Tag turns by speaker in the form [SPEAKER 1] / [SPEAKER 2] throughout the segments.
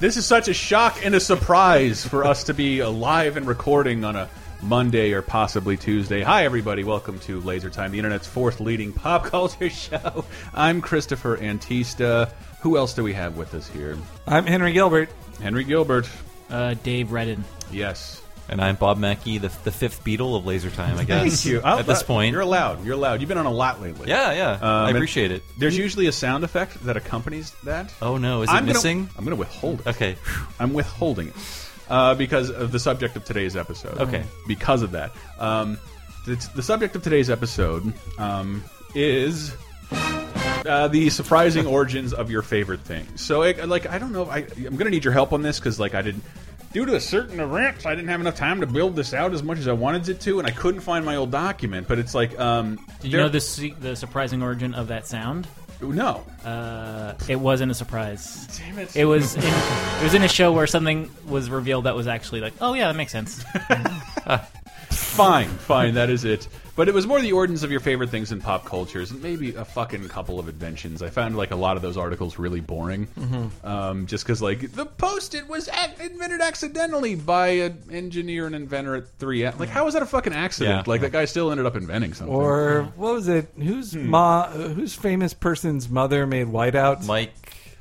[SPEAKER 1] This is such a shock and a surprise for us to be alive and recording on a Monday or possibly Tuesday. Hi, everybody. Welcome to Laser Time, the internet's fourth leading pop culture show. I'm Christopher Antista. Who else do we have with us here?
[SPEAKER 2] I'm Henry Gilbert.
[SPEAKER 1] Henry Gilbert.
[SPEAKER 3] Uh, Dave Redden.
[SPEAKER 1] Yes.
[SPEAKER 4] And I'm Bob Mackey, the, the fifth Beatle of Laser Time, I guess.
[SPEAKER 1] Thank you. I'll-
[SPEAKER 4] At this point.
[SPEAKER 1] You're allowed. You're allowed. You've been on a lot lately.
[SPEAKER 4] yeah, yeah. I
[SPEAKER 1] and
[SPEAKER 4] appreciate it.
[SPEAKER 1] There's usually a sound effect that accompanies that.
[SPEAKER 4] Oh, no. Is it
[SPEAKER 1] I'm gonna-
[SPEAKER 4] missing?
[SPEAKER 1] I'm going to withhold it.
[SPEAKER 4] Okay.
[SPEAKER 1] I'm withholding it uh, because of the subject of today's episode.
[SPEAKER 4] Okay.
[SPEAKER 1] Because of that. Um, the, the subject of today's episode um, is. Uh, the surprising origins of your favorite thing. So, it, like, I don't know. If I, I'm going to need your help on this because, like, I didn't, due to a certain event, I didn't have enough time to build this out as much as I wanted it to, and I couldn't find my old document. But it's like, um,
[SPEAKER 3] Did you
[SPEAKER 1] there-
[SPEAKER 3] know the se- the surprising origin of that sound?
[SPEAKER 1] No,
[SPEAKER 3] Uh, it wasn't a surprise.
[SPEAKER 1] Damn it.
[SPEAKER 3] It was in, it was in a show where something was revealed that was actually like, oh yeah, that makes sense.
[SPEAKER 1] fine, fine, that is it. But it was more the origins of your favorite things in pop cultures, and maybe a fucking couple of inventions. I found like a lot of those articles really boring, um, just because like the post-it was ac invented accidentally by an engineer and inventor at 3M. Like, how was that a fucking accident?
[SPEAKER 4] Yeah.
[SPEAKER 1] Like that guy still ended up inventing something.
[SPEAKER 2] Or what was it? Whose
[SPEAKER 4] Hmm.
[SPEAKER 2] ma? Whose famous person's mother made whiteouts?
[SPEAKER 4] Mike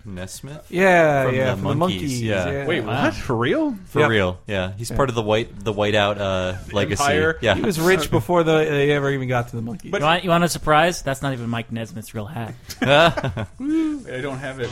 [SPEAKER 4] Nesmith?
[SPEAKER 2] yeah,
[SPEAKER 4] From
[SPEAKER 2] yeah,
[SPEAKER 4] the
[SPEAKER 2] from the
[SPEAKER 4] monkeys,
[SPEAKER 2] monkeys.
[SPEAKER 4] yeah.
[SPEAKER 1] wait,
[SPEAKER 3] Wow.
[SPEAKER 1] what? For real?
[SPEAKER 4] For
[SPEAKER 2] Yep.
[SPEAKER 4] real. Yeah. He's part of the white the whiteout uh, legacy.
[SPEAKER 1] Empire.
[SPEAKER 4] Yeah.
[SPEAKER 2] he was rich before the, they ever even got to the monkeys.
[SPEAKER 3] you, want, you want a surprise? That's not even Mike Nesmith's real hat.
[SPEAKER 1] I don't have it.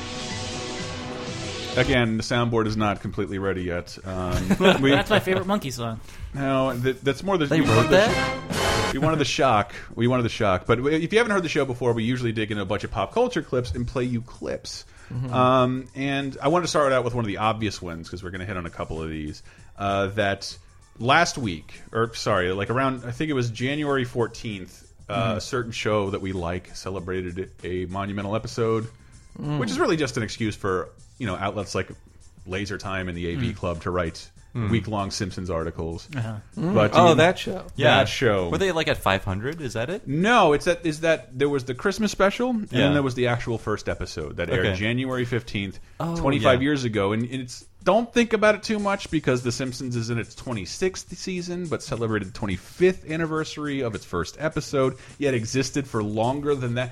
[SPEAKER 1] Again, the soundboard is not completely ready yet. Um, we,
[SPEAKER 3] That's my favorite monkey song.
[SPEAKER 1] no, that, that's more the
[SPEAKER 4] they
[SPEAKER 1] we wanted
[SPEAKER 4] wrote
[SPEAKER 1] the-
[SPEAKER 4] that?
[SPEAKER 1] We wanted the shock. We wanted the shock. But if you haven't heard the show before, we usually dig into a bunch of pop culture clips and play you clips.
[SPEAKER 2] Mm-hmm.
[SPEAKER 1] Um, and I wanted to start out with one of the obvious ones because we're going to hit on a couple of these. Uh, that last week, or sorry, like around, I think it was January 14th,
[SPEAKER 2] Mm-hmm.
[SPEAKER 1] uh, a certain show that we like celebrated a monumental episode,
[SPEAKER 2] Mm.
[SPEAKER 1] which is really just an excuse for, you know, outlets like Laser Time and the AV
[SPEAKER 2] Mm.
[SPEAKER 1] Club to write. Week long Simpsons articles, but
[SPEAKER 2] oh,
[SPEAKER 1] um,
[SPEAKER 2] that show.
[SPEAKER 4] Yeah.
[SPEAKER 1] That show.
[SPEAKER 4] Were they like at 500? Is that it?
[SPEAKER 1] no, it's that is that there was the Christmas special, and
[SPEAKER 4] Yeah.
[SPEAKER 1] then there was the actual first episode that aired
[SPEAKER 4] Okay.
[SPEAKER 1] January fifteenth,
[SPEAKER 4] Oh,
[SPEAKER 1] twenty five
[SPEAKER 4] yeah.
[SPEAKER 1] years ago. And it's don't think about it too much because The Simpsons is in its twenty sixth season, but celebrated the twenty fifth anniversary of its first episode. Yet existed for longer than that.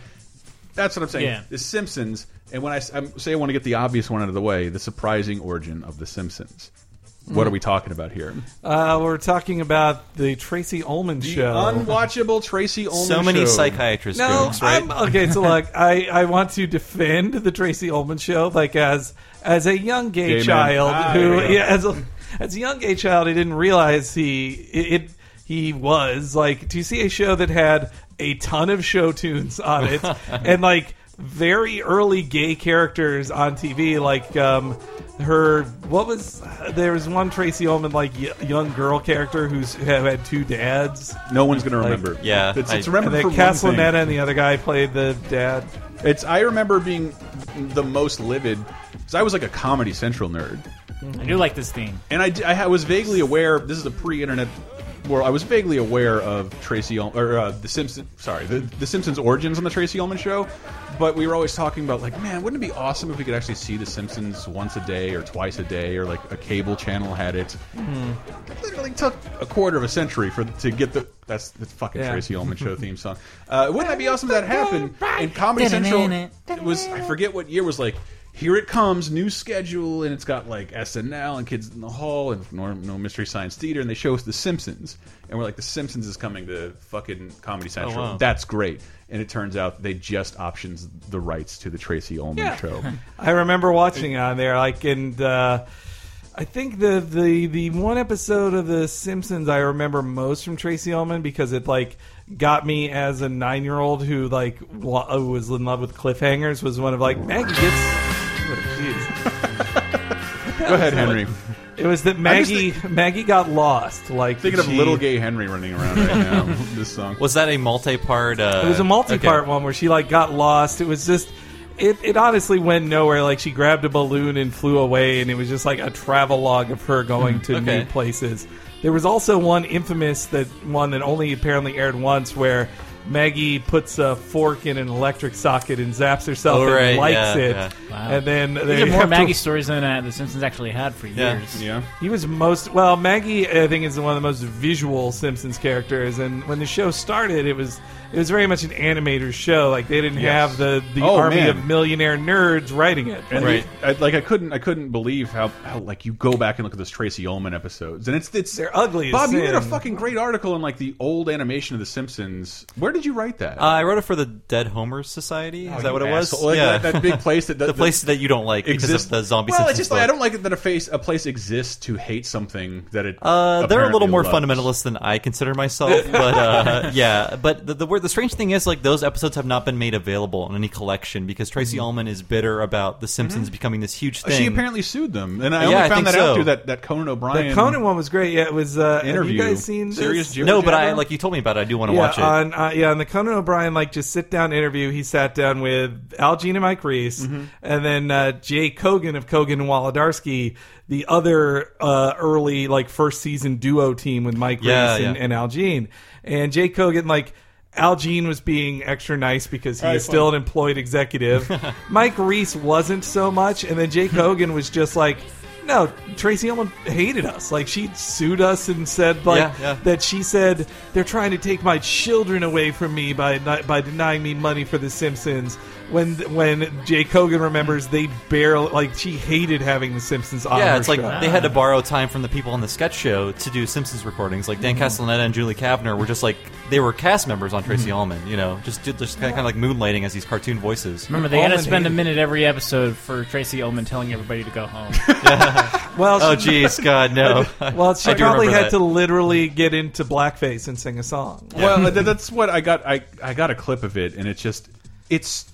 [SPEAKER 1] That's what I'm saying.
[SPEAKER 3] Yeah.
[SPEAKER 1] The Simpsons, and when I s- I'm- say I want to get the obvious one out of the way, the surprising origin of The Simpsons.
[SPEAKER 4] Hmm.
[SPEAKER 1] What are we talking about here?
[SPEAKER 2] Uh, we're talking about the Tracy Ullman
[SPEAKER 1] The
[SPEAKER 2] show.
[SPEAKER 1] unwatchable Tracy Ullman.
[SPEAKER 4] So many
[SPEAKER 1] show.
[SPEAKER 4] psychiatrist
[SPEAKER 2] no,
[SPEAKER 4] jokes, right?
[SPEAKER 2] I'm, okay. So like, I, I want to defend the Tracy Ullman show, like as as a young
[SPEAKER 1] Gay
[SPEAKER 2] gay,
[SPEAKER 1] man.
[SPEAKER 2] child
[SPEAKER 1] Ah, there
[SPEAKER 2] who,
[SPEAKER 1] we go.
[SPEAKER 2] yeah, as a as a young gay child, I didn't realize he it, it he was like to see a show that had a ton of show tunes on it and like very early gay characters on TV, like um. Her, what was there was one Tracy Ullman like y- young girl character who's who had two dads.
[SPEAKER 1] No one's going to remember.
[SPEAKER 4] yeah,
[SPEAKER 1] it's, it's
[SPEAKER 4] I-
[SPEAKER 1] remember
[SPEAKER 2] And then
[SPEAKER 1] for one thing.
[SPEAKER 2] Castellaneta and the other guy played the dad.
[SPEAKER 1] It's I remember being the most livid because I was like a Comedy Central nerd,
[SPEAKER 3] I do like this theme.
[SPEAKER 1] and I, d- I ha- was vaguely aware. This is a pre-internet world. I was vaguely aware of Tracy Ull- or uh, the Simpsons. Sorry, the, the Simpsons origins on the Tracy Ullman show, but we were always talking about like, man, wouldn't it be awesome if we could actually see the Simpsons once a day or twice a day or like a cable channel had it. It literally took a quarter of a century for to get the that's the fucking
[SPEAKER 2] Yeah.
[SPEAKER 1] Tracy Ullman show theme song. Uh, wouldn't that be awesome if that happened? And Comedy Central it was I forget what year was like. Here it comes, new schedule, and it's got like SNL and Kids in the Hall and no, no Mystery Science Theater, and they show us The Simpsons, and we're like, The Simpsons is coming to fucking
[SPEAKER 2] Oh,
[SPEAKER 1] Comedy Central.
[SPEAKER 4] wow.
[SPEAKER 1] That's great. And it turns out they just options the rights to the Tracy Ullman
[SPEAKER 2] Yeah.
[SPEAKER 1] show.
[SPEAKER 2] I remember watching on there, like, and uh, I think the, the the one episode of The Simpsons I remember most from Tracy Ullman because it like got me as a nine year old who like wa- who was in love with cliffhangers was one of like Maggie gets. What a jeez.
[SPEAKER 1] Go ahead, Henry.
[SPEAKER 2] It was that Maggie Maggie got lost. Like
[SPEAKER 1] Thinking of
[SPEAKER 2] she-
[SPEAKER 1] little gay Henry running around right now. this song.
[SPEAKER 4] Was that a multi-part? Uh,
[SPEAKER 2] It was a multi-part
[SPEAKER 4] okay.
[SPEAKER 2] one where she like got lost. It was just it, it honestly went nowhere. Like she grabbed a balloon and flew away, and it was just like a travelogue of her going to
[SPEAKER 4] Hmm, Okay.
[SPEAKER 2] new places. There was also one infamous that one that only apparently aired once where Maggie puts a fork in an electric socket and zaps herself
[SPEAKER 4] Oh,
[SPEAKER 2] and
[SPEAKER 4] right,
[SPEAKER 2] likes
[SPEAKER 4] yeah,
[SPEAKER 2] it.
[SPEAKER 4] yeah.
[SPEAKER 3] Wow.
[SPEAKER 2] And then they
[SPEAKER 3] These are more
[SPEAKER 2] have to-
[SPEAKER 3] Maggie stories than uh, The Simpsons actually had for
[SPEAKER 4] Yeah.
[SPEAKER 3] years.
[SPEAKER 1] Yeah.
[SPEAKER 2] He was most well. Maggie, I think, is one of the most visual Simpsons characters. And when the show started, it was it was very much an animator's show. Like they didn't
[SPEAKER 1] Yes.
[SPEAKER 2] have the the
[SPEAKER 1] Oh,
[SPEAKER 2] army
[SPEAKER 1] man.
[SPEAKER 2] of millionaire nerds writing it.
[SPEAKER 1] And
[SPEAKER 4] Right.
[SPEAKER 1] the- I, like I couldn't, I couldn't believe how, how like you go back and look at those Tracy Ullman episodes, and it's it's
[SPEAKER 2] They're ugly as
[SPEAKER 1] Bob, you did a
[SPEAKER 2] sin.
[SPEAKER 1] fucking great article in like the old animation of The Simpsons. Where did you write that?
[SPEAKER 4] Uh, I wrote it for the Dead Homers Society. Is
[SPEAKER 1] Oh,
[SPEAKER 4] that
[SPEAKER 1] you
[SPEAKER 4] what it was?
[SPEAKER 1] asshole. Like,
[SPEAKER 4] yeah,
[SPEAKER 1] that, that big place that
[SPEAKER 4] the place that you don't like because
[SPEAKER 1] exists.
[SPEAKER 4] of the zombie.
[SPEAKER 1] Well, it's
[SPEAKER 4] Simpsons
[SPEAKER 1] just like I
[SPEAKER 4] book.
[SPEAKER 1] don't like it that a face a place exists to hate something that it.
[SPEAKER 4] Uh, they're a little
[SPEAKER 1] apparently
[SPEAKER 4] more
[SPEAKER 1] loves.
[SPEAKER 4] fundamentalist than I consider myself, but uh, yeah. But the, the word, the strange thing is, like those episodes have not been made available in any collection because
[SPEAKER 2] Mm-hmm.
[SPEAKER 4] Tracy Ullman is bitter about The Simpsons becoming this huge thing.
[SPEAKER 1] She apparently sued them, and I
[SPEAKER 4] Yeah,
[SPEAKER 1] only
[SPEAKER 4] I
[SPEAKER 1] found
[SPEAKER 4] think
[SPEAKER 1] that
[SPEAKER 4] so.
[SPEAKER 1] out through that that Conan O'Brien.
[SPEAKER 2] The Conan one was great. Yeah, it was. Uh,
[SPEAKER 1] Interview.
[SPEAKER 2] Have you guys seen this?
[SPEAKER 1] Serious Jim?
[SPEAKER 4] no, but I
[SPEAKER 1] Jabber?
[SPEAKER 4] like you told me about it. I do want to
[SPEAKER 2] yeah,
[SPEAKER 4] watch it.
[SPEAKER 2] On, uh, yeah, on the Conan O'Brien like just sit down interview, he sat down with Al Jean and Mike Reese,
[SPEAKER 4] Mm-hmm.
[SPEAKER 2] and then uh, Jay Kogan of Kogan and Wolodarski, the other uh, early like first season duo team with Mike
[SPEAKER 4] Yeah,
[SPEAKER 2] Reese and,
[SPEAKER 4] yeah.
[SPEAKER 2] and Al Jean, and Jay Kogan like. Al Jean was being extra nice because he
[SPEAKER 1] All right,
[SPEAKER 2] is still an
[SPEAKER 1] fine.
[SPEAKER 2] employed executive. Mike Reese wasn't so much, and then Jake Hogan was just like, "No, Tracy Ullman hated us. Like she sued us and said like
[SPEAKER 4] Yeah, yeah.
[SPEAKER 2] that she said they're trying to take my children away from me by by denying me money for The Simpsons. When when Jay Kogan remembers they barely like she hated having The Simpsons on.
[SPEAKER 4] yeah,
[SPEAKER 2] her
[SPEAKER 4] Um, it's like
[SPEAKER 2] show.
[SPEAKER 4] they had to borrow time from the people on the sketch show to do Simpsons recordings. Like Dan
[SPEAKER 2] Mm-hmm.
[SPEAKER 4] Castellaneta and Julie Kavner were just like they were cast members on Tracy
[SPEAKER 2] Mm-hmm.
[SPEAKER 4] Ullman. You know, just did- just kind of like moonlighting as these cartoon voices.
[SPEAKER 3] Remember, they had to
[SPEAKER 2] Ullman
[SPEAKER 3] spend a
[SPEAKER 2] hated-
[SPEAKER 3] minute every episode for Tracy Ullman telling everybody to go home.
[SPEAKER 2] well.
[SPEAKER 4] Oh,
[SPEAKER 2] she,
[SPEAKER 4] jeez, God, no.
[SPEAKER 2] well, she
[SPEAKER 4] I do
[SPEAKER 2] probably
[SPEAKER 4] remember
[SPEAKER 2] had
[SPEAKER 4] that.
[SPEAKER 2] to literally get into blackface and sing a song.
[SPEAKER 1] Well, th- that's what I got. I I got a clip of it, and it's just it's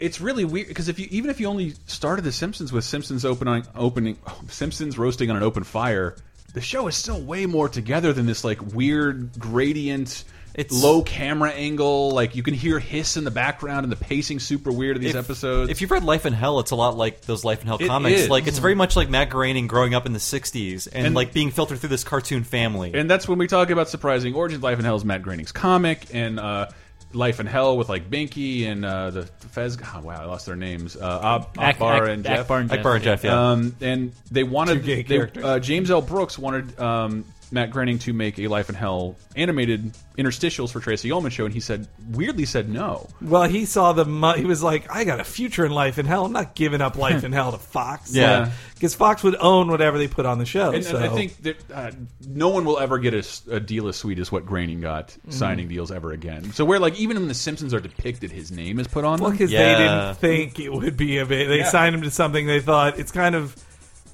[SPEAKER 1] it's really weird because if you even if you only started The Simpsons with Simpsons opening opening Simpsons roasting on an open fire, the show is still way more together than this like weird gradient.
[SPEAKER 4] It's-
[SPEAKER 1] low camera angle, like you can hear hiss in the background, and the pacing super weird of these episodes.
[SPEAKER 4] If you've read Life in Hell, it's a lot like those Life in Hell
[SPEAKER 1] It
[SPEAKER 4] comics.
[SPEAKER 1] is.
[SPEAKER 4] Like it's
[SPEAKER 2] Mm-hmm.
[SPEAKER 4] very much like Matt Groening growing up in the '60s and,
[SPEAKER 1] And-
[SPEAKER 4] like being filtered through this cartoon family.
[SPEAKER 1] And that's when we talk about surprising origins. Life in Hell is Matt Groening's comic, and uh, Life in Hell with like Binky and uh, the Fez. Oh, wow, I lost their names. Uh, Ab,
[SPEAKER 3] Ak-
[SPEAKER 1] Akbar
[SPEAKER 3] Ak-
[SPEAKER 1] and Jeff.
[SPEAKER 3] Akbar and Jeff.
[SPEAKER 4] Akbar and Jeff, yeah.
[SPEAKER 1] Um, and they wanted
[SPEAKER 2] Two gay
[SPEAKER 1] they-
[SPEAKER 2] characters.
[SPEAKER 1] uh, James L. Brooks wanted um, Matt Groening to make a Life in Hell animated interstitials for Tracy Ullman show, and he said weirdly said no.
[SPEAKER 2] Well, he saw the mo- he was like, I got a future in life in hell. I'm not giving up life in hell to Fox.
[SPEAKER 4] Yeah.
[SPEAKER 2] because Fox would own whatever they put on the show.
[SPEAKER 1] And
[SPEAKER 2] so.
[SPEAKER 1] I think that uh, no one will ever get a, s- a deal as sweet as what Groening got signing deals ever again. So where like even in The Simpsons are depicted, his name is put on.
[SPEAKER 2] Well,
[SPEAKER 1] them.
[SPEAKER 2] because
[SPEAKER 4] Yeah.
[SPEAKER 2] they didn't think it would be a bit. They
[SPEAKER 1] Yeah.
[SPEAKER 2] signed him to something they thought it's kind of.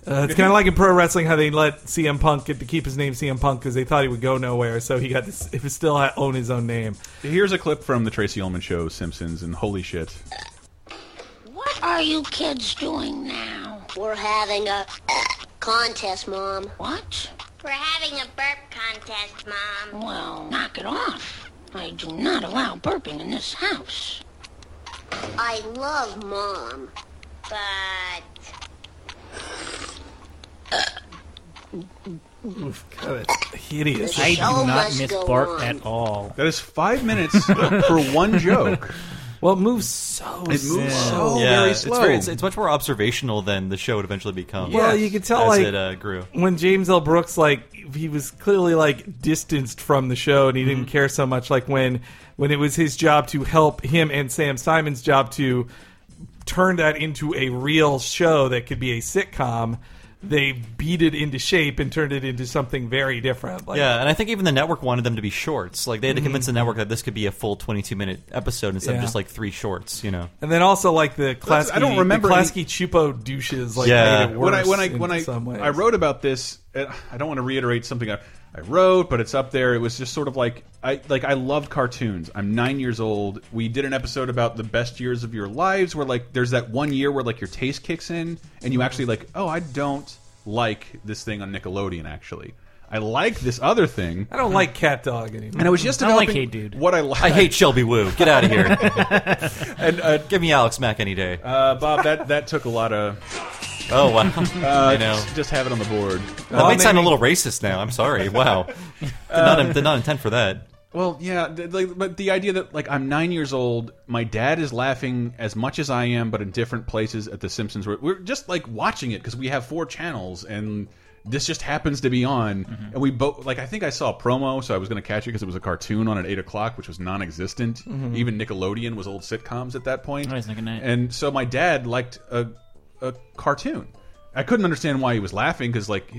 [SPEAKER 2] Uh, it's kind of like in pro wrestling how they let CM Punk get to keep his name CM Punk because they thought he would go nowhere, so he got to s- he would still ha- own his own name.
[SPEAKER 1] Here's a clip from the Tracy Ullman show, Simpsons, and holy shit.
[SPEAKER 5] What are you kids doing now?
[SPEAKER 6] We're having a contest, Mom.
[SPEAKER 5] What?
[SPEAKER 6] We're having a burp contest, Mom.
[SPEAKER 5] Well, knock it off. I do not allow burping in this house.
[SPEAKER 6] I love Mom, but
[SPEAKER 2] God, that's hideous.
[SPEAKER 3] I do
[SPEAKER 6] Show
[SPEAKER 3] not
[SPEAKER 6] must
[SPEAKER 3] miss
[SPEAKER 6] go
[SPEAKER 3] Bart
[SPEAKER 6] on.
[SPEAKER 3] at all.
[SPEAKER 1] That is five minutes for one joke.
[SPEAKER 2] Well, it moves so.
[SPEAKER 1] It moves
[SPEAKER 2] Oh, slow.
[SPEAKER 1] so
[SPEAKER 4] yeah,
[SPEAKER 1] very
[SPEAKER 4] it's,
[SPEAKER 1] slow.
[SPEAKER 4] very, it's, it's much more observational than the show would eventually become.
[SPEAKER 2] Well, you could tell
[SPEAKER 4] as
[SPEAKER 2] like
[SPEAKER 4] it uh, grew.
[SPEAKER 2] when James L. Brooks like he was clearly like distanced from the show and he
[SPEAKER 4] Mhm.
[SPEAKER 2] didn't care so much like when when it was his job to help him and Sam Simon's job to turn that into a real show that could be a sitcom they beat it into shape and turned it into something very different like
[SPEAKER 4] Yeah, and I think even the network wanted them to be shorts. Like they had to convince the network that this could be a full 22 minute episode instead
[SPEAKER 2] Mm-hmm. Yeah.
[SPEAKER 4] of just like three shorts. You know.
[SPEAKER 2] and then also like the
[SPEAKER 1] That's-
[SPEAKER 2] Klasky,
[SPEAKER 1] I don't remember
[SPEAKER 2] the
[SPEAKER 1] any-
[SPEAKER 2] Klasky Chupo douches like
[SPEAKER 4] Yeah.
[SPEAKER 2] made it
[SPEAKER 1] when I
[SPEAKER 2] worse
[SPEAKER 1] when I
[SPEAKER 2] in
[SPEAKER 1] when I
[SPEAKER 2] some ways.
[SPEAKER 1] I wrote about this, uh, I don't want to reiterate something I, I wrote, but it's up there. It was just sort of like I like I loved cartoons. I'm nine years old. We did an episode about the best years of your lives, where like there's that one year where like your taste kicks in, and you actually like, oh, I don't like this thing on Nickelodeon. Actually, I like this other thing,
[SPEAKER 2] I don't like Cat Dog anymore
[SPEAKER 1] and I was just
[SPEAKER 3] I don't like
[SPEAKER 1] developing
[SPEAKER 3] Hey Dude.
[SPEAKER 1] what I like.
[SPEAKER 4] I hate Shelby Woo. Get out of here. and uh, give me Alex Mack any day.
[SPEAKER 1] uh, Bob. That that took a lot of
[SPEAKER 4] oh wow.
[SPEAKER 1] uh,
[SPEAKER 4] I know.
[SPEAKER 3] Oh.
[SPEAKER 1] just, just have it on the board.
[SPEAKER 4] That might sound a
[SPEAKER 2] maybe-
[SPEAKER 4] little racist now. I'm sorry. Wow. did, not, did not intend for that.
[SPEAKER 1] Well, yeah, th- like, but the idea that like I'm nine years old, my dad is laughing as much as I am, but in different places at The Simpsons. We're, we're just like watching it because we have four channels, and this just happens to be on. And we both like I think I saw a promo, so I was going to catch it because it was a cartoon on at eight o'clock, which was non-existent. Even Nickelodeon was old sitcoms at that point.
[SPEAKER 3] Oh, it's like a night.
[SPEAKER 1] And so my dad liked a a cartoon. I couldn't understand why he was laughing because like.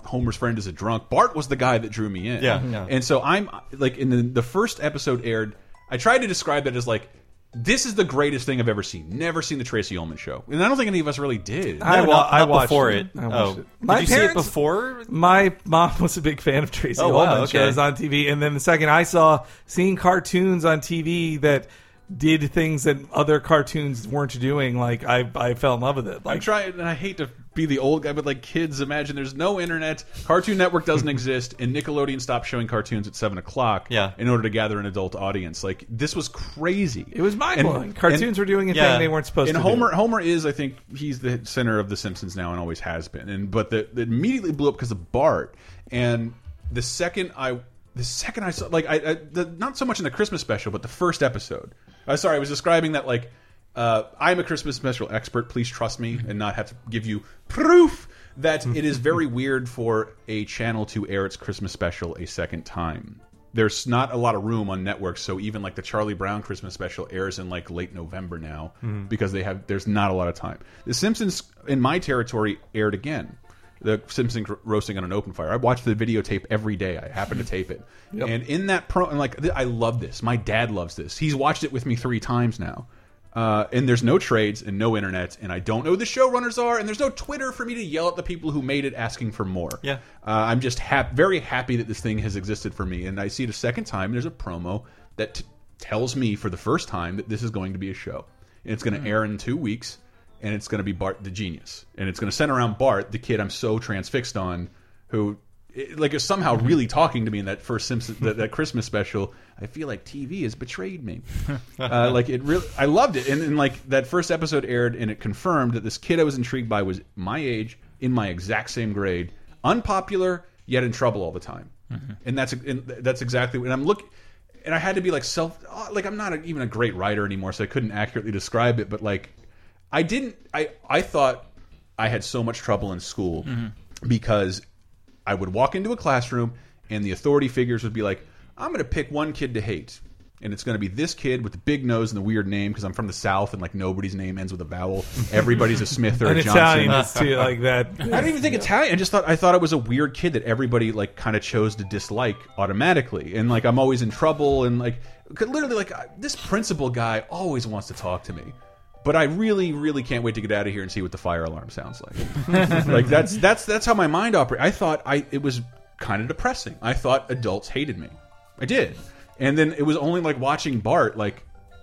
[SPEAKER 1] Homer's friend is a drunk. Bart was the guy that drew me in.
[SPEAKER 4] Yeah, yeah.
[SPEAKER 1] And so I'm like in the, the first episode aired, I tried to describe it as like this is the greatest thing I've ever seen. Never seen the Tracy Ullman show. And I don't think any of us really did.
[SPEAKER 2] I,
[SPEAKER 4] No,
[SPEAKER 2] wa-
[SPEAKER 4] not-
[SPEAKER 2] I
[SPEAKER 4] not
[SPEAKER 2] watched
[SPEAKER 4] before
[SPEAKER 2] it.
[SPEAKER 4] it.
[SPEAKER 2] I watched
[SPEAKER 4] Oh.
[SPEAKER 2] it.
[SPEAKER 4] Did
[SPEAKER 2] My
[SPEAKER 4] you see it
[SPEAKER 2] parents,
[SPEAKER 4] before?
[SPEAKER 2] My mom was a big fan of Tracy
[SPEAKER 4] Oh, wow,
[SPEAKER 2] Ullman
[SPEAKER 4] okay.
[SPEAKER 2] shows on TV, and then the second I saw seeing cartoons on TV that did things that other cartoons weren't doing, like I, I fell in love with it.
[SPEAKER 1] I'm
[SPEAKER 2] Like
[SPEAKER 1] trying, and I hate to be the old guy, but like kids, imagine there's no internet, Cartoon Network doesn't exist, and Nickelodeon stopped showing cartoons at seven o'clock.
[SPEAKER 4] Yeah.
[SPEAKER 1] in order to gather an adult audience, like this was crazy.
[SPEAKER 2] it was mind blowing.
[SPEAKER 1] And-
[SPEAKER 2] Cartoons
[SPEAKER 1] and-
[SPEAKER 2] were doing a
[SPEAKER 4] yeah.
[SPEAKER 2] thing they weren't supposed
[SPEAKER 1] and
[SPEAKER 2] to.
[SPEAKER 1] Homer,
[SPEAKER 2] do.
[SPEAKER 1] Homer is, I think, he's the center of the Simpsons now and always has been. And but the, it immediately blew up because of Bart. And the second I, the second I saw, like, I, I the, not so much in the Christmas special, but the first episode. I sorry, I was describing that like, uh, I'm a Christmas special expert. Please trust me and not have to give you proof that it is very weird for a channel to air its Christmas special a second time. There's not a lot of room on networks, so even like the Charlie Brown Christmas special airs in like late November now because they have there's not a lot of time. The Simpsons in my territory aired again. The Simpsons roasting on an open fire. I watched the videotape every day. I happen to tape it, and in that pro, and like th- I love this. My dad loves this. He's watched it with me three times now. Uh, and there's no trades and no internet, and I don't know who the showrunners are, and there's no Twitter for me to yell at the people who made it asking for more.
[SPEAKER 4] Yeah.
[SPEAKER 1] Uh, I'm just hap very happy that this thing has existed for me, and I see it a second time. And there's a promo that t tells me for the first time that this is going to be a show, and it's going to air in two weeks, and it's going to be Bart the genius, and it's going to center around Bart, the kid I'm so transfixed on, who it- like is somehow really talking to me in that first Simpson that, that Christmas special. I feel like TV has betrayed me. uh, like it really, I loved it, and, and like that first episode aired, and it confirmed that this kid I was intrigued by was my age, in my exact same grade, unpopular yet in trouble all the time, and that's and that's exactly. And I'm look, and I had to be like self, oh, like I'm not a, even a great writer anymore, so I couldn't accurately describe it, but like I didn't. I I thought I had so much trouble in school because I would walk into a classroom and the authority figures would be like, "I'm going to pick one kid to hate." And it's going to be this kid with the big nose and the weird name because I'm from the South and like nobody's name ends with a vowel. Everybody's a Smith or
[SPEAKER 2] an
[SPEAKER 1] a Johnson.
[SPEAKER 2] Italian is too like that.
[SPEAKER 1] I don't even think Italian. I just thought I thought it was a weird kid that everybody like kind of chose to dislike automatically, and like I'm always in trouble, and like could- literally like I- this principal guy always wants to talk to me, but I really really can't wait to get out of here and see what the fire alarm sounds like. like that's that's that's how my mind operates. I thought I it was kind of depressing. I thought adults hated me. I did, and then it was only like watching Bart like.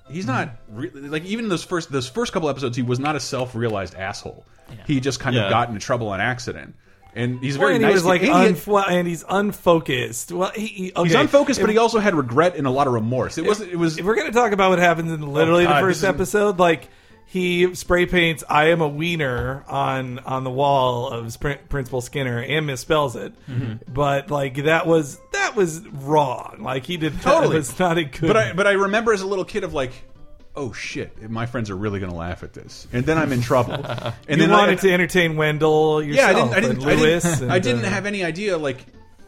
[SPEAKER 1] He's not really like even those first those first couple episodes. He was not a self realized asshole. He just kind of
[SPEAKER 4] Yeah.
[SPEAKER 1] got into trouble on accident. And he's very
[SPEAKER 2] and
[SPEAKER 1] nice.
[SPEAKER 2] he was like
[SPEAKER 1] and he had-
[SPEAKER 2] unfla- and he's unfocused. Well, he, he- okay.
[SPEAKER 1] he's unfocused, but
[SPEAKER 2] If-
[SPEAKER 1] he also had regret and a lot of remorse. It wasn't. It was.
[SPEAKER 2] if we're gonna talk about what happens in literally
[SPEAKER 1] God,
[SPEAKER 2] the first
[SPEAKER 1] this is-
[SPEAKER 2] episode, like he spray paints "I am a wiener" on on the wall of Prin- Principal Skinner and misspells it,
[SPEAKER 1] Mm-hmm.
[SPEAKER 2] but like that was that was wrong. Like he did
[SPEAKER 1] Totally.
[SPEAKER 2] that was not a good.
[SPEAKER 1] But I but I remember as a little kid of like, oh shit, my friends are really gonna laugh at this, and then I'm in trouble. And
[SPEAKER 2] you
[SPEAKER 1] then I-
[SPEAKER 2] wanted to entertain Wendell
[SPEAKER 1] Yeah,
[SPEAKER 2] yourself.
[SPEAKER 1] I didn't. I didn't.
[SPEAKER 2] and
[SPEAKER 1] I
[SPEAKER 2] Lewis.
[SPEAKER 1] didn't,
[SPEAKER 2] and,
[SPEAKER 1] I didn't
[SPEAKER 2] uh,
[SPEAKER 1] have any idea like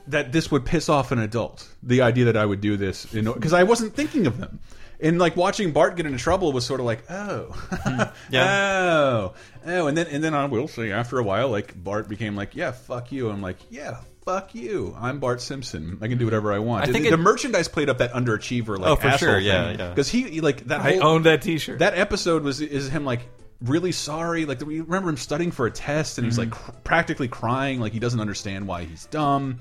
[SPEAKER 1] that this would piss off an adult. The idea that I would do this, you know, because I wasn't thinking of them. And like watching Bart get into trouble was sort of like, oh,
[SPEAKER 4] Yeah.
[SPEAKER 1] oh, oh, and then and then I will say after a while, like Bart became like, yeah, fuck you. I'm like, yeah, fuck you. I'm Bart Simpson. I can do whatever I want.
[SPEAKER 4] I think
[SPEAKER 1] the,
[SPEAKER 4] it-
[SPEAKER 1] the merchandise played up that underachiever like
[SPEAKER 4] Oh, for
[SPEAKER 1] asshole
[SPEAKER 4] sure. Yeah,
[SPEAKER 1] thing.
[SPEAKER 4] yeah.
[SPEAKER 1] Because he he, like that.
[SPEAKER 2] I
[SPEAKER 1] whole,
[SPEAKER 2] owned that T-shirt.
[SPEAKER 1] that episode was is him like really sorry like we remember him studying for a test and he's like
[SPEAKER 2] Mm-hmm.
[SPEAKER 1] cr- practically crying like he doesn't understand why he's dumb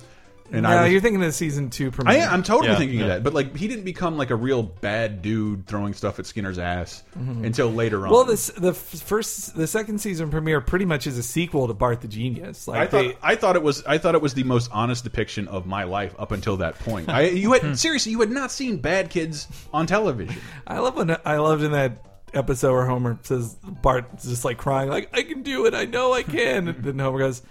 [SPEAKER 1] and
[SPEAKER 2] no,
[SPEAKER 1] i was,
[SPEAKER 2] you're thinking of the season two
[SPEAKER 1] I,
[SPEAKER 2] premiere.
[SPEAKER 1] am totally
[SPEAKER 4] Yeah,
[SPEAKER 1] thinking of
[SPEAKER 4] yeah.
[SPEAKER 1] that but like he didn't become like a real bad dude throwing stuff at skinner's ass until later on
[SPEAKER 2] Mm-hmm. Well, this the f- first the second season premiere pretty much is a sequel to Bart the Genius. Like
[SPEAKER 1] I thought
[SPEAKER 2] they,
[SPEAKER 1] I thought it was I thought it was the most honest depiction of my life up until that point. I you
[SPEAKER 2] Hmm.
[SPEAKER 1] had seriously you had not seen bad kids on television.
[SPEAKER 2] I love when I loved in that episode where Homer says Bart's just like crying, like I can do it, I know I can. And then Homer goes,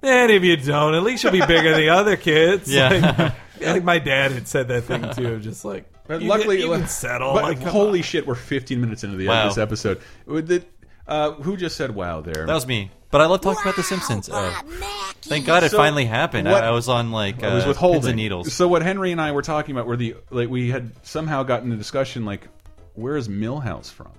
[SPEAKER 2] "And if you don't, at least you'll be bigger than the other kids."
[SPEAKER 4] Yeah.
[SPEAKER 2] Like, like my dad had said that thing too, just like
[SPEAKER 1] But
[SPEAKER 2] you
[SPEAKER 1] luckily,
[SPEAKER 2] can, you can settle.
[SPEAKER 1] But
[SPEAKER 2] like, come
[SPEAKER 1] holy
[SPEAKER 2] on.
[SPEAKER 1] shit, we're 15 minutes into the end
[SPEAKER 4] Wow.
[SPEAKER 1] of this episode. Would the- uh, who just said wow there?
[SPEAKER 4] That was me. But I love talking about The Simpsons.
[SPEAKER 6] Wow,
[SPEAKER 4] Uh,
[SPEAKER 6] Mackey.
[SPEAKER 4] thank God it
[SPEAKER 1] So,
[SPEAKER 4] finally happened.
[SPEAKER 1] what-
[SPEAKER 4] I, I was on like uh,
[SPEAKER 1] I was
[SPEAKER 4] pins
[SPEAKER 1] withholding
[SPEAKER 4] and needles.
[SPEAKER 1] So what Henry and I were talking about were the like we had somehow gotten the discussion like where is Millhouse from?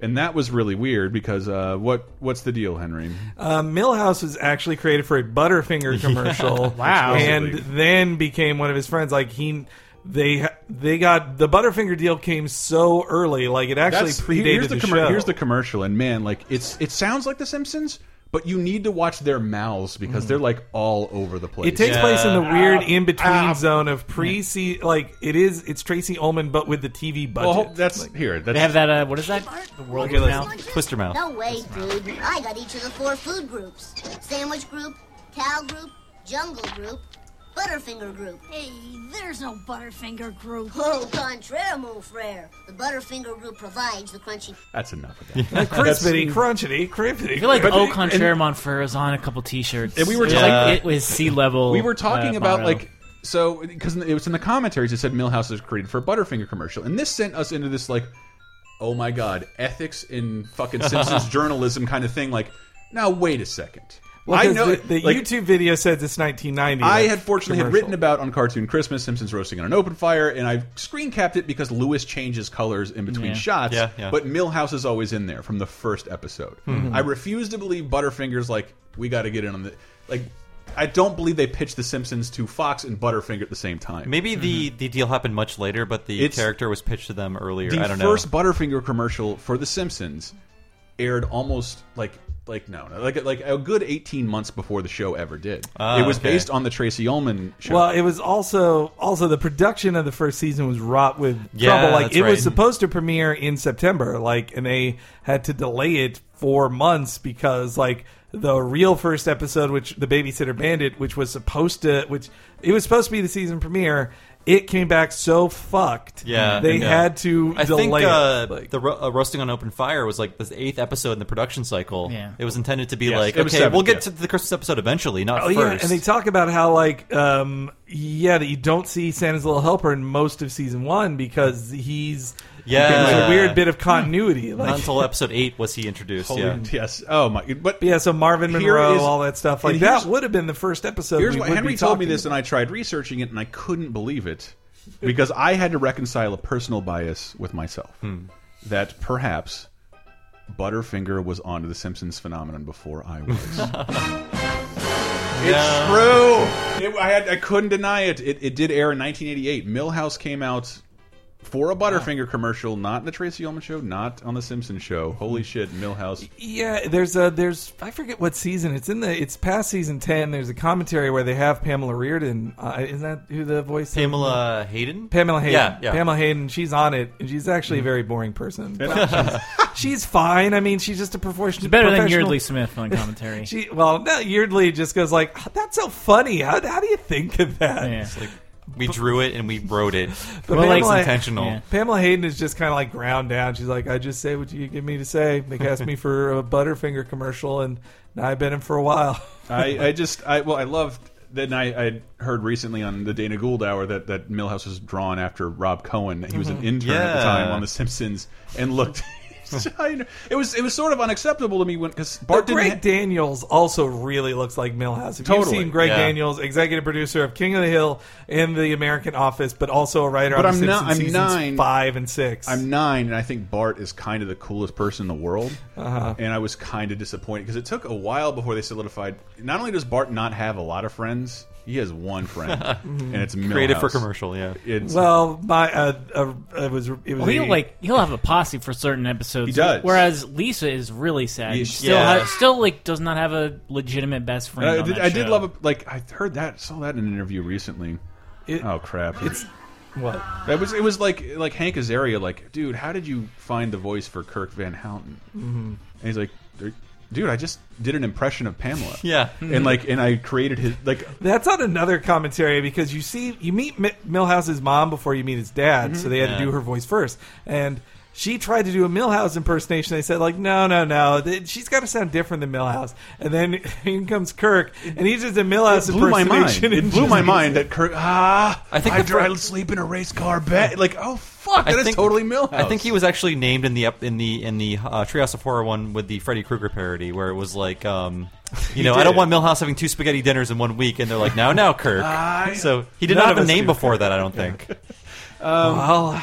[SPEAKER 1] And that was really weird because uh, what what's the deal, Henry?
[SPEAKER 2] Uh, Millhouse was actually created for a Butterfinger commercial.
[SPEAKER 3] Wow.
[SPEAKER 2] And
[SPEAKER 1] Supposedly.
[SPEAKER 2] then became one of his friends. Like he, they, they got the Butterfinger deal came so early. Like it actually
[SPEAKER 1] That's-
[SPEAKER 2] predated
[SPEAKER 1] here's the,
[SPEAKER 2] the,
[SPEAKER 1] commer-
[SPEAKER 2] show.
[SPEAKER 1] Here's the commercial, and man, like it's it sounds like The Simpsons, but you need to watch their mouths because they're like all over the place.
[SPEAKER 2] It takes place in the weird in between
[SPEAKER 1] ah.
[SPEAKER 2] zone of pre se like it is it's Tracy Ullman but with the TV budget.
[SPEAKER 1] Well, ho- that's here. That's,
[SPEAKER 3] They have that. Uh, what is that? The world
[SPEAKER 4] Okay, let's-
[SPEAKER 3] now.
[SPEAKER 4] Twister mouth.
[SPEAKER 6] No way, dude. I got each of the four food groups sandwich group, cow group, jungle group, Butterfinger group.
[SPEAKER 7] Hey, there's no Butterfinger group.
[SPEAKER 6] Oh, contraire, mon frere. The Butterfinger group provides the crunchy.
[SPEAKER 1] that's enough of that.
[SPEAKER 2] crispity, crunchity, crimpity.
[SPEAKER 3] I feel like
[SPEAKER 1] But-
[SPEAKER 3] Au Contraire Montfer is on a couple T-shirts.
[SPEAKER 1] And we were
[SPEAKER 3] It's
[SPEAKER 1] talking-
[SPEAKER 4] Yeah.
[SPEAKER 3] like it was sea level.
[SPEAKER 1] we
[SPEAKER 2] Oh,
[SPEAKER 1] were talking
[SPEAKER 3] uh,
[SPEAKER 1] about
[SPEAKER 3] motto.
[SPEAKER 1] like so because it was in the commentaries it said Millhouse was created for a Butterfinger commercial, and this sent us into this like, oh my god, ethics in fucking Simpsons journalism kind of thing. Like, now wait a second.
[SPEAKER 2] Well,
[SPEAKER 1] I
[SPEAKER 2] 'cause
[SPEAKER 1] know
[SPEAKER 2] the, the
[SPEAKER 1] like,
[SPEAKER 2] YouTube video says it's 1990.
[SPEAKER 1] I
[SPEAKER 2] that
[SPEAKER 1] had fortunately had
[SPEAKER 2] commercial.
[SPEAKER 1] written about on Cartoon Christmas Simpsons roasting on an open fire, and I screen capped it because Lewis changes colors in between
[SPEAKER 3] Yeah.
[SPEAKER 1] shots.
[SPEAKER 4] Yeah, yeah.
[SPEAKER 1] But Millhouse is always in there from the first episode.
[SPEAKER 2] Mm-hmm.
[SPEAKER 1] I refuse to believe Butterfingers like we got to get in on the like. I don't believe they pitched The Simpsons to Fox and Butterfinger at the same time.
[SPEAKER 4] Maybe the,
[SPEAKER 2] Mm-hmm.
[SPEAKER 4] the deal happened much later, but the
[SPEAKER 1] It's-
[SPEAKER 4] character was pitched to them earlier.
[SPEAKER 1] the
[SPEAKER 4] I don't
[SPEAKER 1] first
[SPEAKER 4] know.
[SPEAKER 1] Butterfinger commercial for The Simpsons aired almost like like no, no like like a good eighteen months before the show ever did.
[SPEAKER 4] Ah,
[SPEAKER 1] it was
[SPEAKER 4] okay.
[SPEAKER 1] based on the Tracy Ullman show.
[SPEAKER 2] Well, it was also also the production of the first season was wrought with
[SPEAKER 4] Yeah,
[SPEAKER 2] trouble. Like
[SPEAKER 4] that's
[SPEAKER 2] it
[SPEAKER 4] right.
[SPEAKER 2] was supposed to premiere in September, like, and they had to delay it for months because like the real first episode, which the Babysitter Bandit, which was supposed to, which it was supposed to be the season premiere. It came back so fucked.
[SPEAKER 4] Yeah,
[SPEAKER 2] they
[SPEAKER 4] yeah.
[SPEAKER 2] had to
[SPEAKER 4] I
[SPEAKER 2] delay
[SPEAKER 4] think uh,
[SPEAKER 2] it. Like-
[SPEAKER 4] the ro- uh, roasting on open fire was like the eighth episode in the production cycle.
[SPEAKER 3] Yeah.
[SPEAKER 4] It was intended to be
[SPEAKER 1] Yes,
[SPEAKER 4] like,
[SPEAKER 1] it was
[SPEAKER 4] okay,
[SPEAKER 1] seventh,
[SPEAKER 4] we'll get
[SPEAKER 1] yeah.
[SPEAKER 4] to the Christmas episode eventually, not
[SPEAKER 2] Oh
[SPEAKER 4] first.
[SPEAKER 2] yeah, and they talk about how like um yeah that you don't see Santa's little helper in most of season one because he's
[SPEAKER 4] Yeah.
[SPEAKER 2] it's a weird bit of continuity
[SPEAKER 4] not
[SPEAKER 2] like
[SPEAKER 4] until episode eight was he introduced.
[SPEAKER 1] Holy-
[SPEAKER 4] yeah.
[SPEAKER 1] yes. Oh my. But
[SPEAKER 2] yeah so Marvin
[SPEAKER 1] Here
[SPEAKER 2] Monroe
[SPEAKER 1] is-
[SPEAKER 2] all that stuff like
[SPEAKER 1] and here's-
[SPEAKER 2] that would have been the first episode
[SPEAKER 1] Here's
[SPEAKER 2] we
[SPEAKER 1] what
[SPEAKER 2] would
[SPEAKER 1] Henry
[SPEAKER 2] be
[SPEAKER 1] told me
[SPEAKER 2] talking
[SPEAKER 1] this,
[SPEAKER 2] about.
[SPEAKER 1] and I tried researching it, and I couldn't believe it because I had to reconcile a personal bias with myself
[SPEAKER 2] Hmm.
[SPEAKER 1] that perhaps Butterfinger was onto the Simpsons phenomenon before I was. it's true. It- I had I couldn't deny it. it. It did air in 1988. Millhouse came out. For a Butterfinger
[SPEAKER 2] Ah.
[SPEAKER 1] commercial, not in the Tracy Ullman show, not on the Simpsons show. Holy shit, Millhouse!
[SPEAKER 2] yeah there's a there's I forget what season it's in the it's past season ten there's a commentary where they have Pamela Reardon uh, isn't that who the voice of-
[SPEAKER 4] Pamela Hayden.
[SPEAKER 2] Pamela Hayden.
[SPEAKER 4] Yeah, yeah. Mm-hmm.
[SPEAKER 2] Pamela Hayden. She's on it, and she's actually a very boring person. But she's, she's fine. I mean, she's just a professional.
[SPEAKER 3] better than
[SPEAKER 2] professional-
[SPEAKER 3] Yeardley Smith on commentary.
[SPEAKER 2] She well, no, Yeardley just goes like, "Ah, "That's so funny. How, how do you think of that?"
[SPEAKER 3] yeah.
[SPEAKER 4] Like, we drew it and we wrote it.
[SPEAKER 2] But
[SPEAKER 3] Well, like,
[SPEAKER 4] it's
[SPEAKER 2] Pamela,
[SPEAKER 4] intentional.
[SPEAKER 3] yeah.
[SPEAKER 2] Pamela Hayden is just kind of like ground down. She's like, "I just say what you give me to say." They cast me for a Butterfinger commercial, and now I've been in for a while.
[SPEAKER 1] I, I just I well I loved then I, I heard recently on the Dana Gould Hour that that Millhouse was drawn after Rob Cohen. He was an intern at the
[SPEAKER 4] Mm-hmm. Yeah.
[SPEAKER 1] time on The Simpsons and looked. it was it was sort of unacceptable to me when because
[SPEAKER 2] But
[SPEAKER 1] Bart didn't.
[SPEAKER 2] Greg Daniels also really looks like Millhouse. If
[SPEAKER 1] Totally.
[SPEAKER 2] you've seen Greg
[SPEAKER 4] Yeah.
[SPEAKER 2] Daniels, executive producer of King of the Hill and The American Office, but also a writer
[SPEAKER 1] But
[SPEAKER 2] on
[SPEAKER 1] I'm
[SPEAKER 2] The
[SPEAKER 1] not-
[SPEAKER 2] Simpsons
[SPEAKER 1] I'm
[SPEAKER 2] seasons
[SPEAKER 1] nine.
[SPEAKER 2] five and six.
[SPEAKER 1] I'm nine, and I think Bart is kind of the coolest person in the world.
[SPEAKER 4] Uh-huh.
[SPEAKER 1] And I was kind of disappointed because it took a while before they solidified. Not only does Bart not have a lot of friends, he has one friend, and it's Millhouse.
[SPEAKER 4] Created for commercial, yeah.
[SPEAKER 1] It's,
[SPEAKER 2] well, my uh, uh, it was it was
[SPEAKER 3] Well, he'll
[SPEAKER 2] a-
[SPEAKER 3] like he'll have a posse for certain episodes.
[SPEAKER 1] He does.
[SPEAKER 3] Whereas Lisa is really sad.
[SPEAKER 1] Yeah.
[SPEAKER 3] She still
[SPEAKER 4] Yeah.
[SPEAKER 3] ha- still like does not have a legitimate best friend.
[SPEAKER 1] I
[SPEAKER 3] on
[SPEAKER 1] Uh, did,
[SPEAKER 3] that
[SPEAKER 1] I did
[SPEAKER 3] show.
[SPEAKER 1] love it. Like I heard that, saw that in an interview recently.
[SPEAKER 2] It-
[SPEAKER 1] oh crap! It's
[SPEAKER 2] what.
[SPEAKER 1] That was it was like like Hank Azaria like dude how did you find the voice for Kirk Van Houten and he's like "There- dude, I just did an impression of Pamela.
[SPEAKER 4] Yeah.
[SPEAKER 1] and like, and I created his like.
[SPEAKER 2] That's on another commentary because you see, you meet M- Millhouse's mom before you meet his dad,
[SPEAKER 1] Mm-hmm.
[SPEAKER 2] so they had to
[SPEAKER 4] Yeah.
[SPEAKER 2] do her voice first. And she tried to do a Millhouse impersonation. They said, like, no, no, no, th- she's got to sound different than Millhouse. And then in comes Kirk, and he does a Millhouse
[SPEAKER 1] Blew my mind.
[SPEAKER 2] impersonation.
[SPEAKER 1] It
[SPEAKER 2] and
[SPEAKER 1] blew
[SPEAKER 2] just-
[SPEAKER 1] my mind that Kirk. Ah, I
[SPEAKER 4] I
[SPEAKER 1] think
[SPEAKER 4] think
[SPEAKER 1] I
[SPEAKER 4] the fir-
[SPEAKER 1] drive sleep in a race car bed. Like, oh fuck, that is totally Millhouse.
[SPEAKER 4] I think he was actually named in the ep- in the in the uh, Treehouse of Horror one with the Freddy Krueger parody, where it was like, um, you know, I don't
[SPEAKER 1] did.
[SPEAKER 4] want Millhouse having two spaghetti dinners in one week, and they're like, no, no, Kirk.
[SPEAKER 1] I-
[SPEAKER 4] so he did
[SPEAKER 2] None
[SPEAKER 4] not have a
[SPEAKER 2] of us
[SPEAKER 4] name
[SPEAKER 2] do.
[SPEAKER 4] before that, I don't think.
[SPEAKER 2] Well,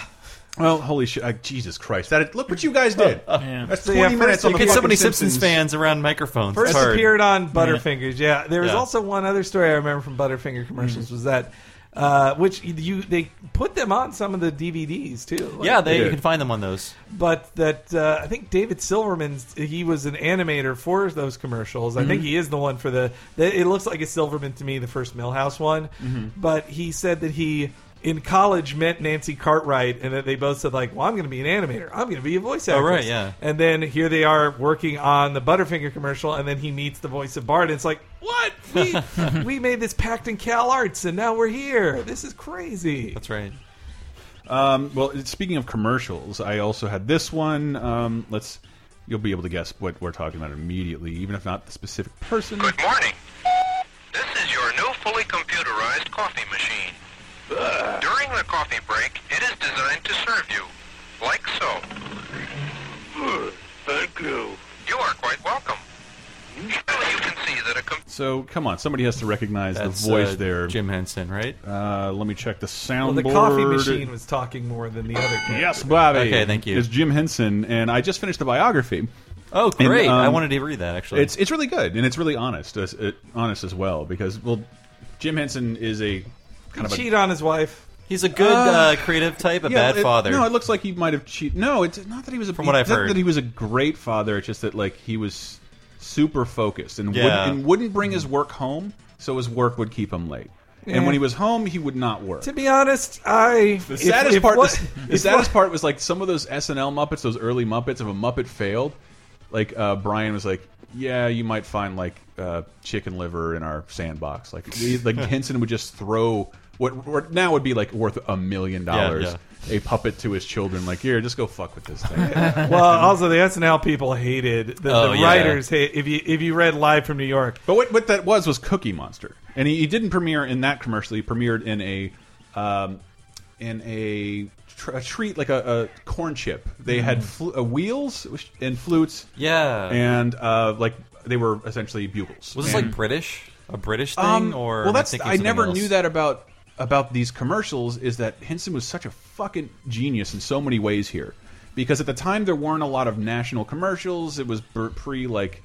[SPEAKER 1] Well, holy shit! Uh, Jesus Christ! That look what you guys did.
[SPEAKER 3] Yeah.
[SPEAKER 1] That's
[SPEAKER 2] So,
[SPEAKER 1] twenty
[SPEAKER 2] yeah, first
[SPEAKER 1] minutes. on
[SPEAKER 2] they
[SPEAKER 1] the
[SPEAKER 4] Get so
[SPEAKER 1] fucking
[SPEAKER 4] many Simpsons,
[SPEAKER 1] Simpsons
[SPEAKER 4] fans around microphones.
[SPEAKER 2] first
[SPEAKER 4] it's hard.
[SPEAKER 2] appeared on Butterfingers. Yeah, there was
[SPEAKER 4] Yeah.
[SPEAKER 2] also one other story I remember from Butterfinger commercials
[SPEAKER 1] Mm-hmm.
[SPEAKER 2] was that. Uh, which you they put them on some of the DVDs too.
[SPEAKER 4] Yeah, they,
[SPEAKER 1] Yeah.
[SPEAKER 4] you can find them on those.
[SPEAKER 2] but that uh, I think David Silverman he was an animator for those commercials. I
[SPEAKER 4] Mm-hmm.
[SPEAKER 2] think he is the one for the, the. It looks like a Silverman to me, the first Millhouse one.
[SPEAKER 4] Mm-hmm.
[SPEAKER 2] But he said that he in college met Nancy Cartwright, and that they both said like, "Well, I'm going to be an animator. I'm going to be a voice actor."
[SPEAKER 4] Oh, right, yeah.
[SPEAKER 2] And then here they are working on the Butterfinger commercial, and then he meets the voice of Bart, and it's like, "What? We we made this pact in Cal Arts, and now we're here. This is crazy."
[SPEAKER 4] That's right.
[SPEAKER 1] Um, well, it- speaking of commercials, I also had this one. Um, let's. You'll be able to guess what we're talking about immediately, even if not the specific person.
[SPEAKER 8] Good morning. This is your new fully computerized coffee machine. During the coffee break, it is designed to serve you. Like so. Thank you. You are quite welcome. Surely you can see that a com-
[SPEAKER 1] So come on, somebody has to recognize
[SPEAKER 4] That's
[SPEAKER 1] the voice
[SPEAKER 4] uh,
[SPEAKER 1] there.
[SPEAKER 4] Jim Henson, right?
[SPEAKER 1] Uh, let me check the
[SPEAKER 2] Well,
[SPEAKER 1] soundboard.
[SPEAKER 2] the coffee machine was talking more than the other. character.
[SPEAKER 1] Yes, Bobby.
[SPEAKER 4] Okay, thank you.
[SPEAKER 1] It's Jim Henson, and I just finished the biography.
[SPEAKER 4] Oh, great!
[SPEAKER 1] um,
[SPEAKER 4] I wanted to read that actually.
[SPEAKER 1] It's it's really good, and it's really honest, as, uh, honest as well, because well, Jim Henson is a kind of a
[SPEAKER 2] cheat on his wife.
[SPEAKER 4] He's a good uh, creative type, a bad
[SPEAKER 1] it-
[SPEAKER 4] father.
[SPEAKER 1] No, it looks like he might have cheated. No, it's not that he was a,
[SPEAKER 4] From what I've
[SPEAKER 1] it's not
[SPEAKER 4] heard.
[SPEAKER 1] that he was a great father. It's just that like he was super focused and
[SPEAKER 4] Yeah.
[SPEAKER 1] wouldn't, and wouldn't bring his work home, so his work would keep him late. And when he was home, he would not work.
[SPEAKER 2] To be honest, I
[SPEAKER 1] The saddest part,
[SPEAKER 2] what-
[SPEAKER 1] was, the
[SPEAKER 2] if
[SPEAKER 1] saddest
[SPEAKER 2] what-
[SPEAKER 1] part was like some of those SNL Muppets, those early Muppets. If a Muppet failed, like uh, Brian was like, "Yeah, you might find like uh, chicken liver in our sandbox." Like, he- like Henson would just throw what, what now would be like worth a million dollars a puppet to his children. Like, here, just go fuck with this thing.
[SPEAKER 2] well, also the SNL people hated the,
[SPEAKER 4] Oh,
[SPEAKER 2] the
[SPEAKER 4] yeah.
[SPEAKER 2] writers. Hate, if you if you read live from New York,
[SPEAKER 1] but what what that was was Cookie Monster, and he, he didn't premiere in that commercial. He premiered in a um, in a. tr- A treat like a, a corn chip. They had fl uh, wheels and flutes,
[SPEAKER 4] Hmm. yeah.
[SPEAKER 1] and uh, like they were essentially bugles.
[SPEAKER 4] was this
[SPEAKER 1] And-
[SPEAKER 4] like British? A British thing,
[SPEAKER 1] Um,
[SPEAKER 4] or
[SPEAKER 1] well,
[SPEAKER 4] am
[SPEAKER 1] that's
[SPEAKER 4] thinking
[SPEAKER 1] I
[SPEAKER 4] something
[SPEAKER 1] never
[SPEAKER 4] else?
[SPEAKER 1] knew that about about these commercials is that Henson was such a fucking genius in so many ways here, because at the time there weren't a lot of national commercials. It was br- pre like.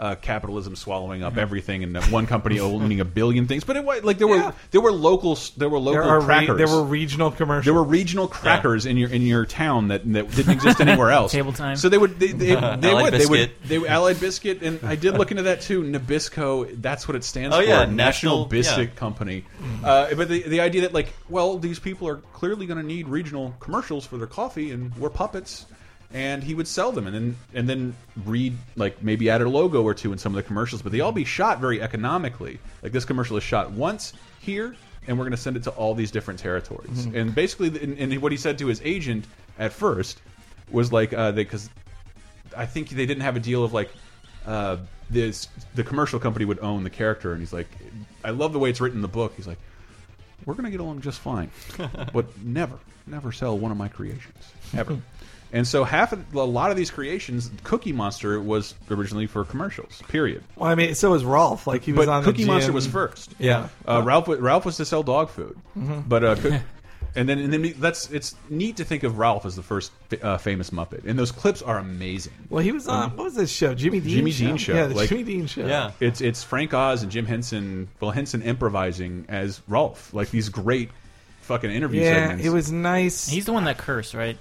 [SPEAKER 1] Uh, capitalism swallowing up everything, and one company owning a billion things. But it was like there were
[SPEAKER 2] Yeah.
[SPEAKER 1] there were local s- there were
[SPEAKER 2] there
[SPEAKER 1] local
[SPEAKER 2] are re,
[SPEAKER 1] crackers.
[SPEAKER 2] there were regional commercials.
[SPEAKER 1] There were regional crackers in your in your town that, that didn't exist anywhere else.
[SPEAKER 3] Table time.
[SPEAKER 1] So they would they, they, they
[SPEAKER 4] Allied
[SPEAKER 1] would they would
[SPEAKER 4] Biscuit.
[SPEAKER 1] they would- Allied Biscuit and I did look into that too. Nabisco, that's what it stands
[SPEAKER 4] Oh,
[SPEAKER 1] for.
[SPEAKER 4] yeah,
[SPEAKER 1] National
[SPEAKER 4] national-
[SPEAKER 1] Biscuit
[SPEAKER 4] yeah.
[SPEAKER 1] Company. Uh, but the the idea that like well these people are clearly going to need regional commercials for their coffee and we're puppets. And he would sell them, and then and then read like maybe add a logo or two in some of the commercials, but they all be shot very economically. Like this commercial is shot once here, and we're going to send it to all these different territories. And basically, the- and, and what he said to his agent at first was like, uh, because I think they didn't have a deal of like uh, this the commercial company would own the character, and he's like, I love the way it's written in the book. He's like, we're going to get along just fine, but never, never sell one of my creations ever. And so half of a lot of these creations, Cookie Monster was originally for commercials. Period.
[SPEAKER 2] Well, I mean, so was Rolf. Like he was
[SPEAKER 1] But
[SPEAKER 2] on
[SPEAKER 1] Cookie
[SPEAKER 2] the
[SPEAKER 1] Monster
[SPEAKER 2] gym.
[SPEAKER 1] was first.
[SPEAKER 2] Yeah. Mm-hmm.
[SPEAKER 1] Uh, Ralph wa- Ralph was to sell dog food, but uh, cook, and then and then that's it's neat to think of Ralph as the first fa- uh, famous Muppet, and those clips are amazing.
[SPEAKER 2] Well, he was on what was this show? Jimmy
[SPEAKER 1] Mm-hmm.
[SPEAKER 2] Dean.
[SPEAKER 1] Jimmy
[SPEAKER 2] show.
[SPEAKER 1] Dean Show,
[SPEAKER 2] Yeah, the
[SPEAKER 1] like-
[SPEAKER 2] Jimmy Dean show.
[SPEAKER 4] Yeah.
[SPEAKER 1] It's it's Frank Oz and Jim Henson, well Henson improvising as Rolf, like these great fucking interview
[SPEAKER 2] Yeah,
[SPEAKER 1] segments.
[SPEAKER 2] it was nice.
[SPEAKER 3] He's the one that cursed, right?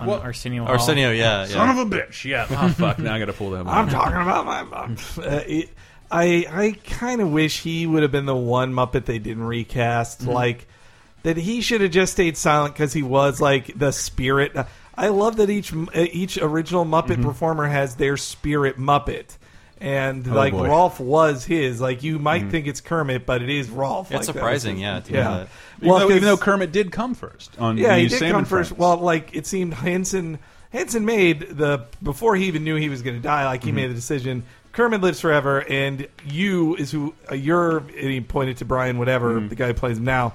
[SPEAKER 3] On
[SPEAKER 1] Well,
[SPEAKER 3] Arsenio. Hall.
[SPEAKER 4] Arsenio, yeah, yeah.
[SPEAKER 1] son of a bitch. Yeah. Oh fuck. Now I got to pull that.
[SPEAKER 2] I'm
[SPEAKER 1] one.
[SPEAKER 2] talking about my mom. Uh, it, I I kind of wish he would have been the one Muppet they didn't recast.
[SPEAKER 4] Mm-hmm.
[SPEAKER 2] Like that he should have just stayed silent because he was like the spirit.
[SPEAKER 4] Mm-hmm.
[SPEAKER 2] I love that each uh, each original Muppet performer has their spirit Muppet. and
[SPEAKER 4] Oh,
[SPEAKER 2] like
[SPEAKER 1] boy.
[SPEAKER 2] Rolf was his. Like you might think it's Kermit, but it is Rolf.
[SPEAKER 4] Mm-hmm. It's
[SPEAKER 2] like, that was
[SPEAKER 4] surprising,
[SPEAKER 2] his-
[SPEAKER 4] yeah, to know
[SPEAKER 2] yeah.
[SPEAKER 4] that.
[SPEAKER 1] Even, though, even
[SPEAKER 2] 'cause-
[SPEAKER 1] though Kermit did come first on
[SPEAKER 2] yeah,
[SPEAKER 1] the
[SPEAKER 2] he did
[SPEAKER 1] Sam
[SPEAKER 2] come
[SPEAKER 1] and
[SPEAKER 2] first.
[SPEAKER 1] Friends.
[SPEAKER 2] Well, like it seemed Hanson Hanson made the before he even knew he was going to die. Like he
[SPEAKER 1] Mm-hmm.
[SPEAKER 2] made the decision. Kermit lives forever, and you is who uh, you're. And he pointed to Brian, whatever
[SPEAKER 1] Mm-hmm.
[SPEAKER 2] the guy who plays him now.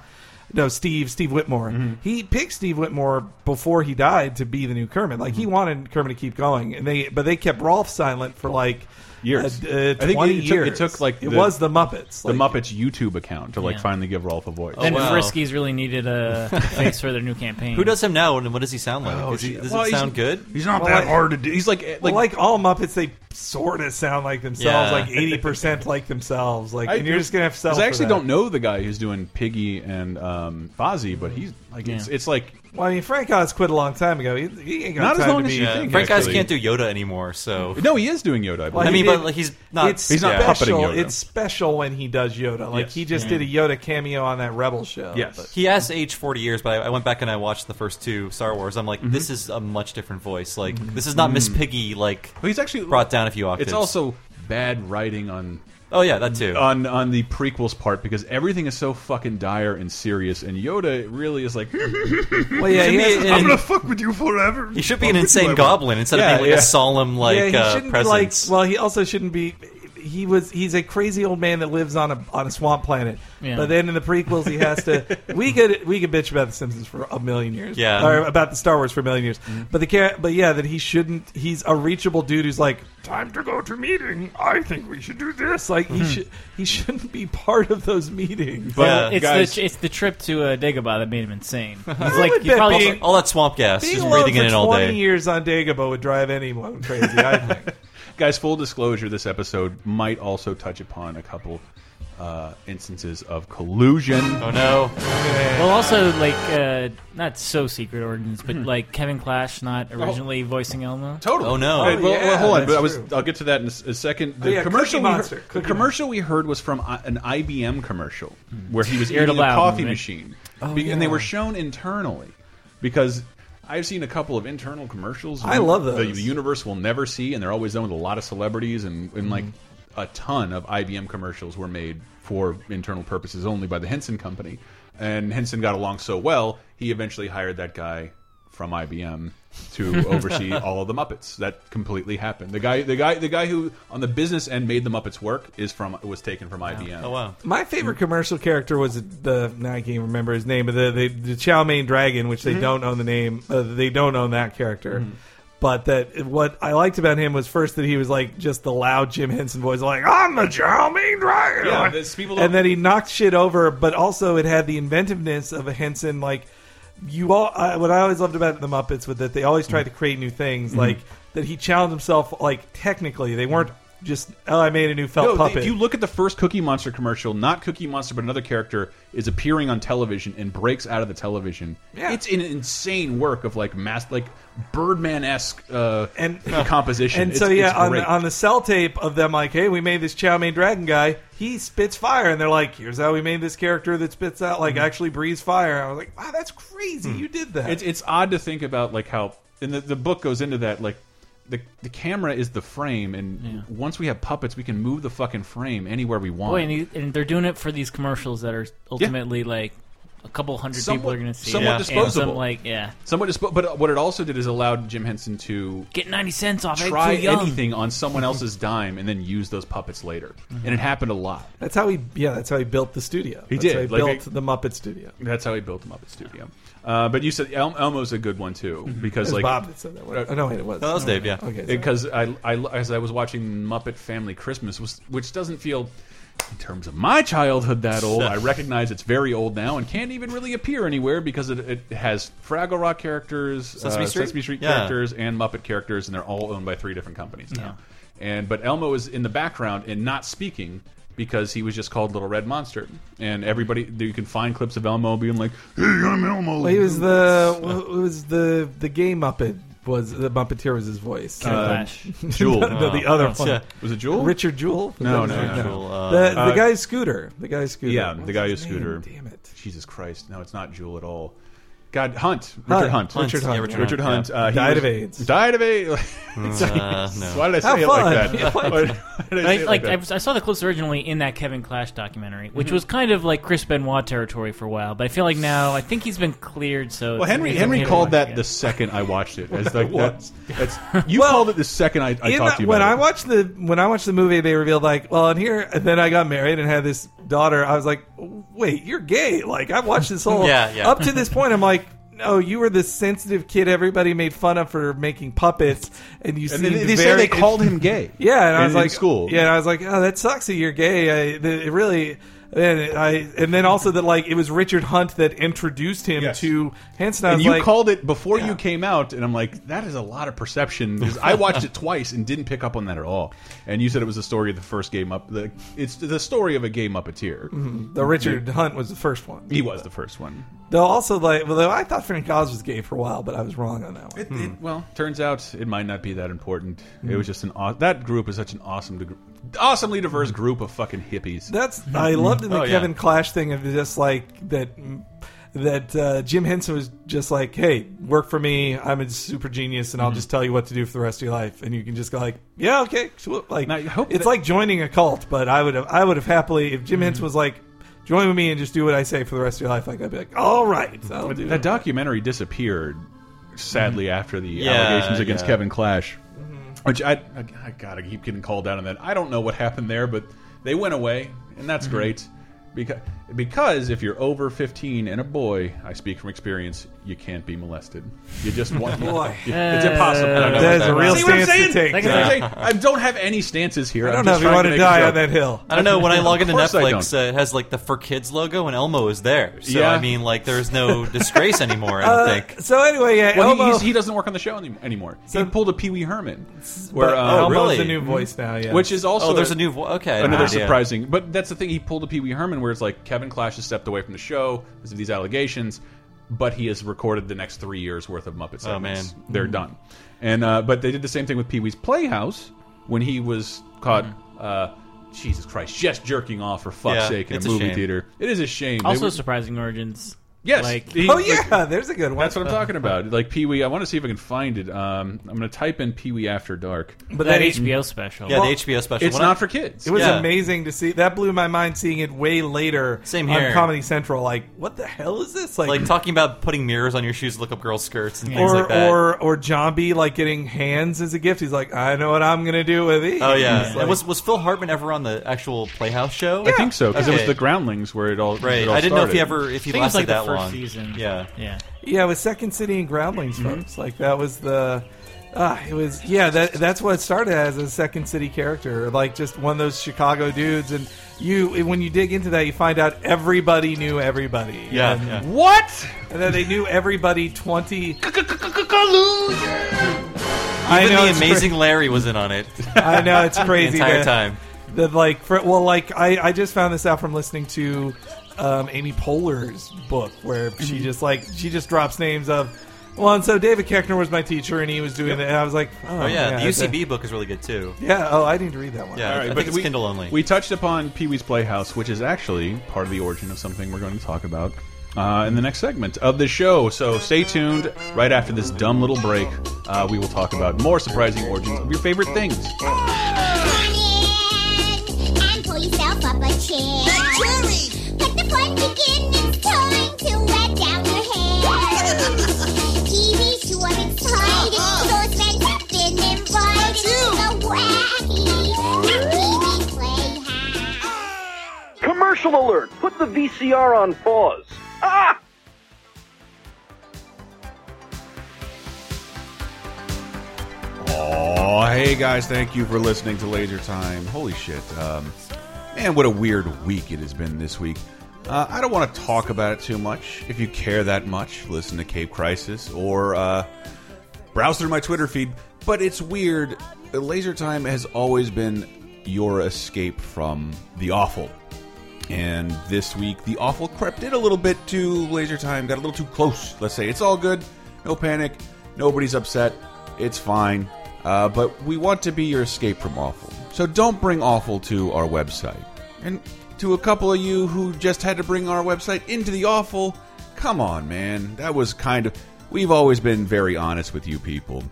[SPEAKER 2] No, Steve, Steve Whitmore. He picked Steve Whitmore before he died to be the new Kermit. Like he
[SPEAKER 1] Mm-hmm.
[SPEAKER 2] wanted Kermit to keep going, and they but they kept Rolf silent for like
[SPEAKER 1] Years.
[SPEAKER 2] uh,
[SPEAKER 1] I
[SPEAKER 2] uh,
[SPEAKER 1] think
[SPEAKER 2] twenty
[SPEAKER 1] it took- it
[SPEAKER 2] years.
[SPEAKER 1] took, like,
[SPEAKER 2] it
[SPEAKER 1] the-
[SPEAKER 2] was the Muppets.
[SPEAKER 1] the
[SPEAKER 2] Like,
[SPEAKER 1] Muppets YouTube account to like
[SPEAKER 3] Yeah.
[SPEAKER 1] finally give Rolf a voice.
[SPEAKER 3] Then
[SPEAKER 4] wow.
[SPEAKER 3] Friskies really needed a face for their new campaign.
[SPEAKER 4] Who does him now, and what does he sound like?
[SPEAKER 1] Oh,
[SPEAKER 4] Is he-
[SPEAKER 1] shit.
[SPEAKER 4] does
[SPEAKER 1] Well,
[SPEAKER 4] it
[SPEAKER 1] he's-
[SPEAKER 4] sound good?
[SPEAKER 1] He's not
[SPEAKER 2] Well,
[SPEAKER 1] that
[SPEAKER 2] like-
[SPEAKER 1] hard to do. He's like eh, like,
[SPEAKER 2] Well, like, all Muppets, they sort of sound like themselves,
[SPEAKER 4] Yeah.
[SPEAKER 2] like eighty percent like themselves. Like, and you're just gonna have to sell.
[SPEAKER 1] 'cause I
[SPEAKER 2] for
[SPEAKER 1] actually
[SPEAKER 2] that.
[SPEAKER 1] don't know the guy who's doing Piggy and um, Fozzie, but he's like it's,
[SPEAKER 3] Yeah.
[SPEAKER 1] it's like
[SPEAKER 2] Well, I mean, Frank Oz quit a long time ago. He, he ain't got
[SPEAKER 1] Not as
[SPEAKER 2] time
[SPEAKER 1] long
[SPEAKER 2] to
[SPEAKER 1] as
[SPEAKER 2] be.
[SPEAKER 1] you
[SPEAKER 4] Yeah,
[SPEAKER 1] think,
[SPEAKER 4] Frank Guys
[SPEAKER 1] actually.
[SPEAKER 4] can't do Yoda anymore, so
[SPEAKER 1] no, he is doing Yoda. I
[SPEAKER 2] Well,
[SPEAKER 1] believe.
[SPEAKER 4] I mean,
[SPEAKER 2] he
[SPEAKER 4] but
[SPEAKER 2] did-
[SPEAKER 4] like, he's not.
[SPEAKER 2] It's
[SPEAKER 1] He's not
[SPEAKER 2] special.
[SPEAKER 1] puppeting Yoda.
[SPEAKER 2] It's special when he does Yoda. Like
[SPEAKER 1] Yes.
[SPEAKER 2] he just did a Yoda cameo on that Rebel show.
[SPEAKER 1] Yes.
[SPEAKER 2] but-
[SPEAKER 4] He has aged 40 years, but I, I went back and I watched the first two Star Wars. I'm
[SPEAKER 1] Mm-hmm.
[SPEAKER 4] like, this is a much different voice. Like, this is not Miss Piggy, like,
[SPEAKER 1] But he's actually
[SPEAKER 4] brought down a few octaves.
[SPEAKER 1] Mm-hmm. It's also uh, bad writing on
[SPEAKER 4] Oh, yeah, that too.
[SPEAKER 1] on on the prequels part because everything is so fucking dire and serious, and Yoda really is like,
[SPEAKER 2] well, yeah, he
[SPEAKER 4] Shouldn't
[SPEAKER 2] has,
[SPEAKER 4] he- and-
[SPEAKER 1] fuck with you forever."
[SPEAKER 4] he should be an insane goblin instead
[SPEAKER 1] Yeah,
[SPEAKER 4] of being like
[SPEAKER 1] yeah.
[SPEAKER 4] a solemn, like,
[SPEAKER 2] yeah, he
[SPEAKER 4] uh,
[SPEAKER 2] shouldn't
[SPEAKER 4] presence.
[SPEAKER 2] be like. Well, he also shouldn't be. He was. He's a crazy old man that lives on a on a swamp planet.
[SPEAKER 3] Yeah.
[SPEAKER 2] But then in the prequels, he has to. we could we could bitch about the Simpsons for a million years.
[SPEAKER 4] Yeah. Mm-hmm.
[SPEAKER 2] Or about the Star Wars for a million years. But the char- But yeah, that he shouldn't. He's a reachable dude who's like, time to go to meeting. I think we should do this. Like
[SPEAKER 4] Mm-hmm.
[SPEAKER 2] he should. He shouldn't be part of those meetings.
[SPEAKER 1] But
[SPEAKER 4] Yeah.
[SPEAKER 3] It's
[SPEAKER 1] guys,
[SPEAKER 3] the it's the trip to uh, Dagobah that made him insane. He's like
[SPEAKER 2] would
[SPEAKER 3] he
[SPEAKER 2] bet
[SPEAKER 3] probably
[SPEAKER 2] being-
[SPEAKER 4] all that swamp gas,
[SPEAKER 2] Being
[SPEAKER 4] just
[SPEAKER 2] alone
[SPEAKER 4] breathing
[SPEAKER 2] for
[SPEAKER 4] it in all
[SPEAKER 2] 20
[SPEAKER 4] day.
[SPEAKER 2] years on Dagobah would drive anyone crazy. I think.
[SPEAKER 1] guys, full disclosure: this episode might also touch upon a couple uh, instances of collusion.
[SPEAKER 4] Oh, no.
[SPEAKER 3] well also like uh, not so secret origins, but like Kevin Clash not originally voicing Elmo.
[SPEAKER 1] Oh. Totally.
[SPEAKER 4] Oh, no.
[SPEAKER 1] Wait, well,
[SPEAKER 2] Oh, yeah,
[SPEAKER 1] well, hold on.
[SPEAKER 2] that's
[SPEAKER 1] But I was.
[SPEAKER 2] true.
[SPEAKER 1] I'll get to that in a s- a second. The
[SPEAKER 2] Oh, yeah,
[SPEAKER 1] commercial.
[SPEAKER 2] Cookie
[SPEAKER 1] we heard-
[SPEAKER 2] Monster,
[SPEAKER 1] the
[SPEAKER 2] Cookie
[SPEAKER 1] commercial we heard was from I- an IBM commercial where he was
[SPEAKER 3] Hear it
[SPEAKER 1] eating a
[SPEAKER 3] aloud,
[SPEAKER 1] coffee
[SPEAKER 3] right?
[SPEAKER 1] machine,
[SPEAKER 2] Oh,
[SPEAKER 1] Be- and they were shown internally because. I've seen a couple of internal commercials.
[SPEAKER 2] I love
[SPEAKER 1] that The,
[SPEAKER 2] those.
[SPEAKER 1] universe will never see, and they're always done with a lot of celebrities, and,
[SPEAKER 4] Mm-hmm.
[SPEAKER 1] and like a ton of IBM commercials were made for internal purposes only by the Henson Company. And Henson got along so well, he eventually hired that guy from IBM to oversee all of the Muppets. That completely happened. The guy, the guy, the guy who on the business end made the Muppets work is from was taken from IBM.
[SPEAKER 4] Oh, wow.
[SPEAKER 2] My favorite commercial character was the now I can't even remember his name, but the the, the Chow Mein Dragon, which they
[SPEAKER 1] Mm-hmm.
[SPEAKER 2] don't own the name, uh, they don't own that character. But that what I liked about him was first that he was like just the loud Jim Henson voice, like I'm the Chow Mein Dragon,
[SPEAKER 1] Yeah, this- people don't-
[SPEAKER 2] and then he knocked shit over. But also it had the inventiveness of a Henson, like you all. I, what I always loved about the Muppets was that they always tried
[SPEAKER 1] Mm-hmm.
[SPEAKER 2] to create new things, like that he challenged himself. Like technically, they weren't just oh I made a new felt
[SPEAKER 1] No, they-
[SPEAKER 2] puppet.
[SPEAKER 1] if you look at the first Cookie Monster commercial, not Cookie Monster, but another character is appearing on television and breaks out of the television.
[SPEAKER 2] Yeah.
[SPEAKER 1] It's an insane work of like mass, like Birdman esque uh,
[SPEAKER 2] And-
[SPEAKER 1] composition.
[SPEAKER 2] And
[SPEAKER 1] It's-
[SPEAKER 2] so yeah,
[SPEAKER 1] it's
[SPEAKER 2] on
[SPEAKER 1] great.
[SPEAKER 2] the, on the cell tape of them, like, hey, we made this Chow Mein Dragon guy. He spits fire, and they're like, here's how we made this character that spits out
[SPEAKER 1] Mm-hmm.
[SPEAKER 2] like actually breathes fire. I was like, wow, that's crazy. You did that.
[SPEAKER 1] Mm. it's it's odd to think about like how and the, the book goes into that like the the camera is the frame and once we have puppets we can move the fucking frame anywhere we want.
[SPEAKER 3] Boy, and, he, and they're doing it for these commercials that are ultimately like a couple hundred people
[SPEAKER 1] Somewhat-
[SPEAKER 3] are going to see.
[SPEAKER 1] somewhat
[SPEAKER 3] it. And
[SPEAKER 1] disposable.
[SPEAKER 3] some, like yeah,
[SPEAKER 1] Somewhat dispo- but what it also did is allowed Jim Henson to
[SPEAKER 3] get ninety cents off. Egg
[SPEAKER 1] try
[SPEAKER 3] Foo Young.
[SPEAKER 1] anything on someone else's dime and then use those puppets later. And it happened a lot.
[SPEAKER 2] that's how he, yeah, that's how he built the studio.
[SPEAKER 1] He
[SPEAKER 2] that's
[SPEAKER 1] did.
[SPEAKER 2] How he
[SPEAKER 1] Like,
[SPEAKER 2] built
[SPEAKER 1] they-
[SPEAKER 2] the Muppet studio.
[SPEAKER 1] That's how he built them up at studio. Uh, but you said El- Elmo's a good one too because
[SPEAKER 2] It
[SPEAKER 1] like
[SPEAKER 2] was
[SPEAKER 1] uh,
[SPEAKER 2] Bob that said that. One. Oh, no, wait, it was.
[SPEAKER 4] No, that was Dave, yeah.
[SPEAKER 2] Okay, sorry.
[SPEAKER 1] because I, I as I was watching Muppet Family Christmas, was, which doesn't feel in terms of my childhood that old. I recognize it's very old now and can't even really appear anywhere because it, it has Fraggle Rock characters, uh,
[SPEAKER 4] Sesame Street?
[SPEAKER 1] Sesame Street
[SPEAKER 4] Yeah.
[SPEAKER 1] characters, and Muppet characters, and they're all owned by three different companies now. And but Elmo is in the background and not speaking. Because he was just called Little Red Monster, and everybody you can find clips of Elmo being like, "Hey, I'm Elmo."
[SPEAKER 2] Well, he was the wh- who was the the gay Muppet was the Muppeteer was his voice.
[SPEAKER 1] uh,
[SPEAKER 3] Kevin Clash.
[SPEAKER 1] Jewel. Uh-huh.
[SPEAKER 2] no, no, the other one.
[SPEAKER 4] Yeah.
[SPEAKER 1] Was it Jewel?
[SPEAKER 2] Richard Jewell?
[SPEAKER 1] No, no,
[SPEAKER 2] Richard
[SPEAKER 1] no.
[SPEAKER 4] Jewel, uh,
[SPEAKER 2] The, the guy Scooter. The guy Scooter.
[SPEAKER 1] Yeah,
[SPEAKER 2] What
[SPEAKER 1] the
[SPEAKER 2] was
[SPEAKER 1] guy
[SPEAKER 2] his
[SPEAKER 1] who's Scooter.
[SPEAKER 2] name? Damn it.
[SPEAKER 1] Jesus Christ! No, it's not Jewel at all. God, Hunt. Richard Hunt.
[SPEAKER 2] Hunt. Richard Hunt.
[SPEAKER 4] Yeah,
[SPEAKER 1] Richard, Hunt.
[SPEAKER 4] Yeah.
[SPEAKER 1] Uh, he
[SPEAKER 2] Died
[SPEAKER 1] was-
[SPEAKER 2] of AIDS.
[SPEAKER 1] Died of AIDS.
[SPEAKER 4] Uh, no.
[SPEAKER 1] Why did I say
[SPEAKER 2] How
[SPEAKER 1] it like
[SPEAKER 2] fun.
[SPEAKER 1] that? Why did I say
[SPEAKER 3] I,
[SPEAKER 1] it
[SPEAKER 3] like I,
[SPEAKER 1] that? Mm-hmm.
[SPEAKER 3] was- I saw the clips originally in that Kevin Clash documentary, which was kind of like Chris Benoit territory for a while. But I feel like now I think he's been cleared. So
[SPEAKER 1] Well,
[SPEAKER 3] it's-
[SPEAKER 1] Henry
[SPEAKER 3] it's
[SPEAKER 1] Henry
[SPEAKER 3] okay to
[SPEAKER 1] called
[SPEAKER 3] watch
[SPEAKER 1] that
[SPEAKER 3] again.
[SPEAKER 1] the second I watched it. As like
[SPEAKER 2] was.
[SPEAKER 1] that's, that's you called it the second I, I
[SPEAKER 2] In-
[SPEAKER 1] talked to you
[SPEAKER 2] when I
[SPEAKER 1] about. it.
[SPEAKER 2] watched the when I watched the movie, they revealed like, well, and here, and then I got married and had this daughter. I was like, wait, you're gay? Like I watched this whole
[SPEAKER 4] Yeah, yeah.
[SPEAKER 2] up to this point. I'm like. No, you were the sensitive kid everybody made fun of for making puppets, and you
[SPEAKER 1] and
[SPEAKER 2] seemed
[SPEAKER 1] then they say
[SPEAKER 2] very
[SPEAKER 1] they called him gay.
[SPEAKER 2] Yeah, and I
[SPEAKER 1] in-
[SPEAKER 2] was
[SPEAKER 1] in
[SPEAKER 2] like,
[SPEAKER 1] school.
[SPEAKER 2] Yeah, and I was like, oh, that sucks that you're gay. I, th- it really. And I, and then also that like it was Richard Hunt that introduced him
[SPEAKER 1] Yes.
[SPEAKER 2] to Hanson. I
[SPEAKER 1] And
[SPEAKER 2] was
[SPEAKER 1] you
[SPEAKER 2] like,
[SPEAKER 1] called it before
[SPEAKER 2] Yeah.
[SPEAKER 1] you came out, and I'm like, that is a lot of perception. 'Cause I watched it twice and didn't pick up on that at all. And you said it was the story of the first game up. The, it's the story of a game uppeteer.
[SPEAKER 2] the Richard Hunt was the first one.
[SPEAKER 1] He was the first one.
[SPEAKER 2] Though also like, well, though I thought Frank Oz was gay for a while, but I was wrong on that one.
[SPEAKER 1] It, it, well, turns out it might not be that important. It
[SPEAKER 2] Mm-hmm.
[SPEAKER 1] was just an aw that group is such an awesome, dig- awesomely diverse group of fucking hippies.
[SPEAKER 2] That's I loved in the
[SPEAKER 4] Oh, yeah.
[SPEAKER 2] Kevin Clash thing of just like that that uh, Jim Henson was just like, hey, work for me. I'm a super genius, and I'll
[SPEAKER 1] Mm-hmm.
[SPEAKER 2] just tell you what to do for the rest of your life, and you can just go like, yeah, okay, cool. like
[SPEAKER 1] Now, I hope that-
[SPEAKER 2] it's
[SPEAKER 1] Mm-hmm.
[SPEAKER 2] like joining a cult. But I would have I would have happily if Jim Henson was like. Join with me and just do what I say for the rest of your life. Like I'd be like, all right, I'll do
[SPEAKER 1] that documentary disappeared, sadly, after the
[SPEAKER 4] Mm-hmm. Yeah,
[SPEAKER 1] allegations against
[SPEAKER 4] yeah. Mm-hmm.
[SPEAKER 1] Kevin Clash. Which I, I, I gotta keep getting called out on that. I don't know what happened there, but they went away, and that's
[SPEAKER 4] Mm-hmm.
[SPEAKER 1] great. Because, because if you're over 15 and a boy, I speak from experience, you can't be molested. You just want.
[SPEAKER 2] Boy.
[SPEAKER 1] It's impossible. I don't know what
[SPEAKER 2] That is Uh, a
[SPEAKER 1] that
[SPEAKER 2] real
[SPEAKER 1] See what I'm
[SPEAKER 2] stance to
[SPEAKER 1] saying?
[SPEAKER 2] take.
[SPEAKER 1] See what I'm saying? I don't have any stances here.
[SPEAKER 2] I don't know if you want to die on that hill.
[SPEAKER 4] I don't know. When I log into
[SPEAKER 1] Of course I
[SPEAKER 4] Netflix, uh, it has like the for kids logo, and Elmo is there. So
[SPEAKER 1] Yeah. Uh,
[SPEAKER 4] I mean, like, there's no disgrace anymore. I don't think.
[SPEAKER 2] So anyway, yeah,
[SPEAKER 1] Well, he-
[SPEAKER 2] Elmo,
[SPEAKER 1] he's- he doesn't work on the show any- anymore.
[SPEAKER 2] So-
[SPEAKER 1] he pulled a Pee Wee Herman, where
[SPEAKER 2] but
[SPEAKER 1] uh,
[SPEAKER 2] Elmo's
[SPEAKER 4] really?
[SPEAKER 2] the new voice now. Yeah,
[SPEAKER 1] which is also
[SPEAKER 4] Oh, there's a new. Vo- okay, I had no
[SPEAKER 1] another
[SPEAKER 4] idea.
[SPEAKER 1] surprising. But that's the thing. He pulled a Pee Wee Herman, where it's like Kevin Clash has stepped away from the show because of these allegations, but he has recorded the next three years worth of Muppet segments.
[SPEAKER 4] Oh, man.
[SPEAKER 1] they're done. And uh, but they did the same thing with Pee Wee's Playhouse when he was caught. Uh, Jesus Christ, just jerking off for fuck's
[SPEAKER 4] Mm-hmm. Yeah,
[SPEAKER 1] sake in a
[SPEAKER 4] it's a
[SPEAKER 1] movie
[SPEAKER 4] shame.
[SPEAKER 1] theater. It is a shame. They
[SPEAKER 3] also
[SPEAKER 1] were-
[SPEAKER 3] surprising origins.
[SPEAKER 1] yes.
[SPEAKER 3] like-
[SPEAKER 1] he-
[SPEAKER 2] oh
[SPEAKER 1] like,
[SPEAKER 2] yeah, there's a good one.
[SPEAKER 1] that's what I'm talking about. Like Pee Wee, I want to see if I can find it. Um, I'm going to type in Pee Wee After Dark.
[SPEAKER 2] but
[SPEAKER 3] that
[SPEAKER 2] that
[SPEAKER 3] HBO special.
[SPEAKER 4] Yeah,
[SPEAKER 2] Well,
[SPEAKER 4] the HBO special.
[SPEAKER 1] It's
[SPEAKER 4] When I-
[SPEAKER 1] not for kids.
[SPEAKER 2] It was
[SPEAKER 4] Yeah.
[SPEAKER 2] amazing to see. That blew my mind seeing it way later
[SPEAKER 4] Same
[SPEAKER 2] on
[SPEAKER 4] here.
[SPEAKER 2] Comedy Central. Like, what the hell is this? Like,
[SPEAKER 4] like talking about putting mirrors on your shoes to look up girls' skirts and things
[SPEAKER 2] or
[SPEAKER 4] like that.
[SPEAKER 2] or or Jambi like getting hands as a gift. He's like, I know what I'm gonna do with these.
[SPEAKER 4] oh yeah,
[SPEAKER 2] It's
[SPEAKER 4] And
[SPEAKER 2] like-
[SPEAKER 4] was was Phil Hartman ever on the actual Playhouse show?
[SPEAKER 1] I think so because it was
[SPEAKER 4] Okay.
[SPEAKER 1] the Groundlings where it all
[SPEAKER 4] Right,
[SPEAKER 1] It all
[SPEAKER 4] I didn't know if he
[SPEAKER 1] started.
[SPEAKER 4] ever if he
[SPEAKER 3] I think it was
[SPEAKER 4] lasted
[SPEAKER 3] like
[SPEAKER 4] that
[SPEAKER 3] the first
[SPEAKER 4] long.
[SPEAKER 3] season.
[SPEAKER 4] Yeah,
[SPEAKER 3] yeah.
[SPEAKER 2] yeah, with Second City and Groundlings
[SPEAKER 4] Mm-hmm.
[SPEAKER 2] folks. Like that was the. Uh, it was yeah. That that's what it started as a Second City character, like just one of those Chicago dudes. And you, when you dig into that, you find out everybody knew everybody.
[SPEAKER 4] yeah,
[SPEAKER 2] And-
[SPEAKER 4] yeah.
[SPEAKER 1] What?
[SPEAKER 2] and then they knew everybody twenty. I
[SPEAKER 4] Even
[SPEAKER 2] know
[SPEAKER 4] the
[SPEAKER 2] it's cra-
[SPEAKER 4] amazing Larry was in on it
[SPEAKER 2] I know it's
[SPEAKER 4] the
[SPEAKER 2] crazy.
[SPEAKER 4] entire
[SPEAKER 2] man.
[SPEAKER 4] time.
[SPEAKER 2] That like, for, well, like I, I just found this out from listening to um, Amy Poehler's book, where
[SPEAKER 4] Mm-hmm.
[SPEAKER 2] she just like she just drops names of. Well, and so David Keckner was my teacher, and he was doing it, and I was like, oh,
[SPEAKER 4] Oh yeah, the
[SPEAKER 2] that's a-
[SPEAKER 4] UCB book is really good too.
[SPEAKER 2] yeah, oh, I need to read that one.
[SPEAKER 4] Yeah,
[SPEAKER 1] All right,
[SPEAKER 4] I
[SPEAKER 1] but
[SPEAKER 4] think it's
[SPEAKER 1] we-
[SPEAKER 4] Kindle only.
[SPEAKER 1] We touched upon Pee Wee's Playhouse, which is actually part of the origin of something we're going to talk about uh, in the next segment of the show. So stay tuned. Right after this dumb little break, uh, we will talk about more surprising origins of your favorite things.
[SPEAKER 6] Come on in and pull yourself up a chair. Let the fun begin. It's time to wet down your hair. TV's short and tight. Those friends have been invited to the wacky TV playhouse.
[SPEAKER 9] Commercial alert! Put the VCR on pause. Ah!
[SPEAKER 1] Oh, hey guys, thank you for listening to Laser Time. Holy shit. Um, man, what a weird week it has been this week. Uh, I don't want to talk about it too much. If you care that much, listen to Cape Crisis or uh, browse through my Twitter feed. But it's weird. Laser Time has always been your escape from the awful. And this week, the awful crept in a little bit to Laser Time, got a little too close, let's say. It's all good. No panic. Nobody's upset. It's fine. Uh, but we want to be your escape from awful. So don't bring awful to our website. And to a couple of you who just had to bring our website into the awful, Come on, man. That was kind of. We've always been very honest with you people.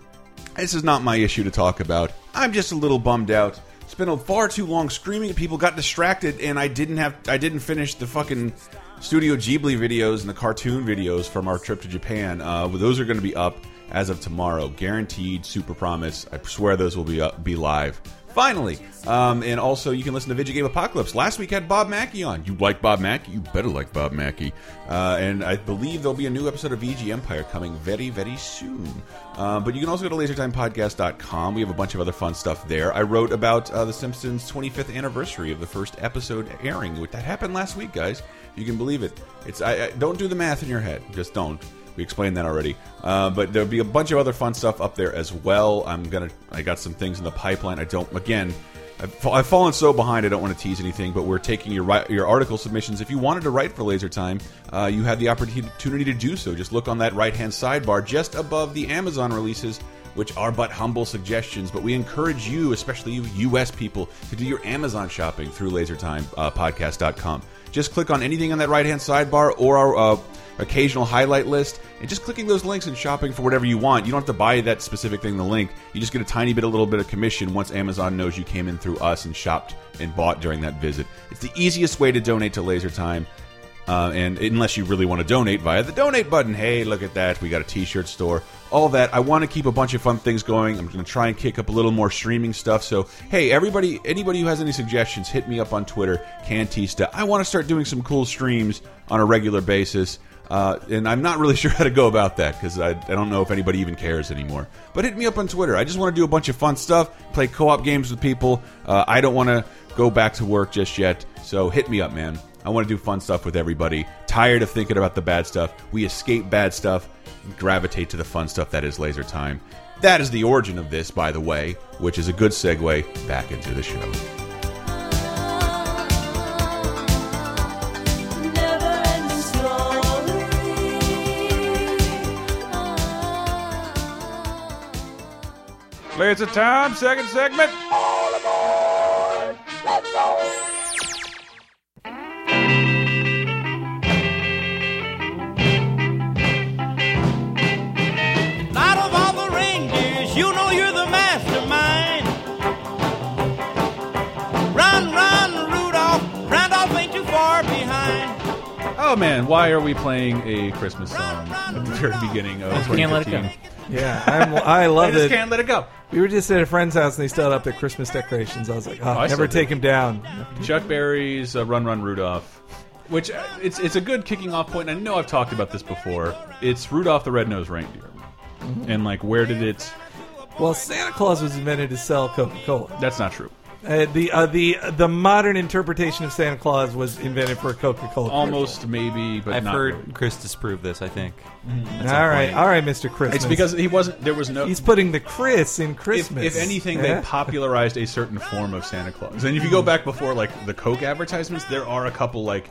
[SPEAKER 1] This is not my issue to talk about. I'm just a little bummed out. Spent far too long screaming at people, got distracted, and I didn't have. I didn't finish the fucking Studio Ghibli videos and the cartoon videos from our trip to Japan. Uh, those are going to be up as of tomorrow, guaranteed. Super promise. I swear those will be up, be live. Finally, um, and also you can listen to Video Game Apocalypse. Last week had Bob Mackey on. You like Bob Mackey? You better like Bob Mackey. Uh, and I believe there'll be a new episode of VG Empire coming very, very soon. Uh, but you can also go to lasertimepodcast.com. We have a bunch of other fun stuff there. I wrote about uh, The Simpsons' 25th anniversary of the first episode airing. which- That happened last week, guys. You can believe it. It's I, I don't do the math in your head. Just don't. We explained that already. Uh, but there'll be a bunch of other fun stuff up there as well. I'm gonna. I got some things in the pipeline. I don't. Again, I've, fa- I've fallen so behind. I don't want to tease anything. But we're taking your ri- your article submissions. If you wanted to write for Laser Time, uh, you have the opportunity to do so. Just look on that right hand sidebar, just above the Amazon releases which are but humble suggestions. But we encourage you, especially you U.S. people, to do your Amazon shopping through uh, LaserTimePodcast.com. Just click on anything on that right-hand sidebar or our uh, occasional highlight list, and just clicking those links and shopping for whatever you want. You don't have to buy that specific thing, the link. You just get a tiny bit, a little bit of commission once Amazon knows you came in through us and shopped and bought during that visit. It's the easiest way to donate to Laser Time. Uh, and unless you really want to donate via the donate button, hey, look at that. We got a t shirt store, all that. I want to keep a bunch of fun things going. I'm going to try and kick up a little more streaming stuff. So, hey, everybody, anybody who has any suggestions, hit me up on Twitter, Cantista. I want to start doing some cool streams on a regular basis. Uh, and I'm not really sure how to go about that because I, I don't know if anybody even cares anymore. But hit me up on Twitter. I just want to do a bunch of fun stuff, play co op games with people. Uh, I don't want to go back to work just yet. So hit me up, man. I want to do fun stuff with everybody. Tired of thinking about the bad stuff. We escape bad stuff, gravitate to the fun stuff that is laser time. That is the origin of this, by the way, which is a good segue back into the show. Laser time, second segment.
[SPEAKER 10] Out of all the reindeers, you know you're the mastermind. Run, run, Rudolph. Randolph ain't too far behind.
[SPEAKER 1] Oh man, why are we playing a Christmas song at the very beginning of
[SPEAKER 3] Can't let it
[SPEAKER 1] 2015?
[SPEAKER 3] go.
[SPEAKER 2] Yeah, I'm, I
[SPEAKER 1] I
[SPEAKER 2] love
[SPEAKER 1] just
[SPEAKER 2] it.
[SPEAKER 1] can't let it go.
[SPEAKER 2] We were just at a friend's house and they still had up their Christmas decorations. I was like, oh,
[SPEAKER 1] I still
[SPEAKER 2] never
[SPEAKER 1] do.
[SPEAKER 2] take them down.
[SPEAKER 1] Chuck Berry's uh, "Run Run Rudolph," which uh, it's it's a good kicking off point. And I know I've talked about this before. It's Rudolph the Red-Nosed Reindeer, and like where did it?
[SPEAKER 2] Well, Santa Claus was invented to sell Coca-Cola.
[SPEAKER 1] That's not true.
[SPEAKER 2] Uh, the uh, the the modern interpretation of Santa Claus was invented for a Coca-Cola.
[SPEAKER 1] Almost maybe, but
[SPEAKER 4] I've
[SPEAKER 1] not
[SPEAKER 4] heard
[SPEAKER 1] really.
[SPEAKER 4] Chris disprove this. I think.
[SPEAKER 2] Commercial. All right, all right, Mr. Christmas.
[SPEAKER 1] It's because he wasn't. There was no.
[SPEAKER 2] he's putting the Chris in
[SPEAKER 1] If,
[SPEAKER 2] Christmas.
[SPEAKER 1] if anything,
[SPEAKER 2] Yeah?
[SPEAKER 1] they popularized a certain form of Santa Claus. And if you go back before, like the Coke advertisements, there are a couple like,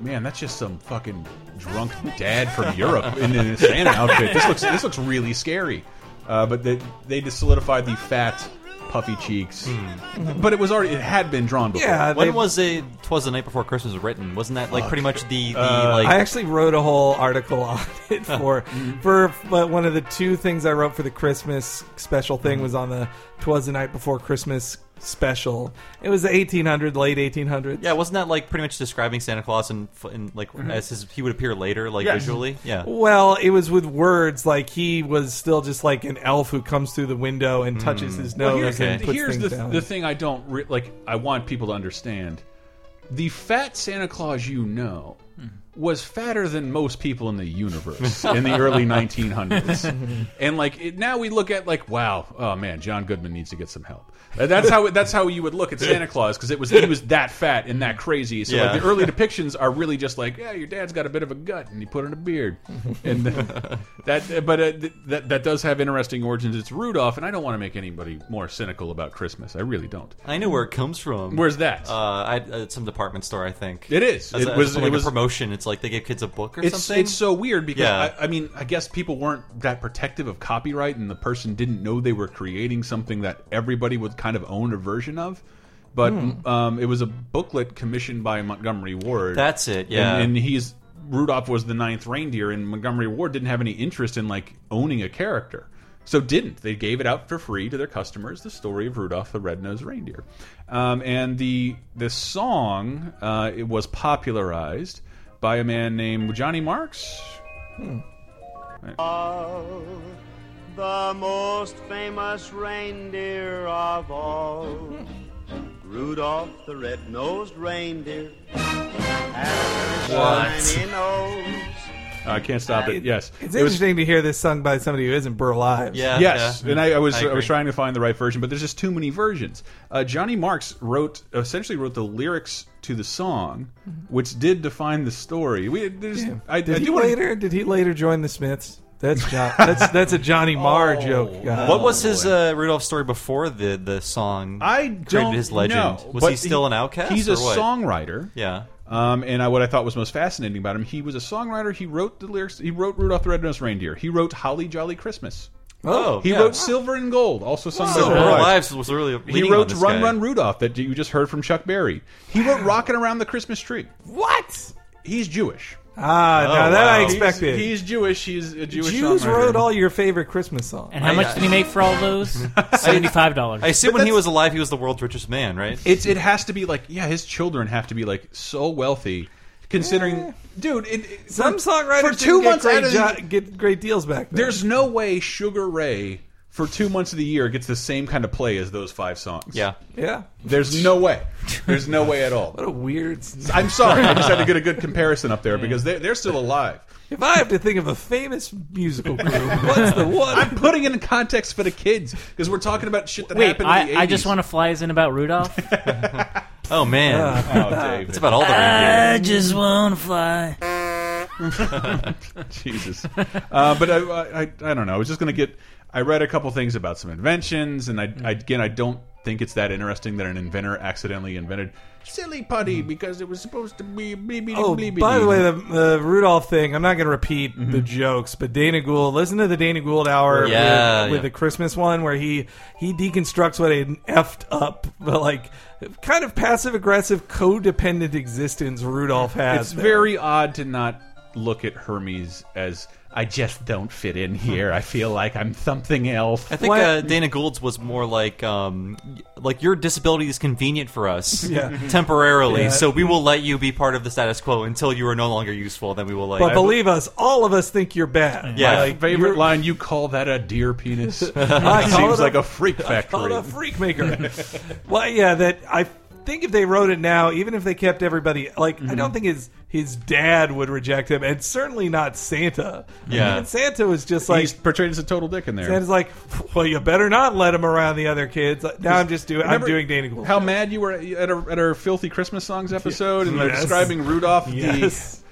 [SPEAKER 1] man, that's just some fucking drunk dad from Europe in a Santa outfit. This looks this looks really scary. Uh, but they they just solidified the fat, puffy cheeks. But it was already it had been drawn before.
[SPEAKER 2] Hmm. yeah.
[SPEAKER 4] When
[SPEAKER 2] they-
[SPEAKER 4] was it? Twas the night before Christmas was written. Wasn't that like pretty much the, the
[SPEAKER 1] Uh,
[SPEAKER 4] like?
[SPEAKER 2] I actually wrote a whole article on it for
[SPEAKER 1] Mm-hmm.
[SPEAKER 2] for but one of the two things I wrote for the Christmas special
[SPEAKER 1] Mm-hmm.
[SPEAKER 2] thing was on the "Twas the Night Before Christmas" special. It was the 1800, late 1800s.
[SPEAKER 4] yeah, wasn't that like pretty much describing Santa Claus and, and like
[SPEAKER 1] Mm-hmm.
[SPEAKER 4] as his, he would appear later, like visually? Yeah.
[SPEAKER 2] Well, it was with words like he was still just like an elf who comes through the window and touches his nose
[SPEAKER 1] Well, here's,
[SPEAKER 2] and
[SPEAKER 1] the,
[SPEAKER 2] puts
[SPEAKER 1] here's
[SPEAKER 2] things
[SPEAKER 1] the,
[SPEAKER 2] down.
[SPEAKER 1] the thing I don't re like. I want people to understand the fat Santa Claus you know was fatter than most people in the universe in the early 1900s, and like it, now we look at like wow, oh man, John Goodman needs to get some help. Uh, That's how that's how you would look at Santa Claus because it was he was that fat and that crazy. So like
[SPEAKER 4] Yeah.
[SPEAKER 1] the early depictions are really just like yeah, your dad's got a bit of a gut and he put in a beard, and then- that but uh, th- that that does have interesting origins. It's Rudolph, and I don't want to make anybody more cynical about Christmas. I really don't.
[SPEAKER 4] I know where it comes from.
[SPEAKER 1] Where's that?
[SPEAKER 4] Uh, I, at some department store, I think.
[SPEAKER 1] It is.
[SPEAKER 4] That's
[SPEAKER 1] It
[SPEAKER 4] a-
[SPEAKER 1] was-
[SPEAKER 4] that's
[SPEAKER 1] it
[SPEAKER 4] like
[SPEAKER 1] was-
[SPEAKER 4] a promotion. It's like they give kids a book or
[SPEAKER 1] it's
[SPEAKER 4] something.
[SPEAKER 1] it's so weird because
[SPEAKER 4] Yeah.
[SPEAKER 1] I, I mean I guess people weren't that protective of copyright, and the person didn't know they were creating something that everybody would kind of own a version of.
[SPEAKER 4] Hmm.
[SPEAKER 1] But um, it was a booklet commissioned by Montgomery Ward.
[SPEAKER 4] That's it, yeah.
[SPEAKER 1] and, and he's Rudolph was the ninth reindeer, and Montgomery Ward didn't have any interest in like owning a character, so didn't. They gave it out for free to their customers. The story of Rudolph the Red-Nosed Reindeer, um, and the the song uh, it was popularized by a man named Johnny Marks.
[SPEAKER 11] the most famous reindeer of all. Rudolph the red-nosed reindeer had a
[SPEAKER 1] What?
[SPEAKER 11] shiny nose.
[SPEAKER 1] I can't stop it. Yes,
[SPEAKER 2] It's
[SPEAKER 1] it was
[SPEAKER 2] interesting to hear this sung by somebody who isn't Burl Ives.
[SPEAKER 1] Yes, and I, I was I,
[SPEAKER 2] agree.
[SPEAKER 1] was trying to find the right version, but there's just too many versions. Uh, Johnny Marks wrote essentially wrote the lyrics to the song,
[SPEAKER 4] Mm-hmm.
[SPEAKER 1] which did define the story. We there's, I,
[SPEAKER 2] Did
[SPEAKER 1] I
[SPEAKER 2] he
[SPEAKER 1] do wanna-
[SPEAKER 2] later? Did he later join the Smiths? That's John, that's that's a Johnny
[SPEAKER 1] Oh.
[SPEAKER 2] Marr joke. guys.
[SPEAKER 4] what was his uh, Rudolph story before the the song?
[SPEAKER 1] I
[SPEAKER 4] created
[SPEAKER 1] don't
[SPEAKER 4] his legend.
[SPEAKER 1] know,
[SPEAKER 4] was
[SPEAKER 1] but
[SPEAKER 4] he still an outcast?
[SPEAKER 1] He's
[SPEAKER 4] or
[SPEAKER 1] a
[SPEAKER 4] what?
[SPEAKER 1] songwriter.
[SPEAKER 4] Yeah.
[SPEAKER 1] Um, and I, what I thought was most fascinating about him, he was a songwriter. He wrote the lyrics. He wrote Rudolph the Red-Nosed Reindeer. He wrote Holly Jolly Christmas.
[SPEAKER 4] Oh,
[SPEAKER 1] he
[SPEAKER 4] yeah.
[SPEAKER 1] wrote Silver and Gold, also sung
[SPEAKER 4] So
[SPEAKER 1] by Burl
[SPEAKER 4] Burl
[SPEAKER 1] Ives.
[SPEAKER 4] Ives was really
[SPEAKER 1] He
[SPEAKER 4] leaning on
[SPEAKER 1] wrote
[SPEAKER 4] this
[SPEAKER 1] Run
[SPEAKER 4] guy.
[SPEAKER 1] Run Rudolph that you just heard from Chuck Berry. He wrote Rockin' Around the Christmas Tree.
[SPEAKER 2] What?
[SPEAKER 1] He's Jewish.
[SPEAKER 2] Ah,
[SPEAKER 1] Oh,
[SPEAKER 2] now that I
[SPEAKER 1] wow.
[SPEAKER 2] expected.
[SPEAKER 1] He's, he's Jewish. He's a Jewish
[SPEAKER 2] Jews
[SPEAKER 1] songwriter.
[SPEAKER 2] wrote all your favorite Christmas songs.
[SPEAKER 3] And how much did he make for all those? Seventy-five dollars.
[SPEAKER 4] I assume when he was alive, he was the world's richest man, right?
[SPEAKER 1] It's it has to be like yeah, his children have to be like so wealthy, considering dude. It, it-
[SPEAKER 2] Some
[SPEAKER 1] for-
[SPEAKER 2] songwriters
[SPEAKER 1] for
[SPEAKER 2] didn't
[SPEAKER 1] two
[SPEAKER 2] get
[SPEAKER 1] months
[SPEAKER 2] great
[SPEAKER 1] out of
[SPEAKER 2] jo- get great deals back. Then.
[SPEAKER 1] there's no way Sugar Ray for two months of the year gets the same kind of play as those five songs.
[SPEAKER 4] Yeah.
[SPEAKER 2] Yeah.
[SPEAKER 1] There's no way. There's no way at all. What
[SPEAKER 2] a weird.
[SPEAKER 1] I'm sorry. I just had to get a good comparison up there because they, they're still alive.
[SPEAKER 2] If I have to think of a famous musical group, what's the one?
[SPEAKER 1] I'm putting it in context for the kids because we're talking about shit that
[SPEAKER 3] Wait,
[SPEAKER 1] happened in the 80s.
[SPEAKER 3] I, I just want to fly as in about Rudolph.
[SPEAKER 4] Oh man,
[SPEAKER 1] Oh, David.
[SPEAKER 4] it's about all the
[SPEAKER 3] I
[SPEAKER 4] reindeer.
[SPEAKER 3] just want to fly.
[SPEAKER 1] Jesus. Uh, but I, I, I I don't know. I was just going to get. I read a couple things about some inventions, and I,
[SPEAKER 2] Hmm.
[SPEAKER 1] I again, I don't think it's that interesting that an inventor accidentally invented silly putty because it was supposed to be. Bleepity,
[SPEAKER 2] Hmm. Oh,
[SPEAKER 1] bleepity.
[SPEAKER 2] by the way, the, the Rudolph thing, I'm not going to repeat the jokes, but Dana Gould, listen to the Dana Gould hour
[SPEAKER 4] Yeah,
[SPEAKER 2] with,
[SPEAKER 4] yeah.
[SPEAKER 2] with the Christmas one where he, he deconstructs what an effed up, but like kind of passive aggressive, codependent existence Rudolph has.
[SPEAKER 1] it's very odd to not look at Hermes as I just don't fit
[SPEAKER 2] Hmm.
[SPEAKER 1] in here. I feel like I'm something else.
[SPEAKER 4] I think uh, Dana Gould's was more like, um, y- like your disability is convenient for us
[SPEAKER 2] Yeah.
[SPEAKER 4] temporarily,
[SPEAKER 2] Yeah.
[SPEAKER 4] so we will let you be part of the status quo until you are no longer useful. Then we will let.
[SPEAKER 2] but
[SPEAKER 4] you.
[SPEAKER 2] believe us, all of us think you're bad.
[SPEAKER 4] Yeah.
[SPEAKER 1] My favorite line: "You call that a deer penis?" it
[SPEAKER 2] call
[SPEAKER 1] seems
[SPEAKER 2] it a-
[SPEAKER 1] like a freak
[SPEAKER 2] Called
[SPEAKER 1] factory.
[SPEAKER 2] a freak maker. well, yeah, that I think if they wrote it now, even if they kept everybody, like
[SPEAKER 1] Mm-hmm.
[SPEAKER 2] I don't think his his dad would reject him, and certainly not Santa. I mean,
[SPEAKER 4] Yeah.
[SPEAKER 2] even Santa was just like.
[SPEAKER 1] He's portrayed as a total dick in there.
[SPEAKER 2] Santa's like, well, you better not let him around the other kids. Like, Now I'm just doing,
[SPEAKER 1] Remember
[SPEAKER 2] I'm doing Danny Gould.
[SPEAKER 1] How mad you were at, our at our filthy Christmas songs episode, and they're
[SPEAKER 2] Yes.
[SPEAKER 1] describing Rudolph
[SPEAKER 2] Yes.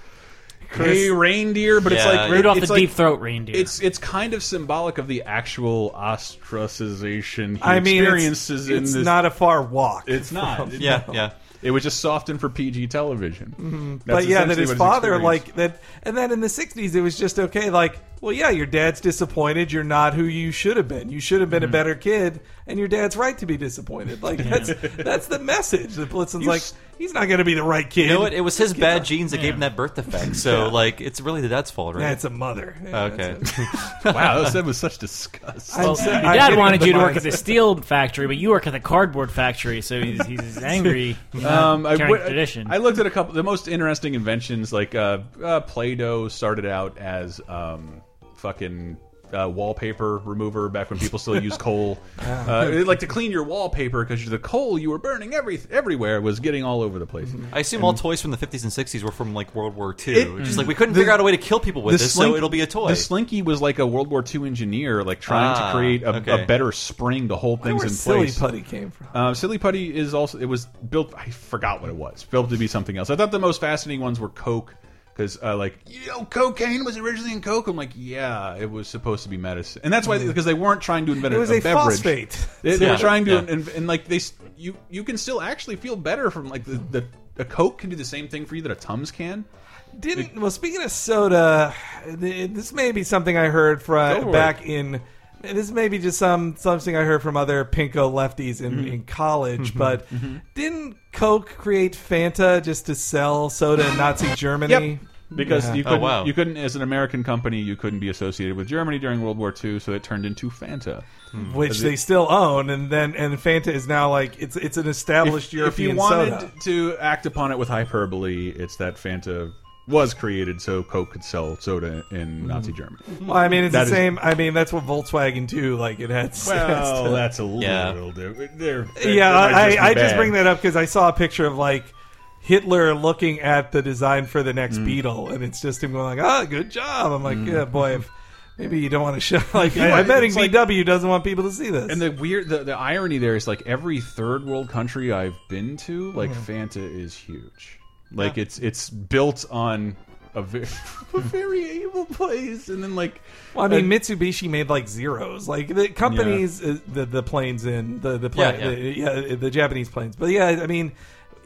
[SPEAKER 1] the gay reindeer, but it's
[SPEAKER 4] Yeah.
[SPEAKER 1] like
[SPEAKER 3] Rudolph
[SPEAKER 1] it's
[SPEAKER 3] the
[SPEAKER 1] like-
[SPEAKER 3] deep throat reindeer.
[SPEAKER 1] It's it's kind of symbolic of the actual ostracization he
[SPEAKER 2] I mean, it's,
[SPEAKER 1] experiences in
[SPEAKER 2] it's
[SPEAKER 1] this.
[SPEAKER 2] not a far walk.
[SPEAKER 1] it's not. It-
[SPEAKER 4] yeah, yeah.
[SPEAKER 1] It was just softened for PG television. That's
[SPEAKER 2] Mm-hmm. but yeah, that
[SPEAKER 1] essentially
[SPEAKER 2] his
[SPEAKER 1] what
[SPEAKER 2] father
[SPEAKER 1] experience-
[SPEAKER 2] like that, and then in the '60s it was just okay. Like, well, yeah, your dad's disappointed. You're not who you should have been. You should have been a better kid, and your dad's right to be disappointed. Like that's that's the message. The Blitzens like he's not going to be the right kid.
[SPEAKER 4] You know what? It was his bad genes that gave him that birth defect. So like, it's really the dad's fault, right?
[SPEAKER 2] that's a mother. Yeah,
[SPEAKER 4] okay.
[SPEAKER 2] that's it.
[SPEAKER 1] wow, that was said with such disgust.
[SPEAKER 2] I'm sa-
[SPEAKER 3] Your
[SPEAKER 2] I'm
[SPEAKER 3] dad
[SPEAKER 2] getting
[SPEAKER 3] wanted
[SPEAKER 2] the
[SPEAKER 3] you to work at
[SPEAKER 2] mindset.
[SPEAKER 3] the steel factory, but you work at the cardboard factory, so he's, he's angry.
[SPEAKER 1] Um, I,
[SPEAKER 3] Carrying
[SPEAKER 1] w-
[SPEAKER 3] tradition.
[SPEAKER 1] I looked at a couple. The most interesting inventions, like uh, uh, Play-Doh, started out as um, fucking uh, wallpaper remover back when people still used coal. uh, they like to clean your wallpaper because the coal you were burning every everywhere was getting all over the place.
[SPEAKER 4] I assume all toys from the 50s and 60s were from like World War II. just like we couldn't
[SPEAKER 1] the-
[SPEAKER 4] figure out a way to kill people with
[SPEAKER 1] The
[SPEAKER 4] this,
[SPEAKER 1] Slink-
[SPEAKER 4] so it'll be a toy.
[SPEAKER 1] The Slinky was like a World War II engineer, like trying
[SPEAKER 4] Ah,
[SPEAKER 1] to create a,
[SPEAKER 4] okay.
[SPEAKER 1] a better spring to hold
[SPEAKER 2] Where
[SPEAKER 1] things in
[SPEAKER 2] silly
[SPEAKER 1] place.
[SPEAKER 2] putty came from?
[SPEAKER 1] Uh, Silly Putty is also it was built. I forgot what it was. Built to be something else. I thought the most fascinating ones were Coke because uh, like you know cocaine was originally in Coke. I'm like yeah, it was supposed to be medicine, and that's why because they weren't trying to invent
[SPEAKER 2] Mm. It was
[SPEAKER 1] a,
[SPEAKER 2] a
[SPEAKER 1] beverage.
[SPEAKER 2] phosphate.
[SPEAKER 1] They, they
[SPEAKER 4] Yeah.
[SPEAKER 1] were trying to
[SPEAKER 4] Yeah.
[SPEAKER 1] and, and like they s- you you can still actually feel better from like the, the a Coke can do the same thing for you that a Tums can.
[SPEAKER 2] Didn't well. Speaking of soda, th- this may be something I heard
[SPEAKER 1] Go for
[SPEAKER 2] from
[SPEAKER 1] it.
[SPEAKER 2] back in. This may be just some something I heard from other pinko lefties in,
[SPEAKER 1] Mm-hmm.
[SPEAKER 2] in college. But didn't Coke create Fanta just to sell soda in Nazi Germany?
[SPEAKER 1] Yep. Mm-hmm. because
[SPEAKER 4] Yeah.
[SPEAKER 1] you
[SPEAKER 4] Oh,
[SPEAKER 1] couldn't,
[SPEAKER 4] wow.
[SPEAKER 1] you couldn't as an American company you couldn't be associated with Germany during World War II, so it turned into Fanta,
[SPEAKER 2] which
[SPEAKER 1] As
[SPEAKER 2] they
[SPEAKER 1] it-
[SPEAKER 2] still own, and then and Fanta is now like it's it's an established European
[SPEAKER 1] if you wanted
[SPEAKER 2] soda.
[SPEAKER 1] to act upon it with hyperbole, it's that Fanta was created so Coke could sell soda
[SPEAKER 2] Mm-hmm.
[SPEAKER 1] in Nazi Germany.
[SPEAKER 2] Well, I mean, it's
[SPEAKER 1] That
[SPEAKER 2] the
[SPEAKER 1] is-
[SPEAKER 2] same. I mean, that's what Volkswagen too. Like it had.
[SPEAKER 1] Well, that's a
[SPEAKER 2] Yeah.
[SPEAKER 1] little different. They're- they-
[SPEAKER 2] yeah,
[SPEAKER 1] they might
[SPEAKER 2] I,
[SPEAKER 1] be
[SPEAKER 2] I just
[SPEAKER 1] bad.
[SPEAKER 2] bring that up because I saw a picture of like Hitler looking at the design for the next
[SPEAKER 1] Mm.
[SPEAKER 2] Beetle, and it's just him going like, "Ah, good job." I'm like, "Yeah, boy." If, maybe you don't want to show. Like,
[SPEAKER 1] Yeah,
[SPEAKER 2] I, am bet
[SPEAKER 1] it's like-
[SPEAKER 2] VW doesn't want people to see this.
[SPEAKER 1] And the weird, the, the irony there is like every third world country I've been to, like
[SPEAKER 2] Mhm.
[SPEAKER 1] Fanta is huge. Like it's it's built on a very a very evil place, and then like,
[SPEAKER 2] Well, I mean, Mitsubishi made like zeros. Like the companies, uh, the the planes in the the, plane,
[SPEAKER 4] Yeah,
[SPEAKER 2] yeah. The, yeah, the Japanese planes. But yeah, I mean,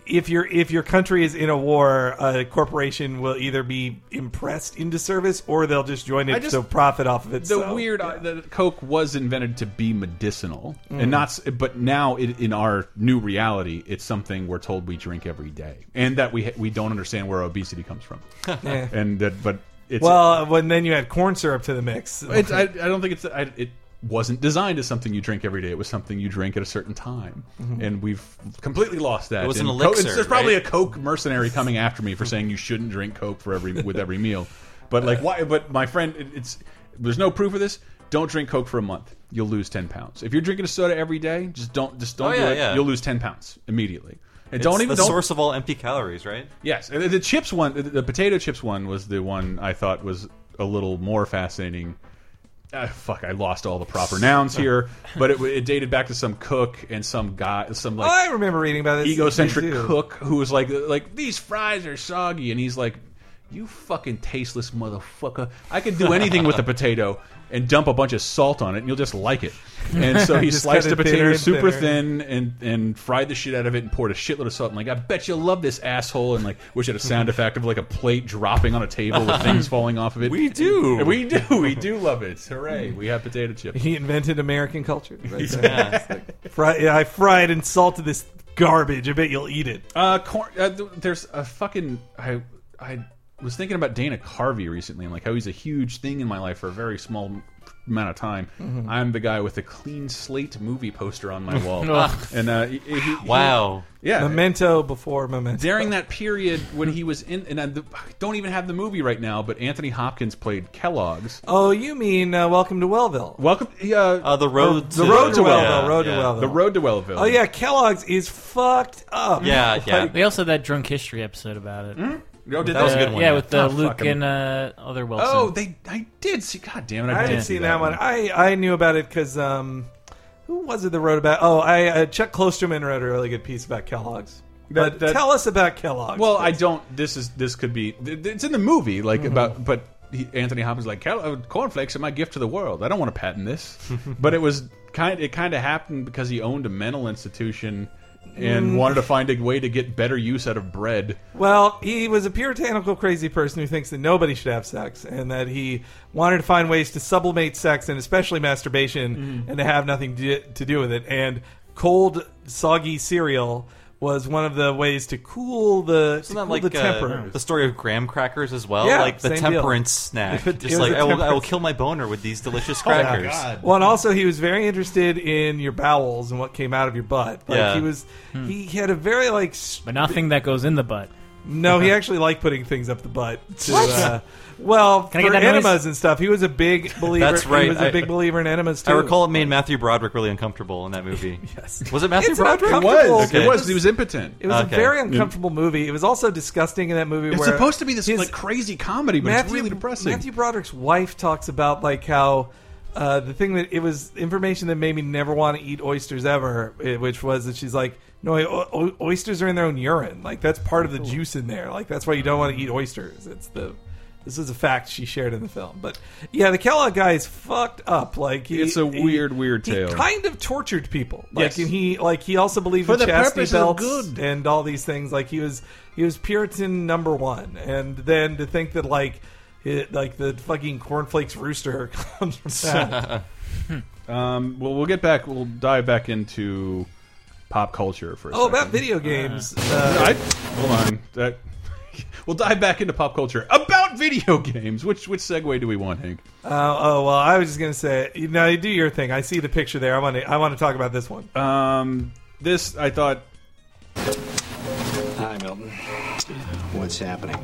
[SPEAKER 2] if your if your country is in a war, a corporation will either be impressed into service or they'll just join
[SPEAKER 1] I
[SPEAKER 2] it
[SPEAKER 1] just-
[SPEAKER 2] to profit off of
[SPEAKER 1] the
[SPEAKER 2] it. so.
[SPEAKER 1] weird that Coke was invented to be medicinal,
[SPEAKER 2] Mhm.
[SPEAKER 1] and not. s- But now it, in our new reality, it's something we're told we drink every day, and that we ha- we don't understand where obesity comes from,
[SPEAKER 2] Yeah.
[SPEAKER 1] and that but it's
[SPEAKER 2] well, when then you add corn syrup to the mix.
[SPEAKER 1] It's, I, I don't think it's. I, it wasn't designed as something you drink every day. It was something you drank at a certain time,
[SPEAKER 2] Mhm.
[SPEAKER 1] and we've completely lost that.
[SPEAKER 4] It was an
[SPEAKER 1] And Coke-
[SPEAKER 4] elixir,
[SPEAKER 1] there's probably
[SPEAKER 4] right?
[SPEAKER 1] a Coke mercenary coming after me for saying you shouldn't drink Coke for every with every meal. But like, why? But my friend, it, it's there's no proof of this. Don't drink Coke for a month. You'll lose ten pounds. If you're drinking a soda every day, just don't just don't
[SPEAKER 4] Oh,
[SPEAKER 1] do
[SPEAKER 4] yeah,
[SPEAKER 1] it.
[SPEAKER 4] yeah.
[SPEAKER 1] You'll lose ten pounds immediately. And
[SPEAKER 4] It's
[SPEAKER 1] don't even
[SPEAKER 4] the
[SPEAKER 1] don't,
[SPEAKER 4] source of all empty calories, right?
[SPEAKER 1] Yes, and the- the chips one, the- the potato chips one was the one I thought was a little more fascinating. Ah, fuck, I lost all the proper nouns here, but it, it dated back to some cook and some guy, some like
[SPEAKER 2] oh, I remember reading about this.
[SPEAKER 1] egocentric
[SPEAKER 2] They do.
[SPEAKER 1] cook who was like, like these fries are soggy, and he's like, you fucking tasteless motherfucker! I could do anything with a potato and dump a bunch of salt on it, and you'll just like it. And so he
[SPEAKER 2] Just
[SPEAKER 1] sliced a
[SPEAKER 2] cut it thinner
[SPEAKER 1] potato
[SPEAKER 2] and
[SPEAKER 1] super thin
[SPEAKER 2] thinner.
[SPEAKER 1] and and fried the shit out of it and poured a shitload of salt. And like, I bet you love this asshole. And like, wish it had a sound effect of like a plate dropping on a table with things falling off of it. We
[SPEAKER 2] do.
[SPEAKER 1] we do, we do love it. Hooray! We have potato chips.
[SPEAKER 2] He invented American culture. Right there.
[SPEAKER 1] Yeah.
[SPEAKER 2] It's like, fry, yeah, I fried and salted this garbage. I bet you'll eat it.
[SPEAKER 1] Uh, corn. Uh, th- there's a fucking. I I was thinking about Dana Carvey recently, and like how he's a huge thing in my life for a very small amount of time.
[SPEAKER 4] Mhm.
[SPEAKER 1] I'm the guy with the clean slate movie poster on my wall,
[SPEAKER 4] Ugh.
[SPEAKER 1] and uh, he- he- he-
[SPEAKER 4] Wow.
[SPEAKER 1] yeah.
[SPEAKER 2] Memento before Memento.
[SPEAKER 1] during that period when he was in, and I I don't even have the movie right now, but Anthony Hopkins played Kellogg's.
[SPEAKER 2] Oh, you mean uh, Welcome to Wellville?
[SPEAKER 1] Welcome, uh, uh,
[SPEAKER 4] Oh, the road
[SPEAKER 2] or-
[SPEAKER 4] to-
[SPEAKER 2] the road to
[SPEAKER 4] Yeah,
[SPEAKER 2] Wellville, road
[SPEAKER 4] yeah.
[SPEAKER 2] to Wellville,
[SPEAKER 1] The Road to Wellville.
[SPEAKER 2] Oh yeah, Kellogg's is fucked up. Like,
[SPEAKER 3] They also had that drunk history episode about it.
[SPEAKER 1] Oh, did
[SPEAKER 3] That was
[SPEAKER 1] they?
[SPEAKER 3] a good one. Yeah, with the
[SPEAKER 1] Oh,
[SPEAKER 3] Luke
[SPEAKER 1] fuck 'em.
[SPEAKER 3] and uh, other Wilson.
[SPEAKER 1] Oh, they. I did see. God damn it!
[SPEAKER 2] I
[SPEAKER 1] did
[SPEAKER 2] didn't
[SPEAKER 1] see
[SPEAKER 2] see that one. I I knew about it because um, who was it that wrote about? Oh, I uh, Chuck Klosterman wrote a really good piece about Kellogg's.
[SPEAKER 1] That-
[SPEAKER 2] but
[SPEAKER 1] that-
[SPEAKER 2] tell us about Kellogg's.
[SPEAKER 1] Well, I don't. This is this could be. th- th- It's in the movie, like
[SPEAKER 2] Mm-hmm.
[SPEAKER 1] about. But he, Anthony Hopkins like "Cal- uh, cornflakes are my gift to the world. I don't want to patent this, but it was kind. It kind of happened because he owned a mental institution and
[SPEAKER 2] Mm.
[SPEAKER 1] wanted to find a way to get better use out of bread.
[SPEAKER 2] Well, he was a puritanical, crazy person who thinks that nobody should have sex and that he wanted to find ways to sublimate sex and especially masturbation
[SPEAKER 4] Mm-hmm.
[SPEAKER 2] and to have nothing to, to do with it. And cold, soggy cereal was one of the ways to cool the, to
[SPEAKER 4] Isn't that
[SPEAKER 2] cool
[SPEAKER 4] like
[SPEAKER 2] the
[SPEAKER 4] uh,
[SPEAKER 2] temper.
[SPEAKER 4] the story of graham crackers as well?
[SPEAKER 2] Yeah,
[SPEAKER 4] like the
[SPEAKER 2] same deal.
[SPEAKER 4] temperance snack.
[SPEAKER 2] It was
[SPEAKER 4] Just like
[SPEAKER 2] a
[SPEAKER 4] I will, I will
[SPEAKER 2] temperance- Oh
[SPEAKER 4] kill my boner with these delicious crackers.
[SPEAKER 2] Well, and also he was very interested in your bowels and what came out of your butt. Like
[SPEAKER 4] Yeah. Hmm.
[SPEAKER 2] he was, he had a very like, s-
[SPEAKER 3] but nothing that goes in the butt.
[SPEAKER 2] No, he actually liked putting things up the butt. To,
[SPEAKER 3] What?
[SPEAKER 2] Uh, well,
[SPEAKER 3] Can I
[SPEAKER 2] for
[SPEAKER 3] get that noise?
[SPEAKER 2] enemas and stuff, he was a big believer.
[SPEAKER 4] That's right.
[SPEAKER 2] He was a
[SPEAKER 4] I-
[SPEAKER 2] big believer in enemas too.
[SPEAKER 4] I recall it made Matthew Broderick really uncomfortable in that movie. yes, was it Matthew
[SPEAKER 2] It's an
[SPEAKER 4] Broderick?
[SPEAKER 2] uncomfortable-
[SPEAKER 1] It was. It was. He was impotent.
[SPEAKER 2] It was
[SPEAKER 4] Okay.
[SPEAKER 2] a very uncomfortable movie. It was also disgusting in that movie.
[SPEAKER 1] It's
[SPEAKER 2] where
[SPEAKER 1] supposed to be this
[SPEAKER 2] his-
[SPEAKER 1] like crazy comedy, but it's really depressing.
[SPEAKER 2] Matthew Broderick's wife talks about like how uh, the thing that it was information that made me never want to eat oysters ever, eh, which was that she's like, no, o- o- oysters are in their own urine. Like that's part of the juice in there. Like that's why you don't want to eat oysters. It's the this is a fact she shared in the film. But yeah, the Kellogg guy is fucked up. Like he,
[SPEAKER 1] It's a
[SPEAKER 2] he-
[SPEAKER 1] weird, weird
[SPEAKER 2] he
[SPEAKER 1] tale.
[SPEAKER 2] kind of tortured people. Like
[SPEAKER 1] Yes.
[SPEAKER 2] and he like he also believed
[SPEAKER 1] For
[SPEAKER 2] in
[SPEAKER 1] the
[SPEAKER 2] chastity
[SPEAKER 1] purpose of
[SPEAKER 2] belts
[SPEAKER 1] good.
[SPEAKER 2] and all these things. Like he was he was Puritan number one, and then to think that like it, like the fucking cornflakes rooster comes from that.
[SPEAKER 1] um, well, we'll get back. We'll dive back into pop culture for a second.
[SPEAKER 2] oh, Uh, about video games.
[SPEAKER 1] I, hold on. That, Uh, We'll dive back into pop culture about video games. Which which segue do we want, Hank?
[SPEAKER 2] Uh, oh well, I was just gonna say, you know, you do your thing. I see the picture there. I want to. I want to talk about this one.
[SPEAKER 1] Um, this I thought.
[SPEAKER 12] Hi, Milton. What's happening?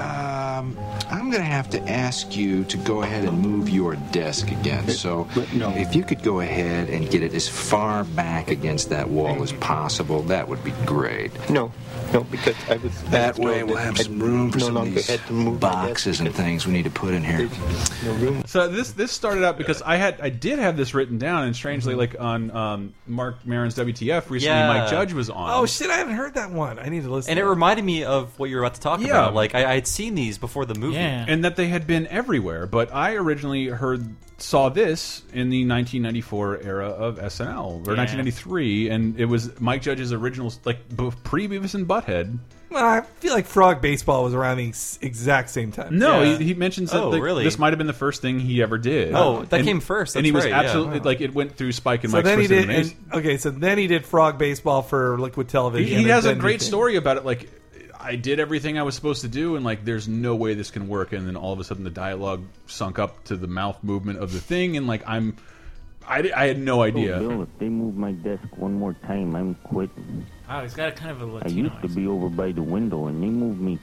[SPEAKER 12] Um, I'm going to have to ask you to go ahead and move your desk again. So, if you could go ahead and get it as far back against that wall as possible, that would be great.
[SPEAKER 13] No, no, because I was.
[SPEAKER 12] That way, we'll have some room for
[SPEAKER 13] no
[SPEAKER 12] some of
[SPEAKER 13] longer
[SPEAKER 12] these
[SPEAKER 13] had to move my desk
[SPEAKER 12] boxes and things we need to put in here.
[SPEAKER 1] So this this started out because I had I did have this written down, and
[SPEAKER 2] Mm-hmm.
[SPEAKER 1] strangely, like on um, Mark Maron's WTF recently,
[SPEAKER 4] Yeah.
[SPEAKER 1] Mike Judge was on.
[SPEAKER 2] Oh shit! I haven't heard that one. I need to listen.
[SPEAKER 4] And it reminded me of what you were about to talk
[SPEAKER 1] Yeah.
[SPEAKER 4] about. Like I, I had seen these before the movie.
[SPEAKER 1] and that they had been everywhere. But I originally heard saw this in the 1994 era of SNL or
[SPEAKER 2] Yeah.
[SPEAKER 1] 1993, and it was Mike Judge's original like b- pre Beavis and Butthead.
[SPEAKER 2] Well, I feel like Frog Baseball was around the ex- exact same time.
[SPEAKER 1] No, he, he mentions that like, this might have been the first thing he ever did.
[SPEAKER 2] Oh, that
[SPEAKER 1] And-
[SPEAKER 2] came first,
[SPEAKER 1] and he
[SPEAKER 2] that's
[SPEAKER 1] was
[SPEAKER 2] right, yeah.
[SPEAKER 1] absolutely like it went through Spike and
[SPEAKER 2] so
[SPEAKER 1] Mike's
[SPEAKER 2] then he
[SPEAKER 1] first
[SPEAKER 2] did.
[SPEAKER 1] Amazing.
[SPEAKER 2] And, okay, so then he did Frog Baseball for Liquid Television.
[SPEAKER 1] He, he
[SPEAKER 2] and
[SPEAKER 1] has a
[SPEAKER 2] then
[SPEAKER 1] great
[SPEAKER 2] did-
[SPEAKER 1] story about it. Like, I did everything I was supposed to do, and like, there's no way this can work. And then all of a sudden, the dialogue sunk up to the mouth movement of the thing, and like, I'm, I, di- I had no idea.
[SPEAKER 14] Oh, Bill, if they move my desk one more time, I'm quitting.
[SPEAKER 3] Wow, he's got a kind of a
[SPEAKER 14] I
[SPEAKER 3] Latino.
[SPEAKER 14] used to be over by the window, and they moved me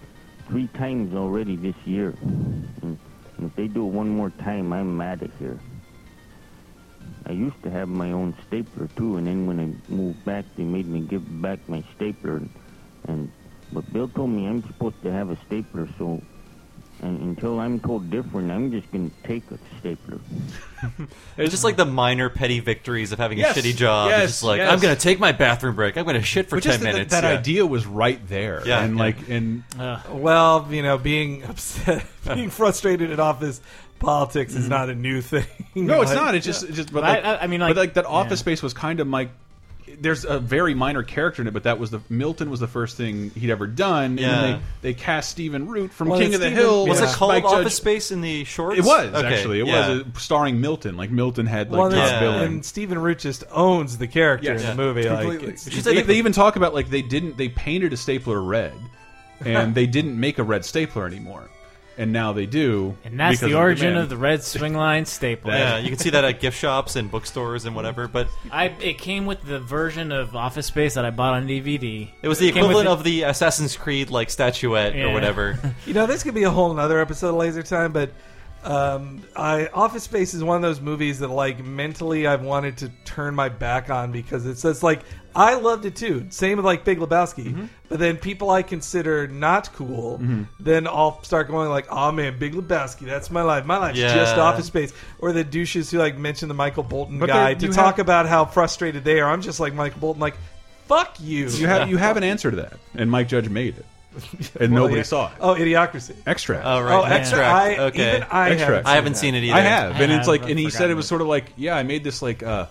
[SPEAKER 14] three times already this year. And, and if they do it one more time, I'm out of here. I used to have my own stapler too, and then when I moved back, they made me give back my stapler. And, and but Bill told me I'm supposed to have a stapler, so and until I'm told different, I'm just gonna take a stapler.
[SPEAKER 4] It's just like the minor petty victories of having
[SPEAKER 14] Yes,
[SPEAKER 4] a shitty job. It's
[SPEAKER 14] yes,
[SPEAKER 4] just like
[SPEAKER 14] yes.
[SPEAKER 4] I'm going to take my bathroom break. I'm going to shit for
[SPEAKER 1] But
[SPEAKER 4] ten
[SPEAKER 1] just that-
[SPEAKER 4] minutes.
[SPEAKER 1] that
[SPEAKER 4] Yeah.
[SPEAKER 1] idea was right there.
[SPEAKER 4] Yeah,
[SPEAKER 1] and
[SPEAKER 4] yeah.
[SPEAKER 1] like, and
[SPEAKER 2] Well, you know, being upset, being frustrated in office politics is not a new thing.
[SPEAKER 1] Mm-hmm. No, it's
[SPEAKER 2] Like-
[SPEAKER 1] not. It's just, it's just. But
[SPEAKER 2] I-
[SPEAKER 1] like,
[SPEAKER 2] I- I mean,
[SPEAKER 1] but
[SPEAKER 2] like-
[SPEAKER 1] like that Office
[SPEAKER 2] yeah.
[SPEAKER 1] Space was kind of Mike. There's a very minor character in it, but that was the Milton was the first thing he'd ever done.
[SPEAKER 4] Yeah.
[SPEAKER 1] And then they, they cast Stephen Root from
[SPEAKER 4] Well,
[SPEAKER 1] King
[SPEAKER 4] it's
[SPEAKER 1] of the
[SPEAKER 4] Stephen-
[SPEAKER 1] Hill.
[SPEAKER 4] Was
[SPEAKER 1] with
[SPEAKER 4] it called
[SPEAKER 1] Mike
[SPEAKER 4] Office
[SPEAKER 1] Judge.
[SPEAKER 4] Space in the shorts?
[SPEAKER 1] It was
[SPEAKER 4] Okay,
[SPEAKER 1] actually. It
[SPEAKER 4] yeah.
[SPEAKER 1] was uh, starring Milton. Like Milton had like
[SPEAKER 2] Well,
[SPEAKER 1] top
[SPEAKER 2] and-
[SPEAKER 1] billing.
[SPEAKER 2] and Stephen Root just owns the character
[SPEAKER 1] Yes.
[SPEAKER 2] in the movie. Like,
[SPEAKER 1] Completely.
[SPEAKER 2] it's-
[SPEAKER 1] they, they even talk about like they didn't they painted a stapler red, and they didn't make a red stapler anymore, and now they do.
[SPEAKER 3] And that's
[SPEAKER 1] because
[SPEAKER 3] the origin
[SPEAKER 1] demand.
[SPEAKER 3] of the red swing line staple.
[SPEAKER 4] Yeah, you can see that at gift shops and bookstores and whatever. But
[SPEAKER 3] I it came with the version of Office Space that I bought on DVD.
[SPEAKER 4] it was the
[SPEAKER 3] came with
[SPEAKER 4] equivalent
[SPEAKER 3] it-
[SPEAKER 4] of the Assassin's Creed like statuette
[SPEAKER 3] Yeah.
[SPEAKER 4] or whatever.
[SPEAKER 2] You know, this could be a whole nother episode of Laser Time, but um, I Office Space is one of those movies that, like, mentally I've wanted to turn my back on because it's just like I loved it too. Same with like Big Lebowski,
[SPEAKER 1] Mm-hmm.
[SPEAKER 2] but then people I consider not cool,
[SPEAKER 15] Mhm.
[SPEAKER 2] then I'll start going like, "Oh man, Big Lebowski, that's my life. My life's
[SPEAKER 15] Yeah.
[SPEAKER 2] just Office Space." Or the douches who like mention the Michael Bolton
[SPEAKER 1] But
[SPEAKER 2] guy
[SPEAKER 1] there-
[SPEAKER 2] to
[SPEAKER 1] you
[SPEAKER 2] talk about how frustrated they are. I'm just like Michael Bolton, like, "Fuck you."
[SPEAKER 1] You have you have an answer to that, and Mike Judge made it, and
[SPEAKER 2] Well,
[SPEAKER 1] nobody
[SPEAKER 2] yeah.
[SPEAKER 1] saw it.
[SPEAKER 2] Oh, Idiocracy.
[SPEAKER 1] Extract.
[SPEAKER 4] Oh, right. Oh, Yeah. Extract.
[SPEAKER 2] I-
[SPEAKER 4] Okay. even I haven't
[SPEAKER 1] Extract.
[SPEAKER 4] seen I haven't that. seen it either.
[SPEAKER 1] I have,
[SPEAKER 4] I
[SPEAKER 1] and it's
[SPEAKER 4] have.
[SPEAKER 1] like,
[SPEAKER 4] I've
[SPEAKER 1] and he said
[SPEAKER 4] forgotten
[SPEAKER 1] it was sort of like, yeah, I made this like uh,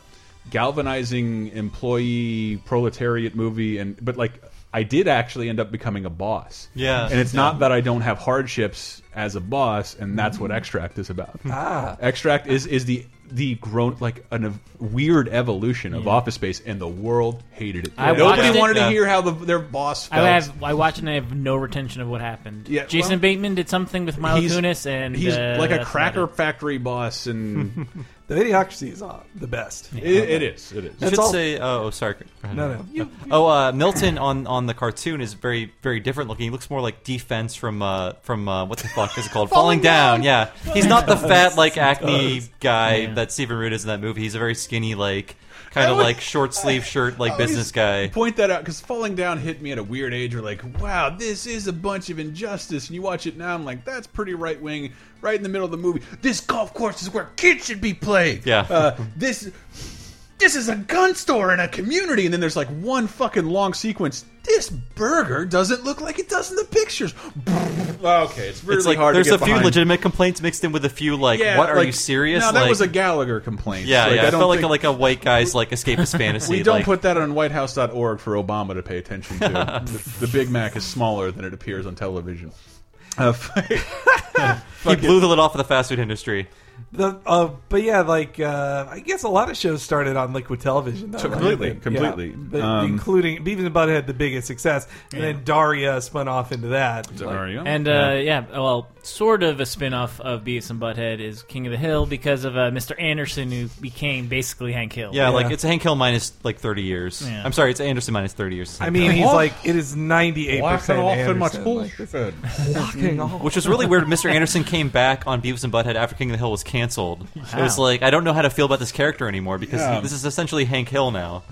[SPEAKER 1] galvanizing employee proletariat movie, and but like. I did actually end up becoming a boss.
[SPEAKER 4] Yeah.
[SPEAKER 1] And it's
[SPEAKER 4] Yeah. Mm-hmm.
[SPEAKER 1] not that I don't have hardships as a boss, and that's what Extract is about.
[SPEAKER 2] Ah.
[SPEAKER 1] Extract is is the the grown like an, a weird evolution of Office Space, and the world hated it.
[SPEAKER 3] I watched
[SPEAKER 1] Nobody
[SPEAKER 3] it-
[SPEAKER 1] wanted to
[SPEAKER 3] Yeah.
[SPEAKER 1] hear how the, their boss felt.
[SPEAKER 3] I have I watched it and I have no retention of what happened.
[SPEAKER 1] Yeah,
[SPEAKER 3] Jason
[SPEAKER 1] well-
[SPEAKER 3] Bateman did something with Milo
[SPEAKER 1] He's-
[SPEAKER 3] Kunis and
[SPEAKER 1] he's
[SPEAKER 3] uh,
[SPEAKER 1] like a
[SPEAKER 3] that's
[SPEAKER 1] cracker factory boss, and
[SPEAKER 2] The Idiocracy is uh, the best.
[SPEAKER 1] It- it is. It is.
[SPEAKER 4] You
[SPEAKER 2] That's
[SPEAKER 4] should
[SPEAKER 2] all.
[SPEAKER 4] say. Oh, oh, sorry. Go ahead.
[SPEAKER 2] No, no. You-
[SPEAKER 4] oh, uh, Milton on on the cartoon is very very different looking. He looks more like defense from uh, from uh, what the fuck is it called? Falling,
[SPEAKER 2] Falling
[SPEAKER 4] down.
[SPEAKER 2] Down.
[SPEAKER 4] Yeah, he's not the
[SPEAKER 2] Does.
[SPEAKER 4] fat like acne
[SPEAKER 2] Does.
[SPEAKER 4] guy that Stephen Root is in that movie. He's a very skinny like kind of like short sleeve shirt
[SPEAKER 1] Oh,
[SPEAKER 4] like business guy.
[SPEAKER 1] Point that out because falling down hit me at a weird age. You're like, wow, this is a bunch of injustice. And you watch it now, I'm like, that's pretty right wing. Right in the middle of the movie, this golf course is where kids should be played.
[SPEAKER 4] Yeah.
[SPEAKER 1] uh, this this is a gun store in a community. And then there's like one fucking long sequence. This burger doesn't look like it does in the pictures. Oh, okay, it's really
[SPEAKER 4] it's like
[SPEAKER 1] hard.
[SPEAKER 4] there's
[SPEAKER 1] to get
[SPEAKER 4] a few
[SPEAKER 1] behind.
[SPEAKER 4] legitimate complaints mixed in with a few like
[SPEAKER 1] Yeah,
[SPEAKER 4] what are
[SPEAKER 1] like-
[SPEAKER 4] you serious?
[SPEAKER 1] No, that
[SPEAKER 4] like,
[SPEAKER 1] was a Gallagher complaint.
[SPEAKER 4] yeah,
[SPEAKER 1] Like,
[SPEAKER 4] yeah.
[SPEAKER 1] I
[SPEAKER 4] I
[SPEAKER 1] don't
[SPEAKER 4] felt like
[SPEAKER 1] think-
[SPEAKER 4] like a white guy's like escapist fantasy.
[SPEAKER 1] We don't
[SPEAKER 4] like,
[SPEAKER 1] put that on WhiteHouse.org for Obama to pay attention to. the, the Big Mac is smaller than it appears on television. Uh, f-
[SPEAKER 4] he blew the lid off of the fast food industry.
[SPEAKER 2] the uh, but yeah, like uh, I guess a lot of shows started on liquid television. Though,
[SPEAKER 1] So
[SPEAKER 2] right?
[SPEAKER 1] completely,
[SPEAKER 2] Yeah.
[SPEAKER 1] completely.
[SPEAKER 2] But
[SPEAKER 1] Um,
[SPEAKER 2] including Beavis and Butthead, the biggest success, and
[SPEAKER 3] Yeah.
[SPEAKER 2] then Daria spun off into that.
[SPEAKER 1] Daria,
[SPEAKER 3] And uh, yeah. well, sort of a spin-off of Beavis and Butthead is King of the Hill because of uh, Mr. Anderson, who became basically Hank Hill.
[SPEAKER 4] Yeah, like it's Hank Hill minus like thirty years.
[SPEAKER 3] Yeah.
[SPEAKER 4] I'm sorry, it's Anderson minus thirty years.
[SPEAKER 2] I mean, he's like it is ninety eight percent Walking off,
[SPEAKER 4] Which was really weird. Mr. Anderson came back on Beavis and Butthead after King of the Hill was canceled. It was
[SPEAKER 2] Wow.
[SPEAKER 4] like I don't know how to feel about this character anymore because
[SPEAKER 2] Yeah.
[SPEAKER 4] he- this is essentially Hank Hill now.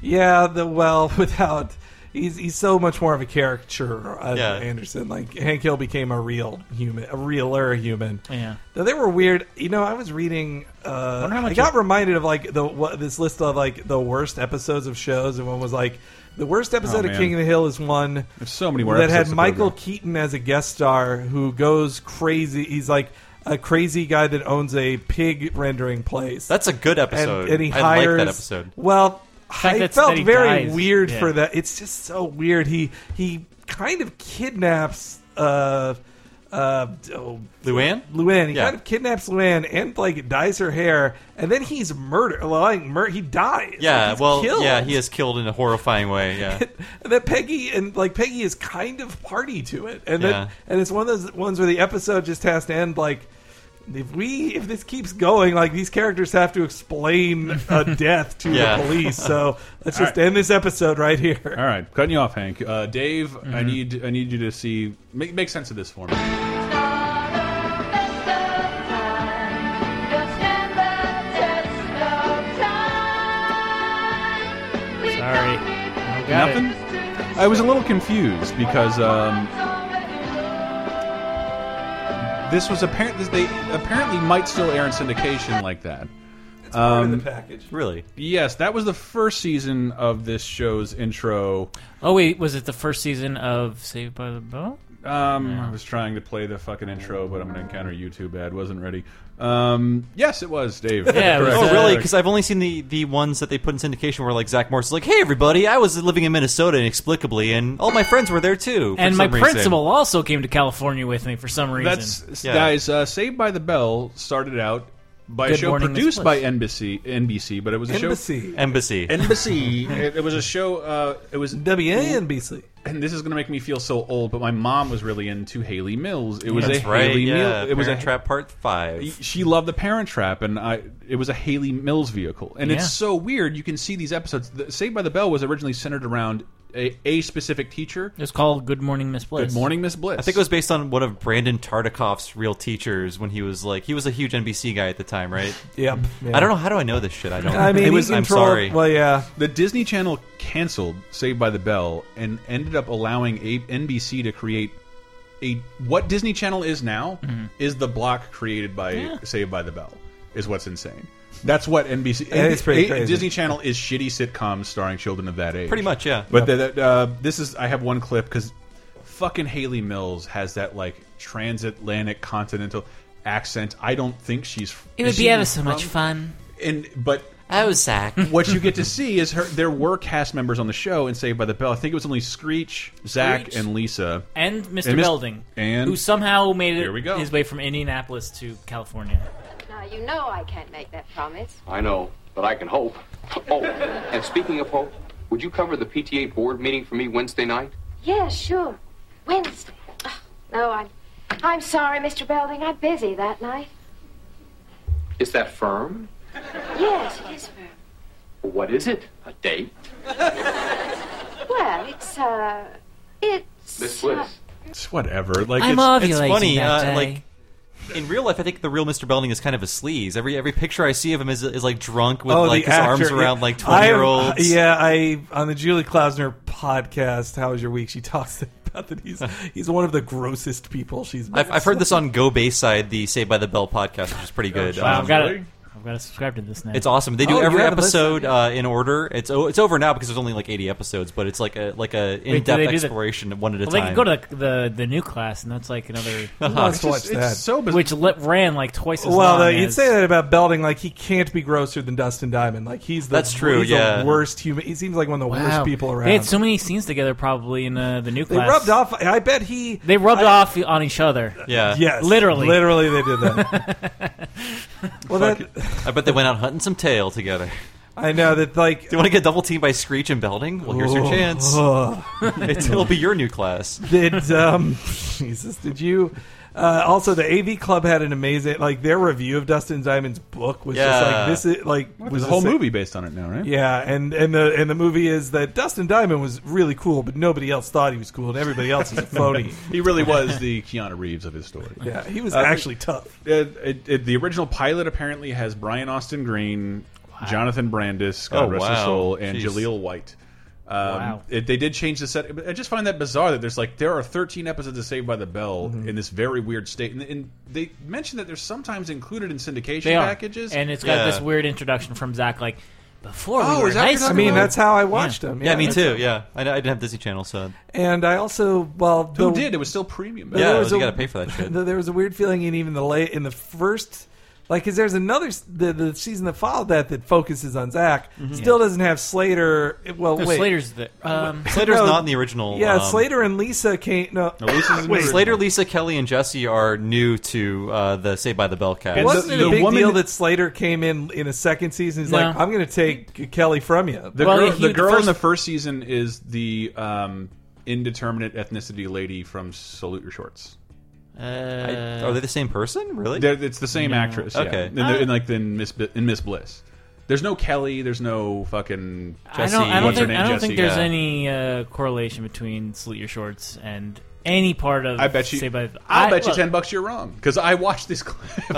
[SPEAKER 2] Yeah, the well without he's he's so much more of a caricature of
[SPEAKER 4] Yeah.
[SPEAKER 2] Anderson. Like Hank Hill became a real human, a realer human.
[SPEAKER 3] Yeah.
[SPEAKER 2] Though they were weird. You know, I was reading. Uh, I, got reminded of like the what, this list of like the worst episodes of shows, and one was like the worst episode of
[SPEAKER 1] Oh, man.
[SPEAKER 2] King of the Hill is one.
[SPEAKER 1] There's so many more
[SPEAKER 2] that had
[SPEAKER 1] episodes to go
[SPEAKER 2] Michael Keaton as a guest star who goes crazy. He's like. A crazy guy that owns a pig rendering place.
[SPEAKER 4] That's a good episode.
[SPEAKER 2] And, and he
[SPEAKER 4] I like that
[SPEAKER 2] hires-
[SPEAKER 4] episode.
[SPEAKER 2] Well,
[SPEAKER 4] fact,
[SPEAKER 2] I
[SPEAKER 4] that's-
[SPEAKER 2] felt
[SPEAKER 4] that he
[SPEAKER 2] very
[SPEAKER 4] dies.
[SPEAKER 2] weird
[SPEAKER 4] Yeah.
[SPEAKER 2] for that. It's just so weird. He he kind of kidnaps uh uh oh,
[SPEAKER 4] Luann?
[SPEAKER 2] Luann. He
[SPEAKER 4] Yeah.
[SPEAKER 2] kind of kidnaps Luann and like dyes her hair, and then he's murdered. Well, like mur- he dies.
[SPEAKER 4] Yeah,
[SPEAKER 2] Like, he's
[SPEAKER 4] well,
[SPEAKER 2] killed.
[SPEAKER 4] yeah, he is killed in a horrifying way. Yeah,
[SPEAKER 2] And then Peggy and like Peggy is kind of party to it, and
[SPEAKER 4] Yeah.
[SPEAKER 2] then and it's one of those ones where the episode just has to end like. If we if this keeps going, like these characters have to explain a death to
[SPEAKER 1] Yeah.
[SPEAKER 2] the police, so let's
[SPEAKER 1] All
[SPEAKER 2] just end this episode right here.
[SPEAKER 1] All right, cutting you off, Hank. Uh, Dave, I need I need you to see make make sense of this for me.
[SPEAKER 3] Sorry, I got
[SPEAKER 1] Nothing.
[SPEAKER 3] It.
[SPEAKER 1] I was a little confused because um, this was apparently they apparently might still air in syndication like that. It's
[SPEAKER 2] part of the package.
[SPEAKER 4] Really?
[SPEAKER 1] Yes, that was the first season of this show's intro.
[SPEAKER 3] Oh wait, was it the first season of Saved by the Bell?
[SPEAKER 1] Um, I was trying to play the fucking intro, but I'm gonna encounter YouTube ad. Wasn't ready. Um, yes, it was Dave. Correct.
[SPEAKER 4] oh,
[SPEAKER 3] uh,
[SPEAKER 4] really?
[SPEAKER 1] Correct.
[SPEAKER 4] Because I've only seen the, the ones that they put in syndication where like Zach Morris is like, "Hey, everybody, I was living in Minnesota inexplicably, and all my friends were there too." for
[SPEAKER 3] And my
[SPEAKER 4] some reason."
[SPEAKER 3] principal also came to California with me for some reason.
[SPEAKER 1] That's guys. Uh, Saved by the Bell started out by a
[SPEAKER 3] Good
[SPEAKER 1] show
[SPEAKER 3] morning,
[SPEAKER 1] produced
[SPEAKER 3] Miss
[SPEAKER 1] by
[SPEAKER 3] Bliss.
[SPEAKER 1] NBC, NBC, but it was a
[SPEAKER 2] Embassy.
[SPEAKER 1] show
[SPEAKER 4] Embassy,
[SPEAKER 1] NBC. it, it was a show. Uh, it was
[SPEAKER 2] WANBC.
[SPEAKER 1] And this is going to make me feel so old, but my mom was really into Haley Mills. It was
[SPEAKER 4] That's
[SPEAKER 1] a
[SPEAKER 4] right,
[SPEAKER 1] Haley
[SPEAKER 4] yeah,
[SPEAKER 1] Mills. It was a
[SPEAKER 4] Parent Trap Part Five.
[SPEAKER 1] She loved the Parent Trap, and I. It was a Haley Mills vehicle, and
[SPEAKER 4] Yeah.
[SPEAKER 1] it's so weird. You can see these episodes. The, Saved by the Bell was originally centered around a, a specific teacher.
[SPEAKER 3] It's called Good Morning Miss Bliss.
[SPEAKER 1] Good Morning Miss Bliss.
[SPEAKER 4] I think it was based on one of Brandon Tartikoff's real teachers when he was like he was a huge NBC guy at the time, right?
[SPEAKER 2] Yep. Yeah.
[SPEAKER 4] I don't know how do I know this shit. I don't.
[SPEAKER 2] I mean,
[SPEAKER 4] it
[SPEAKER 2] he
[SPEAKER 4] was. I'm
[SPEAKER 2] controlled-
[SPEAKER 4] sorry.
[SPEAKER 2] Well, yeah.
[SPEAKER 1] The Disney Channel canceled Saved by the Bell and ended up allowing a NBC to create a what Disney Channel is now
[SPEAKER 4] Mm-hmm.
[SPEAKER 2] Mhm.
[SPEAKER 1] is the block created by Saved by the Bell is what's insane. That's what NBC
[SPEAKER 2] That is pretty
[SPEAKER 1] a-
[SPEAKER 2] crazy.
[SPEAKER 1] Disney Channel is shitty sitcoms starring children of that age.
[SPEAKER 4] Pretty much, yeah.
[SPEAKER 1] But that- that, uh, this is I have one clip because fucking Haley Mills has that like transatlantic continental accent. I don't think she's.
[SPEAKER 3] It would
[SPEAKER 1] is
[SPEAKER 3] be
[SPEAKER 1] she
[SPEAKER 3] ever so
[SPEAKER 1] from-
[SPEAKER 3] much fun.
[SPEAKER 1] And but
[SPEAKER 4] Oh, Zach.
[SPEAKER 1] what you get to see is her. There were cast members on the show and Saved by the Bell. I think it was only Screech, Zach,
[SPEAKER 3] Screech.
[SPEAKER 1] and Lisa,
[SPEAKER 3] And Mr.
[SPEAKER 1] Mis-
[SPEAKER 3] Belding,
[SPEAKER 1] and
[SPEAKER 3] who somehow made it
[SPEAKER 1] Here we go.
[SPEAKER 3] his way from Indianapolis to California.
[SPEAKER 15] Now, you know I can't make that promise.
[SPEAKER 16] I know, but I can hope. Oh, and speaking of hope, would you cover the PTA board meeting for me Wednesday night?
[SPEAKER 15] Yeah, sure. Wednesday. Ugh, No, I'm. I'm sorry, Mr. Belding. I'm busy that night.
[SPEAKER 16] Is that firm?
[SPEAKER 15] Yes, it is firm.
[SPEAKER 16] What is it? A date?
[SPEAKER 15] Well, it's uh, it's.
[SPEAKER 16] Miss Bliss.
[SPEAKER 1] It's whatever. Like
[SPEAKER 15] I'm
[SPEAKER 4] it's, it's
[SPEAKER 15] ovulating
[SPEAKER 4] funny.
[SPEAKER 15] that
[SPEAKER 4] uh,
[SPEAKER 15] day.
[SPEAKER 4] Like in real life, I think the real Mr. Belding is kind of a sleaze. Every every picture I see of him is, is like drunk with
[SPEAKER 2] Oh,
[SPEAKER 4] like
[SPEAKER 2] the
[SPEAKER 4] his arms
[SPEAKER 2] actor.
[SPEAKER 4] around like
[SPEAKER 2] I am-
[SPEAKER 4] twenty year olds.
[SPEAKER 2] Yeah, I on the Julie Klausner podcast. How was your week? She talks about that he's he's one of the grossest people she's.
[SPEAKER 4] I've, I've heard this on Go Bayside, the Saved by the Bell podcast, which is pretty good.
[SPEAKER 3] Oh, Wow,
[SPEAKER 4] Um,
[SPEAKER 3] I've got to, I've got to subscribe to this now.
[SPEAKER 4] It's awesome. They do
[SPEAKER 3] Oh, you
[SPEAKER 4] every
[SPEAKER 3] haven't
[SPEAKER 4] episode uh, in order. It's o- it's over now because there's only like 80 episodes, but it's like a like a
[SPEAKER 3] Wait,
[SPEAKER 4] in
[SPEAKER 3] do they
[SPEAKER 4] depth
[SPEAKER 3] do the-
[SPEAKER 4] exploration one at a
[SPEAKER 3] well,
[SPEAKER 4] time.
[SPEAKER 3] They can go to the the new class, and that's like another.
[SPEAKER 4] wants to watch It's just- it's that?
[SPEAKER 1] so bizarre.
[SPEAKER 3] Which li- ran like twice as
[SPEAKER 2] Well,
[SPEAKER 3] long.
[SPEAKER 2] though,
[SPEAKER 3] as,
[SPEAKER 2] you'd say that about Belding. Like he can't be grosser than Dustin Diamond. Like he's the,
[SPEAKER 4] That's true,
[SPEAKER 2] he's
[SPEAKER 4] yeah.
[SPEAKER 2] the worst human. He seems like one of the
[SPEAKER 3] Wow.
[SPEAKER 2] worst people around.
[SPEAKER 3] They had so many scenes together, probably in uh, the new
[SPEAKER 2] They
[SPEAKER 3] class.
[SPEAKER 2] rubbed off. I bet he.
[SPEAKER 3] They rubbed off on each other.
[SPEAKER 4] Yeah.
[SPEAKER 2] Yes.
[SPEAKER 3] literally,
[SPEAKER 2] Literally, they did that. Well,
[SPEAKER 4] Fuck
[SPEAKER 2] that-
[SPEAKER 4] it. I bet they went out hunting some tail together.
[SPEAKER 2] I know that like. Do
[SPEAKER 4] you want to get double teamed by Screech and Belding? Well, here's your
[SPEAKER 2] Oh.
[SPEAKER 4] chance.
[SPEAKER 2] Oh.
[SPEAKER 4] It'll be your new class.
[SPEAKER 2] Did um, Jesus? Did you? Uh, also, the AV Club had an amazing like their review of Dustin Diamond's book was just
[SPEAKER 1] Yeah.
[SPEAKER 2] like this is like
[SPEAKER 1] Well,
[SPEAKER 2] was
[SPEAKER 1] there's a whole
[SPEAKER 2] sa-
[SPEAKER 1] movie based on it now, right?
[SPEAKER 2] Yeah, and and the and the movie is that Dustin Diamond was really cool, but nobody else thought he was cool, and everybody else is a phony.
[SPEAKER 1] he really was the Keanu Reeves of his story.
[SPEAKER 2] Yeah, he
[SPEAKER 4] Uh,
[SPEAKER 2] was actually tough.
[SPEAKER 1] It, Uh, it, it- the original pilot apparently has Brian Austin Green, Jonathan Brandis, God
[SPEAKER 4] Oh,
[SPEAKER 1] rest his
[SPEAKER 4] wow.
[SPEAKER 1] soul, and
[SPEAKER 4] Jeez.
[SPEAKER 1] Jaleel White. Um,
[SPEAKER 4] Wow.
[SPEAKER 1] it- they did change the set. But I just find that bizarre that there's like there are 13 episodes of Saved by the Bell in this very weird state, and, and they mentioned that they're sometimes included in syndication
[SPEAKER 3] They are.
[SPEAKER 1] packages,
[SPEAKER 3] and it's got this weird introduction from Zach, like before
[SPEAKER 1] Oh,
[SPEAKER 3] we were
[SPEAKER 1] is
[SPEAKER 3] in
[SPEAKER 1] that what
[SPEAKER 3] high
[SPEAKER 1] you're
[SPEAKER 3] school.
[SPEAKER 1] talking I mean, about?
[SPEAKER 2] that's how I watched
[SPEAKER 3] yeah.
[SPEAKER 2] him.
[SPEAKER 4] Yeah, me
[SPEAKER 2] that's-
[SPEAKER 4] too. Yeah, I, I didn't have Disney Channel, so
[SPEAKER 2] And I also, well,
[SPEAKER 1] Who did? It was still premium.
[SPEAKER 4] Yeah,
[SPEAKER 2] there was
[SPEAKER 4] you
[SPEAKER 2] a-
[SPEAKER 4] gotta pay for that shit.
[SPEAKER 2] There was a weird feeling in even the late in the first, like, because there's another s- the, the season that followed that that focuses on Zach.
[SPEAKER 4] Mm-hmm.
[SPEAKER 2] Still doesn't have Slater. it- Well,
[SPEAKER 3] No,
[SPEAKER 2] wait,
[SPEAKER 3] Slater's the- um,
[SPEAKER 4] Slater's not in the original,
[SPEAKER 2] Yeah,
[SPEAKER 4] um,
[SPEAKER 2] Slater and Lisa can't. No,
[SPEAKER 4] Wait, Slater, Lisa, Kelly, and Jesse are new to uh, the Saved by the Bell cast.
[SPEAKER 2] It wasn't it a big deal that Slater came in in a second season. He's
[SPEAKER 4] No.
[SPEAKER 2] like, I'm going to take Kelly from you.
[SPEAKER 1] The girl, the girl in the first season is the um, indeterminate ethnicity lady from Salute Your Shorts.
[SPEAKER 4] I- are they the same person? Really?
[SPEAKER 1] They're, it's the same
[SPEAKER 4] No.
[SPEAKER 1] actress.
[SPEAKER 4] Okay.
[SPEAKER 1] Yeah. In,
[SPEAKER 3] Ah.
[SPEAKER 1] the, in like the in Miss Bi- in Miss Bliss. There's no Kelly. There's no fucking.
[SPEAKER 3] I
[SPEAKER 1] Jesse.
[SPEAKER 3] don't. I don't
[SPEAKER 1] what's her name?
[SPEAKER 3] think. I don't
[SPEAKER 1] Jesse,
[SPEAKER 3] think there's
[SPEAKER 1] yeah.
[SPEAKER 3] any uh, correlation between slit your shorts and any part of.
[SPEAKER 1] I bet you.
[SPEAKER 3] Saved by the-
[SPEAKER 1] I'll
[SPEAKER 3] I-
[SPEAKER 1] bet you
[SPEAKER 3] look,
[SPEAKER 1] ten bucks you're wrong because I watched this
[SPEAKER 4] Uh.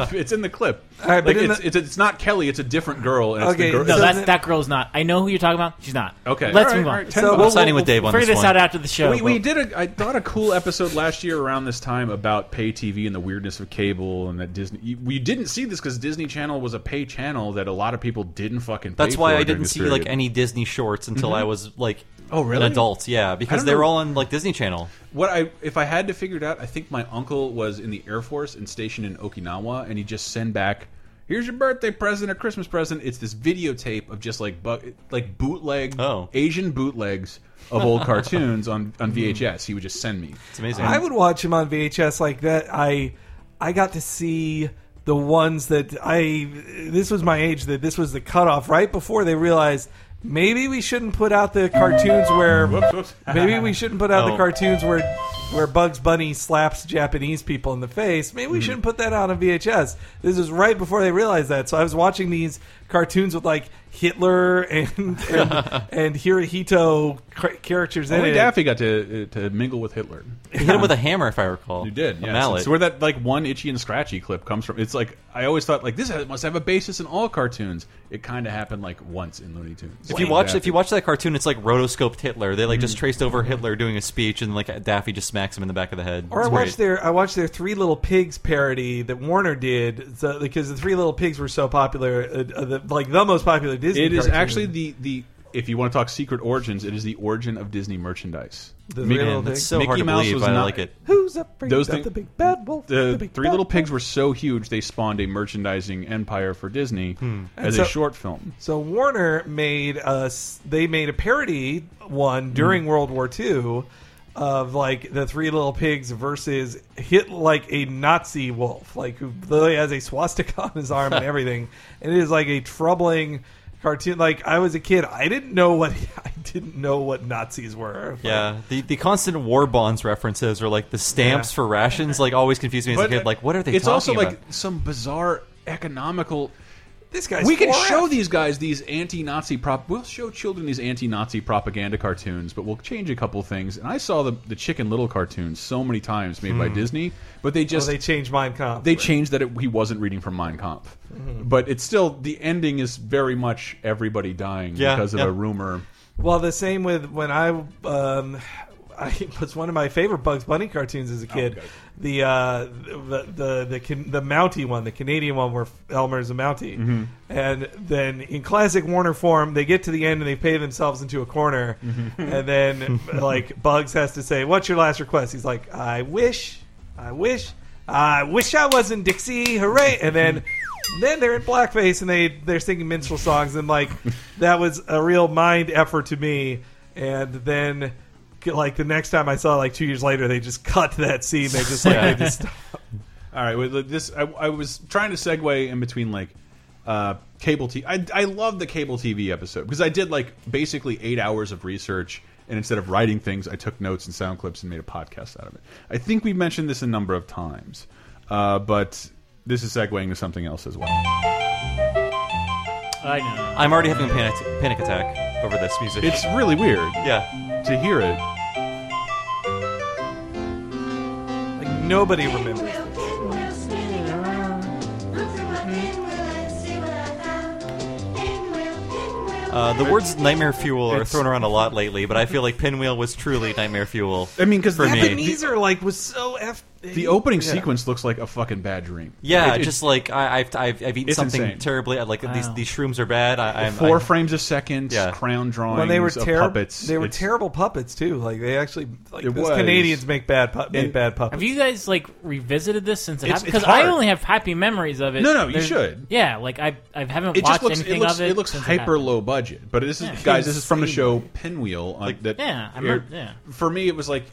[SPEAKER 1] clip. it's in the clip.
[SPEAKER 3] All right, but
[SPEAKER 1] like
[SPEAKER 3] in
[SPEAKER 1] it's,
[SPEAKER 3] the-
[SPEAKER 1] it's it's not Kelly. It's a different girl. And it's the girl.
[SPEAKER 3] no, that's, that girl's not. I know who you're talking about. She's not.
[SPEAKER 1] Okay.
[SPEAKER 3] let's
[SPEAKER 1] All right,
[SPEAKER 3] move
[SPEAKER 1] all
[SPEAKER 3] on.
[SPEAKER 1] right, 10 So- bucks.
[SPEAKER 3] We'll-
[SPEAKER 1] I'm signing with
[SPEAKER 3] we'll
[SPEAKER 1] Dave on
[SPEAKER 3] Figure
[SPEAKER 1] this
[SPEAKER 3] this
[SPEAKER 1] one.
[SPEAKER 3] out after the show.
[SPEAKER 1] We, we did a I thought a cool episode last year around this time about pay TV and the weirdness of cable and that Disney. you- We didn't see this because Disney Channel was a pay channel that a lot of people didn't fucking.
[SPEAKER 4] That's
[SPEAKER 1] pay
[SPEAKER 4] why
[SPEAKER 1] for
[SPEAKER 4] I
[SPEAKER 1] during
[SPEAKER 4] didn't
[SPEAKER 1] this
[SPEAKER 4] see
[SPEAKER 1] period.
[SPEAKER 4] like any Disney shorts until
[SPEAKER 1] Mhm.
[SPEAKER 4] I was like
[SPEAKER 1] Oh, really?
[SPEAKER 4] an adult. Yeah, because
[SPEAKER 1] don't
[SPEAKER 4] they were
[SPEAKER 1] know.
[SPEAKER 4] all on like Disney Channel.
[SPEAKER 1] What I if I had to figure it out, I think my uncle was in the Air Force and stationed in Okinawa, and he just send back. Here's your birthday present, a Christmas present. It's this videotape of just like bu like bootleg
[SPEAKER 4] Oh.
[SPEAKER 1] Asian bootlegs of old cartoons on on VHS. He would just send me. It's
[SPEAKER 4] Hmm. amazing.
[SPEAKER 2] I would watch him on VHS like that. I I got to see the ones that I this was my age that this was the cutoff right before they realized maybe we shouldn't put out the cartoons where maybe we shouldn't put out the
[SPEAKER 4] Oh.
[SPEAKER 2] cartoons where where Bugs Bunny slaps Japanese people in the face. Maybe we
[SPEAKER 4] Hmm.
[SPEAKER 2] shouldn't put that out on VHS. This was right before they realized that. So I was watching these cartoons with like Hitler and and, and Hirohito ca- characters in
[SPEAKER 1] Only
[SPEAKER 2] it.
[SPEAKER 1] Daffy got to uh, to mingle with Hitler.
[SPEAKER 4] You hit him with a hammer, if I recall.
[SPEAKER 1] You did,
[SPEAKER 4] A
[SPEAKER 1] yeah.
[SPEAKER 4] mallet.
[SPEAKER 1] It's where that like one itchy and scratchy clip comes from. It's like I always thought like this has- must have a basis in all cartoons. It kind of happened like once in Looney Tunes.
[SPEAKER 4] If you watch, if you watch that cartoon, it's like rotoscoped Hitler. They like just traced over Hitler doing a speech, and like Daffy just smacks him in the back of the head.
[SPEAKER 2] Or I
[SPEAKER 4] It's
[SPEAKER 2] watched
[SPEAKER 4] great.
[SPEAKER 2] their I watched their Three Little Pigs parody that Warner did so, because the Three Little Pigs were so popular, uh, uh, the, like the most popular Disney.
[SPEAKER 1] It is
[SPEAKER 2] cartoon.
[SPEAKER 1] actually the the if you want to talk secret origins, it is the origin of Disney merchandise.
[SPEAKER 2] The
[SPEAKER 1] Mickey-
[SPEAKER 2] Three Little Man, that's Pigs. so
[SPEAKER 1] Mickey
[SPEAKER 4] hard to
[SPEAKER 1] Mouse
[SPEAKER 4] believe,
[SPEAKER 1] was
[SPEAKER 4] but I
[SPEAKER 1] not,
[SPEAKER 4] like it.
[SPEAKER 2] Who's afraid
[SPEAKER 1] Those
[SPEAKER 2] of
[SPEAKER 1] thing-
[SPEAKER 2] the big bad wolf?
[SPEAKER 1] The,
[SPEAKER 2] big
[SPEAKER 1] Three Little Pigs were so huge they spawned a merchandising empire for Disney as
[SPEAKER 2] Hmm. And
[SPEAKER 1] a
[SPEAKER 2] so-
[SPEAKER 1] short film.
[SPEAKER 2] So Warner made us. They made a parody one
[SPEAKER 1] Hmm.
[SPEAKER 2] during World War II of like the Three Little Pigs versus hit like a Nazi wolf, like who literally has a swastika on his arm and everything. And it is like a troubling cartoon. Like I was a kid, I didn't know what I didn't know what Nazis were.
[SPEAKER 4] Yeah, the, the constant war bonds references or like the stamps
[SPEAKER 2] Yeah.
[SPEAKER 4] for rations like always confused me as a kid. Like, what are they?
[SPEAKER 1] It's
[SPEAKER 4] talking
[SPEAKER 1] also
[SPEAKER 4] about?
[SPEAKER 1] like some bizarre economical.
[SPEAKER 2] This guy's
[SPEAKER 1] We can
[SPEAKER 2] for
[SPEAKER 1] show
[SPEAKER 2] it.
[SPEAKER 1] these guys these anti-Nazi prop. We'll show children these anti-Nazi propaganda cartoons, but we'll change a couple things. And I saw the the Chicken Little cartoons so many times made by
[SPEAKER 2] Hmm.
[SPEAKER 1] Disney, but they just
[SPEAKER 2] they changed Mein Kampf.
[SPEAKER 1] They changed that it, he wasn't reading from Mein Kampf,
[SPEAKER 2] Mhm.
[SPEAKER 1] but it's still the ending is very much everybody dying
[SPEAKER 4] Yeah,
[SPEAKER 1] because of
[SPEAKER 4] yeah.
[SPEAKER 1] a rumor.
[SPEAKER 2] Well, the same with when I, um, I it was one of my favorite Bugs Bunny cartoons as a kid. The, uh, the the the Can- the Mountie one, the Canadian one, where Elmer's a Mountie,
[SPEAKER 10] Mhm.
[SPEAKER 2] and then in classic Warner form, they get to the end and they pay themselves into a corner, and then like Bugs has to say, "What's your last request?" He's like, "I wish, I wish, I wish I was in Dixie, hooray!" And then. Then they're in blackface and they they're singing minstrel songs and like that was a real mind effort to me. And then like the next time I saw it, like two years later, they just cut that scene. They just like they just
[SPEAKER 1] All right. Well, this I, I was trying to segue in between like uh, cable TV. I, I love the cable TV episode because I did like basically eight hours of research, and instead of writing things, I took notes and sound clips and made a podcast out of it. I think we've mentioned this a number of times, uh, but this is segueing to something else as well.
[SPEAKER 3] I know.
[SPEAKER 4] I'm already having a panic, panic attack over this music.
[SPEAKER 1] It's really weird.
[SPEAKER 4] Yeah.
[SPEAKER 1] To hear it.
[SPEAKER 2] Like nobody remembers.
[SPEAKER 4] Uh, the words "nightmare fuel" are thrown around a lot lately, but I feel like Pinwheel was truly nightmare fuel.
[SPEAKER 1] I mean, because
[SPEAKER 4] for me,
[SPEAKER 2] Ebenezer like was so f.
[SPEAKER 1] The opening
[SPEAKER 4] Yeah.
[SPEAKER 1] sequence looks like a fucking bad dream.
[SPEAKER 4] yeah,
[SPEAKER 1] It- it-
[SPEAKER 4] just like I, I've, I've I've eaten
[SPEAKER 1] It's
[SPEAKER 4] something
[SPEAKER 1] insane.
[SPEAKER 4] terribly. I, like these
[SPEAKER 1] Wow.
[SPEAKER 4] these shrooms are bad. I, I'm,
[SPEAKER 1] 4
[SPEAKER 4] I'm-
[SPEAKER 1] frames a second,
[SPEAKER 4] Yeah.
[SPEAKER 1] crown drawings,
[SPEAKER 2] When they were
[SPEAKER 1] of
[SPEAKER 2] terrible,
[SPEAKER 1] puppets.
[SPEAKER 2] they were
[SPEAKER 1] It's-
[SPEAKER 2] terrible puppets too. Like they actually, like
[SPEAKER 1] It
[SPEAKER 2] those
[SPEAKER 1] was.
[SPEAKER 2] Canadians make bad pu- make
[SPEAKER 1] It-
[SPEAKER 2] bad puppets.
[SPEAKER 3] Have you guys like revisited this since it
[SPEAKER 2] It's-
[SPEAKER 3] happened?
[SPEAKER 2] it's
[SPEAKER 3] Because I
[SPEAKER 2] hard.
[SPEAKER 3] only have happy memories of it.
[SPEAKER 1] No, no, you
[SPEAKER 3] There's-
[SPEAKER 1] should.
[SPEAKER 3] Yeah, like I I haven't
[SPEAKER 1] it
[SPEAKER 3] watched
[SPEAKER 1] just looks
[SPEAKER 3] anything
[SPEAKER 1] it looks,
[SPEAKER 3] of it.
[SPEAKER 1] it looks
[SPEAKER 3] since
[SPEAKER 1] hyper
[SPEAKER 3] happened.
[SPEAKER 1] low budget, but this is
[SPEAKER 3] Yeah.
[SPEAKER 1] guys. This is from the show Pinwheel. On, that
[SPEAKER 3] Yeah, I remember- yeah.
[SPEAKER 1] For me, it was like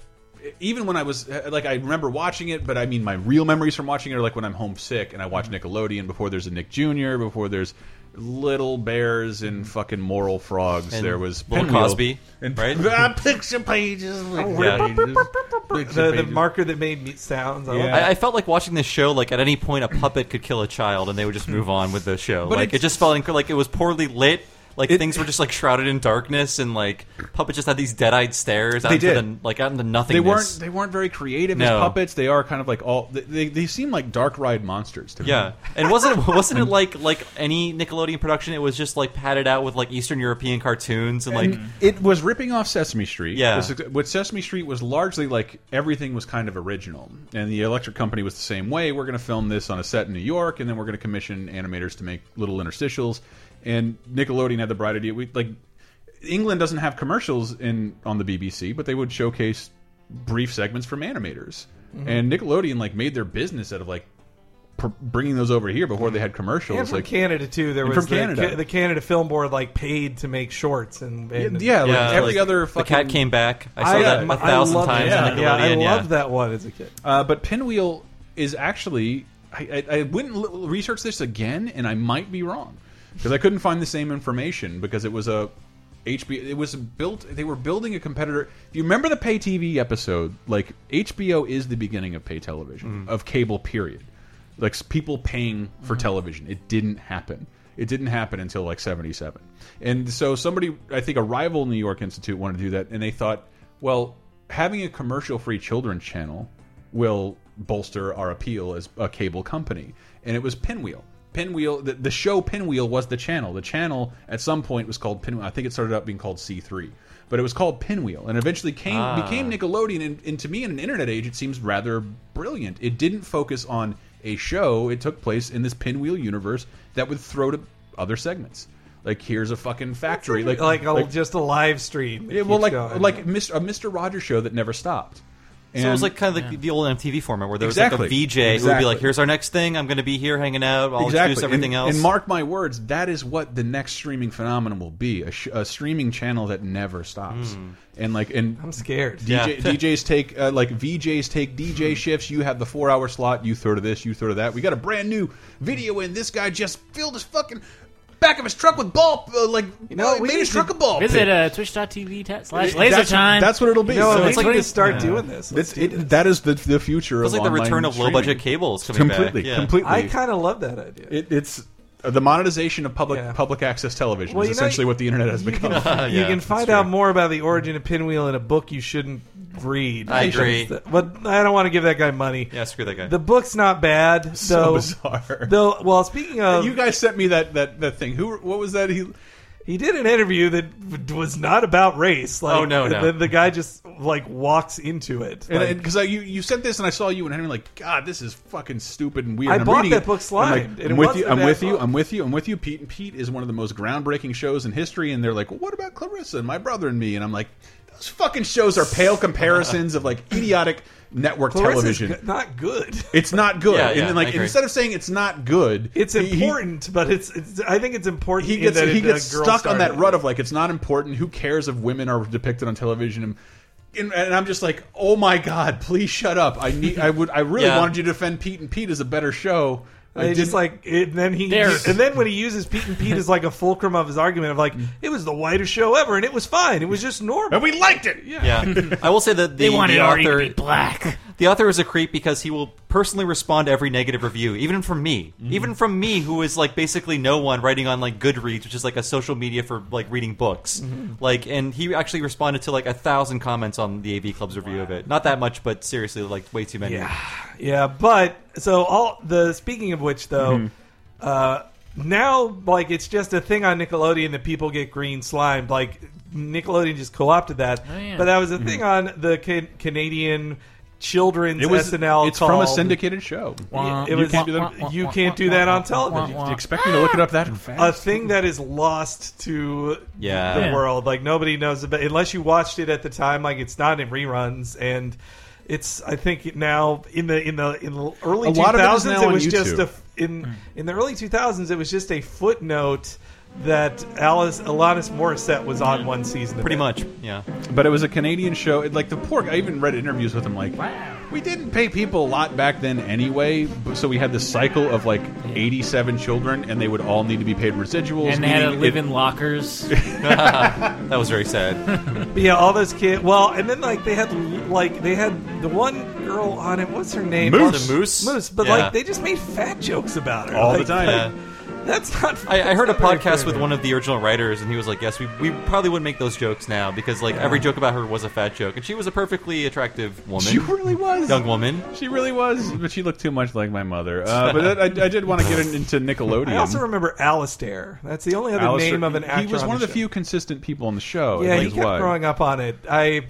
[SPEAKER 1] even when I was uh, like I remember watching it, but I mean my real memories from watching it are like when I'm homesick and I watch
[SPEAKER 3] Mm-hmm.
[SPEAKER 1] Nickelodeon before there's a Nick Jr. before there's little bears and
[SPEAKER 3] Mm-hmm.
[SPEAKER 1] fucking moral frogs.
[SPEAKER 4] And
[SPEAKER 1] there was
[SPEAKER 4] Little
[SPEAKER 1] Pinwheel.
[SPEAKER 4] Cosby,
[SPEAKER 1] and Ah,
[SPEAKER 4] right?
[SPEAKER 1] picture pages.
[SPEAKER 4] Yeah.
[SPEAKER 2] the, the marker that made me sounds. I love that.
[SPEAKER 4] I, I felt like watching this show. Like at any point, a puppet could kill a child, and they would just move on with the show.
[SPEAKER 2] But
[SPEAKER 4] like it just felt inc- like it was poorly lit. Like things were just like shrouded in darkness, and like puppet just had these dead-eyed stares out
[SPEAKER 1] They
[SPEAKER 4] into
[SPEAKER 1] did.
[SPEAKER 4] the like out into
[SPEAKER 1] They
[SPEAKER 4] nothingness.
[SPEAKER 1] weren't. They weren't very creative
[SPEAKER 4] No.
[SPEAKER 1] as puppets. They are kind of like all. They, they, they seem like dark ride monsters to me.
[SPEAKER 4] Yeah, and wasn't wasn't it like like any Nickelodeon production? It was just like padded out with like Eastern European cartoons and like
[SPEAKER 1] And it was ripping off Sesame Street.
[SPEAKER 4] Mm-hmm. Yeah.
[SPEAKER 1] This- what Sesame Street was largely like everything was kind of original, and the electric company was the same way. We're going to film this on a set in New York, and then we're going to commission animators to make little interstitials. And Nickelodeon had the bright idea. We like England doesn't have commercials in on the BBC, but they would showcase brief segments from animators.
[SPEAKER 2] Mhm.
[SPEAKER 4] Mm-hmm.
[SPEAKER 1] And Nickelodeon like made their business out of like pr bringing those over here before they had commercials.
[SPEAKER 2] And from
[SPEAKER 1] like
[SPEAKER 2] Canada too. There
[SPEAKER 1] And
[SPEAKER 2] was
[SPEAKER 1] from
[SPEAKER 2] the,
[SPEAKER 1] Canada.
[SPEAKER 2] Ca- the Canada Film Board like paid to make shorts and, and-
[SPEAKER 1] Yeah, uh, like
[SPEAKER 4] Yeah,
[SPEAKER 1] every
[SPEAKER 4] like
[SPEAKER 1] other
[SPEAKER 4] The Cat
[SPEAKER 1] fucking
[SPEAKER 4] Came Back. I saw that a
[SPEAKER 2] I
[SPEAKER 4] thousand
[SPEAKER 2] loved-
[SPEAKER 4] times
[SPEAKER 2] Yeah,
[SPEAKER 4] on
[SPEAKER 2] yeah, I
[SPEAKER 4] Nickelodeon, yeah.
[SPEAKER 2] loved that one as a kid.
[SPEAKER 1] Uh, but Pinwheel is actually. I, I, I wouldn't l- research this again, and I might be wrong because I couldn't find the same information because it was a HBO. It was built. They were building a competitor. If you remember the pay TV episode, like HBO is the beginning of pay television of cable period. Like s- people paying for television, it didn't happen. It didn't happen until like '77, and so somebody, I think, a rival New York institute wanted to do that, and they thought, well, having a commercial-free children's channel will bolster our appeal as a cable company. And it was Pinwheel. Pinwheel, the, the show Pinwheel was the channel. The channel at some point was called Pinwheel. I think it started out being called C3, but it was called Pinwheel and eventually came
[SPEAKER 4] Ah.
[SPEAKER 1] became Nickelodeon. And, and to me, in an internet age, it seems rather brilliant. It didn't focus on a show, it took place in this Pinwheel universe that would throw to other segments. Like here's a fucking factory, like
[SPEAKER 2] Like, a, just a live stream. that
[SPEAKER 1] yeah, well,
[SPEAKER 2] keeps
[SPEAKER 1] like
[SPEAKER 2] going.
[SPEAKER 1] like Mr. a Mr. Rogers show that never stopped.
[SPEAKER 4] So it
[SPEAKER 1] And-
[SPEAKER 4] was like kind of like the old MTV format where there was like a
[SPEAKER 1] Exactly.
[SPEAKER 4] VJ who would be like,
[SPEAKER 1] Exactly.
[SPEAKER 4] "Here's our next thing. I'm going to be here hanging out. I'll introduce everything
[SPEAKER 1] and,
[SPEAKER 4] else."
[SPEAKER 1] And mark my words, that is what the next streaming phenomenon will be: a, sh a streaming channel that never stops.
[SPEAKER 4] Mm.
[SPEAKER 1] And like, and
[SPEAKER 2] I'm scared.
[SPEAKER 1] DJ,
[SPEAKER 2] Yeah.
[SPEAKER 1] DJs take uh, like VJs take
[SPEAKER 4] Hmm.
[SPEAKER 1] DJ shifts. You have the four hour slot. You throw to this. You throw to that. We got a brand new video in. This guy just filled his fucking back of his truck with ball. Uh, like, you
[SPEAKER 2] know, we
[SPEAKER 1] made
[SPEAKER 2] need
[SPEAKER 1] his
[SPEAKER 2] to
[SPEAKER 1] truck a ball. pit.
[SPEAKER 3] Visit uh, twitch.tv ta- slash
[SPEAKER 1] It-
[SPEAKER 3] laser
[SPEAKER 1] that's-
[SPEAKER 3] time.
[SPEAKER 1] That's what it'll be.
[SPEAKER 2] No,
[SPEAKER 1] So
[SPEAKER 2] we
[SPEAKER 1] it's
[SPEAKER 2] need
[SPEAKER 1] like
[SPEAKER 2] to
[SPEAKER 1] this-
[SPEAKER 2] start
[SPEAKER 1] Yeah.
[SPEAKER 2] doing this. Let's
[SPEAKER 1] That's- it- that is the the future.
[SPEAKER 4] Feels
[SPEAKER 1] of
[SPEAKER 4] like the
[SPEAKER 1] online
[SPEAKER 4] return of
[SPEAKER 1] streaming.
[SPEAKER 4] low-budget cables coming back.
[SPEAKER 1] completely,
[SPEAKER 4] Yeah.
[SPEAKER 1] Completely,
[SPEAKER 2] I kind of love that idea.
[SPEAKER 1] It, it's uh, the monetization of public public access television
[SPEAKER 2] Well,
[SPEAKER 1] is
[SPEAKER 2] you know,
[SPEAKER 1] essentially what the internet has become.
[SPEAKER 2] you can find out more about the origin of Pinwheel in a book you shouldn't read.
[SPEAKER 4] I agree.
[SPEAKER 2] But I don't want to give that guy money.
[SPEAKER 4] yeah, screw that guy.
[SPEAKER 2] The book's not bad.
[SPEAKER 1] So
[SPEAKER 2] though,
[SPEAKER 1] bizarre.
[SPEAKER 2] Though, well, speaking of,
[SPEAKER 1] you guys sent me that that that thing. Who? What was that? He
[SPEAKER 2] he did an interview that w- was not about race. Like,
[SPEAKER 4] Oh, no, no.
[SPEAKER 2] The, the guy just like walks into it. Like,
[SPEAKER 1] because I you you sent this and I saw you and Henry like God this is fucking stupid and weird.
[SPEAKER 2] I
[SPEAKER 1] and I'm
[SPEAKER 2] bought
[SPEAKER 1] reading
[SPEAKER 2] that
[SPEAKER 1] it,
[SPEAKER 2] book
[SPEAKER 1] and I'm like,
[SPEAKER 2] slimed, and
[SPEAKER 1] I'm,
[SPEAKER 2] it
[SPEAKER 1] with
[SPEAKER 2] wasn't
[SPEAKER 1] you.
[SPEAKER 2] a
[SPEAKER 1] I'm
[SPEAKER 2] bad
[SPEAKER 1] with you.
[SPEAKER 2] book.
[SPEAKER 1] I'm with you. I'm with you. Pete and Pete is one of the most groundbreaking shows in history. And they're like, well, what about Clarissa and my brother and me? And I'm like, those fucking shows are pale comparisons of like idiotic network
[SPEAKER 2] Clarissa's
[SPEAKER 1] television.
[SPEAKER 2] g- not good.
[SPEAKER 1] It's not good.
[SPEAKER 2] Yeah,
[SPEAKER 1] And
[SPEAKER 2] yeah,
[SPEAKER 1] then,
[SPEAKER 2] I
[SPEAKER 1] like
[SPEAKER 2] agree.
[SPEAKER 1] instead of saying it's not good,
[SPEAKER 2] It's
[SPEAKER 1] he- he-
[SPEAKER 2] important, but it's, it's. I think it's important.
[SPEAKER 1] he
[SPEAKER 2] in
[SPEAKER 1] gets
[SPEAKER 2] that
[SPEAKER 1] he
[SPEAKER 2] it, uh,
[SPEAKER 1] gets
[SPEAKER 2] girl
[SPEAKER 1] stuck on that
[SPEAKER 2] started.
[SPEAKER 1] rut of like it's not important. Who cares if women are depicted on television? And and, and I'm just like, oh my god, please shut up. I need. I would. I really
[SPEAKER 2] Yeah.
[SPEAKER 1] wanted you to defend Pete and Pete is a better show. I
[SPEAKER 2] It's
[SPEAKER 1] didn't-
[SPEAKER 2] just like and then he
[SPEAKER 1] There.
[SPEAKER 2] and then when he uses Pete and Pete as like a fulcrum of his argument of like it was the whitest show ever and it was fine it was just normal
[SPEAKER 1] Mm. and we liked it
[SPEAKER 2] yeah,
[SPEAKER 4] Yeah, I will say that the,
[SPEAKER 2] They wanted
[SPEAKER 4] the
[SPEAKER 1] E
[SPEAKER 2] Ari to
[SPEAKER 4] author
[SPEAKER 2] be black.
[SPEAKER 4] The author is a creep because he will personally respond to every negative review, even from me,
[SPEAKER 1] Mm-hmm.
[SPEAKER 4] even from me, who is like basically no one writing on like Goodreads, which is like a social media for like reading books.
[SPEAKER 1] Mm-hmm.
[SPEAKER 2] Mhm.
[SPEAKER 4] Like, and he actually responded to like a thousand comments on the AV Club's review of it. Not that much, but seriously, like way too many.
[SPEAKER 2] Yeah, but so all the speaking of which though,
[SPEAKER 4] Mhm.
[SPEAKER 1] Mm-hmm.
[SPEAKER 2] uh, now like it's just a thing on Nickelodeon that people get green slimed. Like Nickelodeon just co-opted that,
[SPEAKER 1] Oh, yeah.
[SPEAKER 2] but that was a
[SPEAKER 1] Mhm.
[SPEAKER 2] thing on the can- Canadian children's
[SPEAKER 1] It was-
[SPEAKER 2] SNL.
[SPEAKER 1] it's from a
[SPEAKER 2] called-
[SPEAKER 1] syndicated show.
[SPEAKER 2] Yeah,
[SPEAKER 1] You
[SPEAKER 2] It was,
[SPEAKER 1] can't do that-
[SPEAKER 2] you can't do that on television.
[SPEAKER 1] You expect me to look it up that fast?
[SPEAKER 2] Ah! A thing that is lost to
[SPEAKER 1] Yeah.
[SPEAKER 2] the
[SPEAKER 1] Yeah.
[SPEAKER 2] world. Like nobody knows about unless you watched it at the time. Like it's not in reruns and. It's. I think now in the in the in the early
[SPEAKER 1] A lot of it is
[SPEAKER 2] 2000s
[SPEAKER 1] now on
[SPEAKER 2] was just
[SPEAKER 1] YouTube.
[SPEAKER 2] a in in the early 2000s it was just a footnote that Alice Alanis Morissette was on one season. of
[SPEAKER 4] Pretty
[SPEAKER 2] it.
[SPEAKER 4] much, yeah.
[SPEAKER 1] But it was a Canadian show. It, like the pork, I even read interviews with him. Like, we didn't pay people a lot back then anyway, but- so we had this cycle of like eighty-seven children, and they would all need to be paid residuals.
[SPEAKER 3] And they had to
[SPEAKER 1] meaning
[SPEAKER 3] live
[SPEAKER 1] it-
[SPEAKER 3] in lockers.
[SPEAKER 4] that was very sad.
[SPEAKER 2] But yeah, all those kids. Well, and then like they had like they had the one girl on it. What's her name?
[SPEAKER 4] Moose. The Moose?
[SPEAKER 2] Moose. But
[SPEAKER 4] Yeah.
[SPEAKER 2] like they just made fat jokes about her
[SPEAKER 4] All the
[SPEAKER 2] Like,
[SPEAKER 4] time.
[SPEAKER 2] like,
[SPEAKER 4] Yeah.
[SPEAKER 2] that's not.
[SPEAKER 4] I, I heard a
[SPEAKER 2] that's not very
[SPEAKER 4] podcast with
[SPEAKER 2] fair.
[SPEAKER 4] one of the original writers, and he was like, "Yes, we, we probably wouldn't make those jokes now because like
[SPEAKER 1] Yeah.
[SPEAKER 4] every joke about her was a fat joke, and she was a perfectly attractive woman.
[SPEAKER 1] She really was.
[SPEAKER 4] young woman.
[SPEAKER 1] She really was, but she looked too much like my mother. Uh, but that, I, I did want to get in- into Nickelodeon.
[SPEAKER 2] I also remember Alistair. That's the only other
[SPEAKER 1] Alistair-
[SPEAKER 2] name of an actor.
[SPEAKER 1] He was
[SPEAKER 2] on
[SPEAKER 1] one of the
[SPEAKER 2] show.
[SPEAKER 1] few consistent people on the show.
[SPEAKER 2] Yeah,
[SPEAKER 1] and
[SPEAKER 2] he
[SPEAKER 1] that's
[SPEAKER 2] kept
[SPEAKER 1] why.
[SPEAKER 2] growing up on it. I,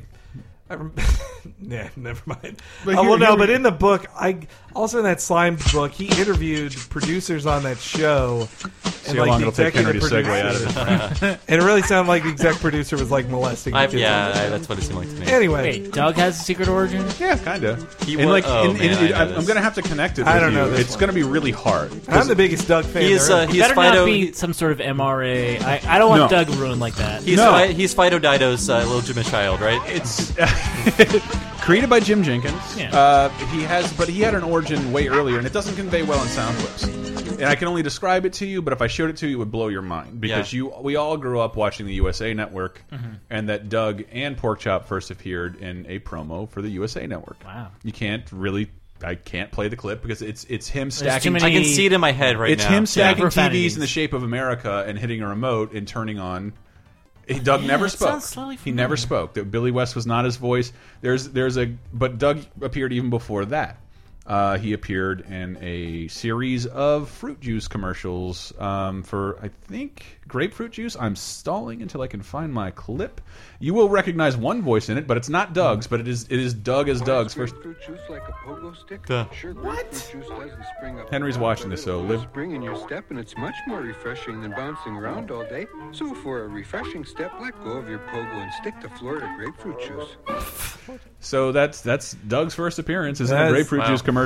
[SPEAKER 2] I rem- yeah, never mind.
[SPEAKER 1] But
[SPEAKER 2] Uh,
[SPEAKER 1] here-
[SPEAKER 2] well, no,
[SPEAKER 1] here-
[SPEAKER 2] but in the book, I also in that slime book, he interviewed producers on that show.
[SPEAKER 1] See how long it'll take Henry to segue
[SPEAKER 2] producer-
[SPEAKER 1] out of it.
[SPEAKER 2] and it really sounded like the exec producer was like molesting. the
[SPEAKER 4] I,
[SPEAKER 2] kids.
[SPEAKER 4] yeah, I, that's what it seemed like to me.
[SPEAKER 2] Anyway,
[SPEAKER 3] Wait, Doug has a secret origin?
[SPEAKER 1] Yeah, kind of.
[SPEAKER 4] He
[SPEAKER 1] And
[SPEAKER 4] wa-
[SPEAKER 1] like,
[SPEAKER 4] oh,
[SPEAKER 1] in-
[SPEAKER 4] man,
[SPEAKER 1] in-
[SPEAKER 4] I know
[SPEAKER 1] I'm,
[SPEAKER 4] this.
[SPEAKER 1] going to have to connect it.
[SPEAKER 4] I
[SPEAKER 1] with
[SPEAKER 4] don't know
[SPEAKER 1] you.
[SPEAKER 4] this
[SPEAKER 1] It's
[SPEAKER 4] one.
[SPEAKER 1] going to be really hard.
[SPEAKER 2] I'm the biggest Doug fan.
[SPEAKER 4] He is,
[SPEAKER 2] there
[SPEAKER 4] uh,
[SPEAKER 2] is.
[SPEAKER 4] he is
[SPEAKER 3] Better
[SPEAKER 4] Fido.
[SPEAKER 3] not be some sort of MRA. I, I don't want
[SPEAKER 4] No.
[SPEAKER 3] Doug ruined like that.
[SPEAKER 4] He's,
[SPEAKER 1] No.
[SPEAKER 4] Fi- he's Fido Dido's uh, legitimate child, right?
[SPEAKER 1] It's created by Jim Jenkins.
[SPEAKER 4] Yeah.
[SPEAKER 1] Uh, he has, but he had an origin way earlier, and it doesn't convey well in sound clips. And I can only describe it to you, but if I showed it to you, it would blow your mind because
[SPEAKER 4] Yeah.
[SPEAKER 1] you we all grew up watching the USA Network,
[SPEAKER 4] Mhm.
[SPEAKER 1] and that Doug and Porkchop first appeared in a promo for the USA Network.
[SPEAKER 3] Wow.
[SPEAKER 1] You can't really. I can't play the clip because it's it's him
[SPEAKER 4] too
[SPEAKER 1] stacking.
[SPEAKER 4] many- I can see it in my head right
[SPEAKER 1] it's
[SPEAKER 4] now.
[SPEAKER 1] It's him
[SPEAKER 4] Yeah.
[SPEAKER 1] stacking
[SPEAKER 4] Profanities.
[SPEAKER 1] TVs in the shape of America and hitting a remote and turning on. He, Doug
[SPEAKER 3] Yeah,
[SPEAKER 1] never
[SPEAKER 3] that
[SPEAKER 1] spoke.
[SPEAKER 3] sounds slightly
[SPEAKER 1] He never
[SPEAKER 3] familiar.
[SPEAKER 1] spoke. That Billy West was not his voice. There's there's a but Doug appeared even before that. Uh, he appeared in a series of fruit juice commercials um, for I think grapefruit juice. I'm stalling until I can find my clip. You will recognize one voice in it, but it's not Doug's. But it is it is Doug as Doug's first.
[SPEAKER 17] Fruit juice like a pogo stick?
[SPEAKER 1] Duh.
[SPEAKER 17] Sure, what? Juice doesn't spring up
[SPEAKER 1] Henry's watching this, so live.
[SPEAKER 17] spring in your step, and it's much more refreshing than bouncing around all day. So for a refreshing step, let go of your pogo and stick to Florida grapefruit juice.
[SPEAKER 1] So that's that's Doug's first appearance is in a
[SPEAKER 2] That's-
[SPEAKER 1] grapefruit
[SPEAKER 2] wow.
[SPEAKER 1] juice commercial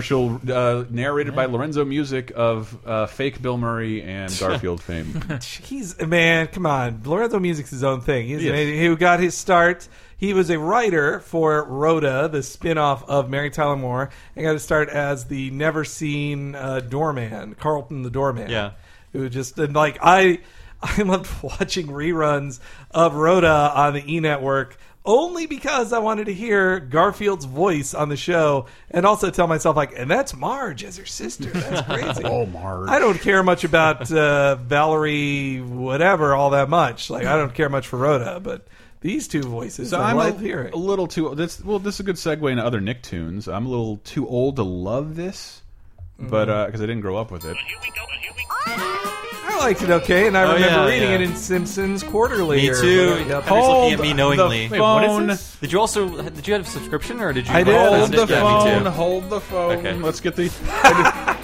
[SPEAKER 1] uh, narrated by Lorenzo Music of uh, fake Bill Murray and Garfield fame.
[SPEAKER 2] He's man, come on. Lorenzo Music's his own thing. He's
[SPEAKER 1] Yes.
[SPEAKER 2] amazing. Who got his start? He was a writer for Rhoda, the spin-off of Mary Tyler Moore, and got his start as the never seen uh, doorman, Carlton the doorman.
[SPEAKER 4] Yeah.
[SPEAKER 2] who just and like I, I loved watching reruns of Rhoda on the E Network. Only because I wanted to hear Garfield's voice on the show, and also tell myself like, and that's Marge as her sister. That's crazy.
[SPEAKER 1] Oh, Marge.
[SPEAKER 2] I don't care much about uh, Valerie, whatever, all that much. Like I don't care much for Rhoda, but these two voices,
[SPEAKER 1] So
[SPEAKER 2] I
[SPEAKER 1] I'm
[SPEAKER 2] love
[SPEAKER 1] a,
[SPEAKER 2] hearing.
[SPEAKER 1] a little too. This, well, this is a good segue into other Nicktoons. I'm a little too old to love this,
[SPEAKER 4] Mm.
[SPEAKER 1] but
[SPEAKER 2] Mhm.
[SPEAKER 1] because I didn't grow up with it.
[SPEAKER 2] I liked it okay, and I
[SPEAKER 1] Oh,
[SPEAKER 2] remember
[SPEAKER 1] yeah,
[SPEAKER 2] reading
[SPEAKER 1] yeah.
[SPEAKER 2] it in Simpsons Quarterly.
[SPEAKER 4] Me
[SPEAKER 2] or
[SPEAKER 4] too.
[SPEAKER 2] whatever. Yep.
[SPEAKER 4] Henry's looking at me knowingly.
[SPEAKER 2] Wait, what is this?
[SPEAKER 4] Did you also did you have a subscription or did you?
[SPEAKER 1] I did.
[SPEAKER 4] Yeah,
[SPEAKER 1] Hold the
[SPEAKER 4] me too.
[SPEAKER 1] phone. Hold the phone.
[SPEAKER 4] Okay.
[SPEAKER 1] Let's get the.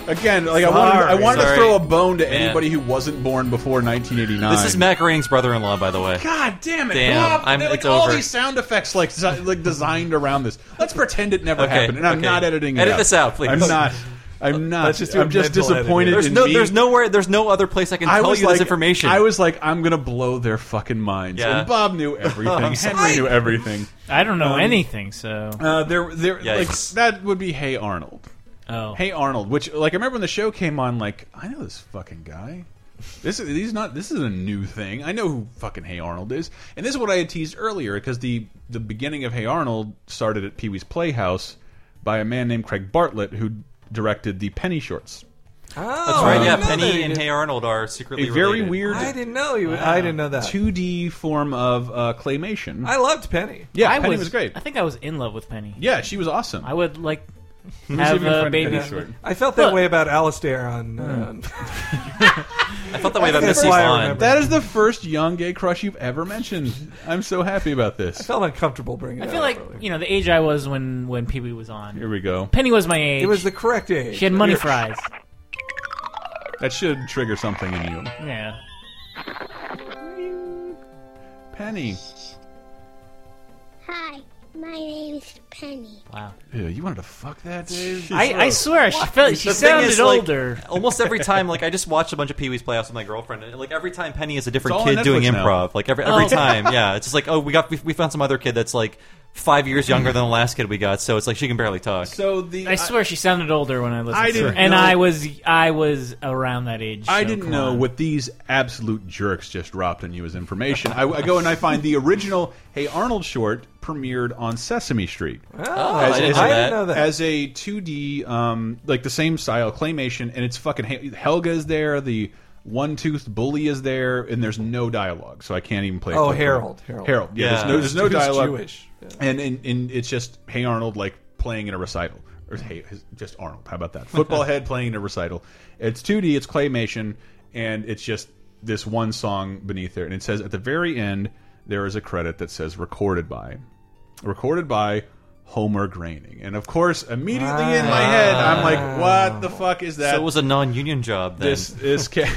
[SPEAKER 1] Again, like I wanted, I
[SPEAKER 4] Sorry.
[SPEAKER 1] wanted to
[SPEAKER 4] Sorry.
[SPEAKER 1] throw a bone to
[SPEAKER 4] Man.
[SPEAKER 1] anybody who wasn't born before 1989.
[SPEAKER 4] This is Matt Groening's brother-in-law, by the way.
[SPEAKER 1] God damn it!
[SPEAKER 4] Damn,
[SPEAKER 1] Bob,
[SPEAKER 4] I'm-
[SPEAKER 1] They're, like "Oh,
[SPEAKER 4] it's
[SPEAKER 1] all
[SPEAKER 4] over.
[SPEAKER 1] these sound effects, like desi- like designed around this. Let's pretend it never
[SPEAKER 4] Okay,
[SPEAKER 1] happened, and I'm
[SPEAKER 4] okay.
[SPEAKER 1] not editing. it
[SPEAKER 4] Edit
[SPEAKER 1] out.
[SPEAKER 4] this out, please.
[SPEAKER 1] I'm not. I'm not.
[SPEAKER 4] Let's just do a
[SPEAKER 1] I'm just
[SPEAKER 4] mental editing.
[SPEAKER 1] disappointed.
[SPEAKER 4] There's
[SPEAKER 1] in
[SPEAKER 4] no-
[SPEAKER 1] me.
[SPEAKER 4] there's nowhere. There's no other place I can tell you this information.
[SPEAKER 1] I was like, I'm gonna blow their fucking minds.
[SPEAKER 4] Yeah.
[SPEAKER 1] And Bob knew everything.
[SPEAKER 4] I'm
[SPEAKER 1] Henry
[SPEAKER 4] sorry.
[SPEAKER 1] knew everything.
[SPEAKER 3] I don't know
[SPEAKER 1] Um,
[SPEAKER 3] anything, so
[SPEAKER 1] Uh, there, there, like
[SPEAKER 3] Yikes.
[SPEAKER 1] that would be Hey Arnold.
[SPEAKER 3] Oh,
[SPEAKER 1] uh, Hey Arnold, which like I remember when the show came on, like I know this fucking guy. This is he's not. This is a new thing. I know who fucking Hey Arnold is, and this is what I had teased earlier because the the beginning of Hey Arnold started at Pee Wee's Playhouse by a man named Craig Bartlett who directed the Penny shorts.
[SPEAKER 2] Oh,
[SPEAKER 4] That's right.
[SPEAKER 1] Um,
[SPEAKER 4] Yeah,
[SPEAKER 1] I didn't know
[SPEAKER 4] Penny
[SPEAKER 1] they
[SPEAKER 4] and
[SPEAKER 1] did-
[SPEAKER 4] Hey Arnold are
[SPEAKER 1] A
[SPEAKER 4] secretly
[SPEAKER 1] very
[SPEAKER 4] related.
[SPEAKER 1] weird.
[SPEAKER 2] I didn't know you. I didn't know that.
[SPEAKER 1] 2D form of uh, claymation.
[SPEAKER 2] Uh, I loved Penny.
[SPEAKER 1] Yeah,
[SPEAKER 3] I
[SPEAKER 1] Penny was great.
[SPEAKER 3] I think I was in love with Penny.
[SPEAKER 1] Yeah, she was awesome.
[SPEAKER 3] I would like
[SPEAKER 1] Let me see if
[SPEAKER 3] have
[SPEAKER 1] we can
[SPEAKER 3] a
[SPEAKER 1] find a
[SPEAKER 3] baby.
[SPEAKER 1] Penny short.
[SPEAKER 2] I felt that
[SPEAKER 3] Look.
[SPEAKER 2] way about Alistair on. Uh,
[SPEAKER 1] Hmm.
[SPEAKER 4] I felt that way about Missy Vaughn.
[SPEAKER 1] That is the first young gay crush you've ever mentioned. I'm so happy about this. I
[SPEAKER 2] felt uncomfortable bringing.
[SPEAKER 3] I feel like you know the age I was when when Pee Wee was on.
[SPEAKER 1] Here we go.
[SPEAKER 3] Penny was my age.
[SPEAKER 2] It was the correct age.
[SPEAKER 3] She had money
[SPEAKER 2] You're-
[SPEAKER 3] fries.
[SPEAKER 1] That should trigger something in you.
[SPEAKER 3] Yeah.
[SPEAKER 1] Penny.
[SPEAKER 6] Hi, my name is Penny.
[SPEAKER 3] Wow.
[SPEAKER 1] Ew, you wanted to fuck that, Dave?
[SPEAKER 3] I- I swear, she felt- she
[SPEAKER 4] The thing
[SPEAKER 3] sounded
[SPEAKER 4] is, like,
[SPEAKER 3] older.
[SPEAKER 4] almost every time, like I just watched a bunch of Pee Wee's Playhouse with my girlfriend, and like every time Penny is a
[SPEAKER 1] It's
[SPEAKER 4] different
[SPEAKER 1] all on
[SPEAKER 4] kid doing
[SPEAKER 1] Netflix now.
[SPEAKER 4] improv. Like every every
[SPEAKER 1] Oh.
[SPEAKER 4] time, yeah, it's just like oh, we got we, we found some other kid that's like five years younger than the last kid we got, so it's like she can barely talk.
[SPEAKER 1] So the
[SPEAKER 3] I swear she sounded older when I listened
[SPEAKER 1] I
[SPEAKER 3] to her,
[SPEAKER 1] didn't
[SPEAKER 3] and
[SPEAKER 1] know-
[SPEAKER 3] I was I was around that age.
[SPEAKER 1] I
[SPEAKER 3] so
[SPEAKER 1] didn't
[SPEAKER 3] come
[SPEAKER 1] know
[SPEAKER 3] on.
[SPEAKER 1] what these absolute jerks just dropped on you as information. I, I go and I find the original Hey Arnold short premiered on Sesame Street.
[SPEAKER 2] Oh, I didn't know I didn't that. know that.
[SPEAKER 1] As a 2D, um, like the same style claymation, and it's fucking He- Helga is there, the one toothed bully is there, and there's no dialogue, so I can't even play.
[SPEAKER 2] Oh,
[SPEAKER 1] clip.
[SPEAKER 2] Harold, Harold.
[SPEAKER 1] Harold. Yeah, there's
[SPEAKER 2] Yeah.
[SPEAKER 1] no, there's no
[SPEAKER 2] Who's
[SPEAKER 1] dialogue.
[SPEAKER 2] Jewish.
[SPEAKER 1] And, and and it's just Hey Arnold like playing in a recital, or Hey just Arnold. How about that? Football head playing in a recital. It's 2D. It's claymation, and it's just this one song beneath there. And it says at the very end there is a credit that says recorded by, recorded by Homer Graining. And of course, immediately in my head, I'm
[SPEAKER 2] Ah.
[SPEAKER 1] like, what the fuck is that?
[SPEAKER 4] So it was a non-union job. Then.
[SPEAKER 1] this this ca-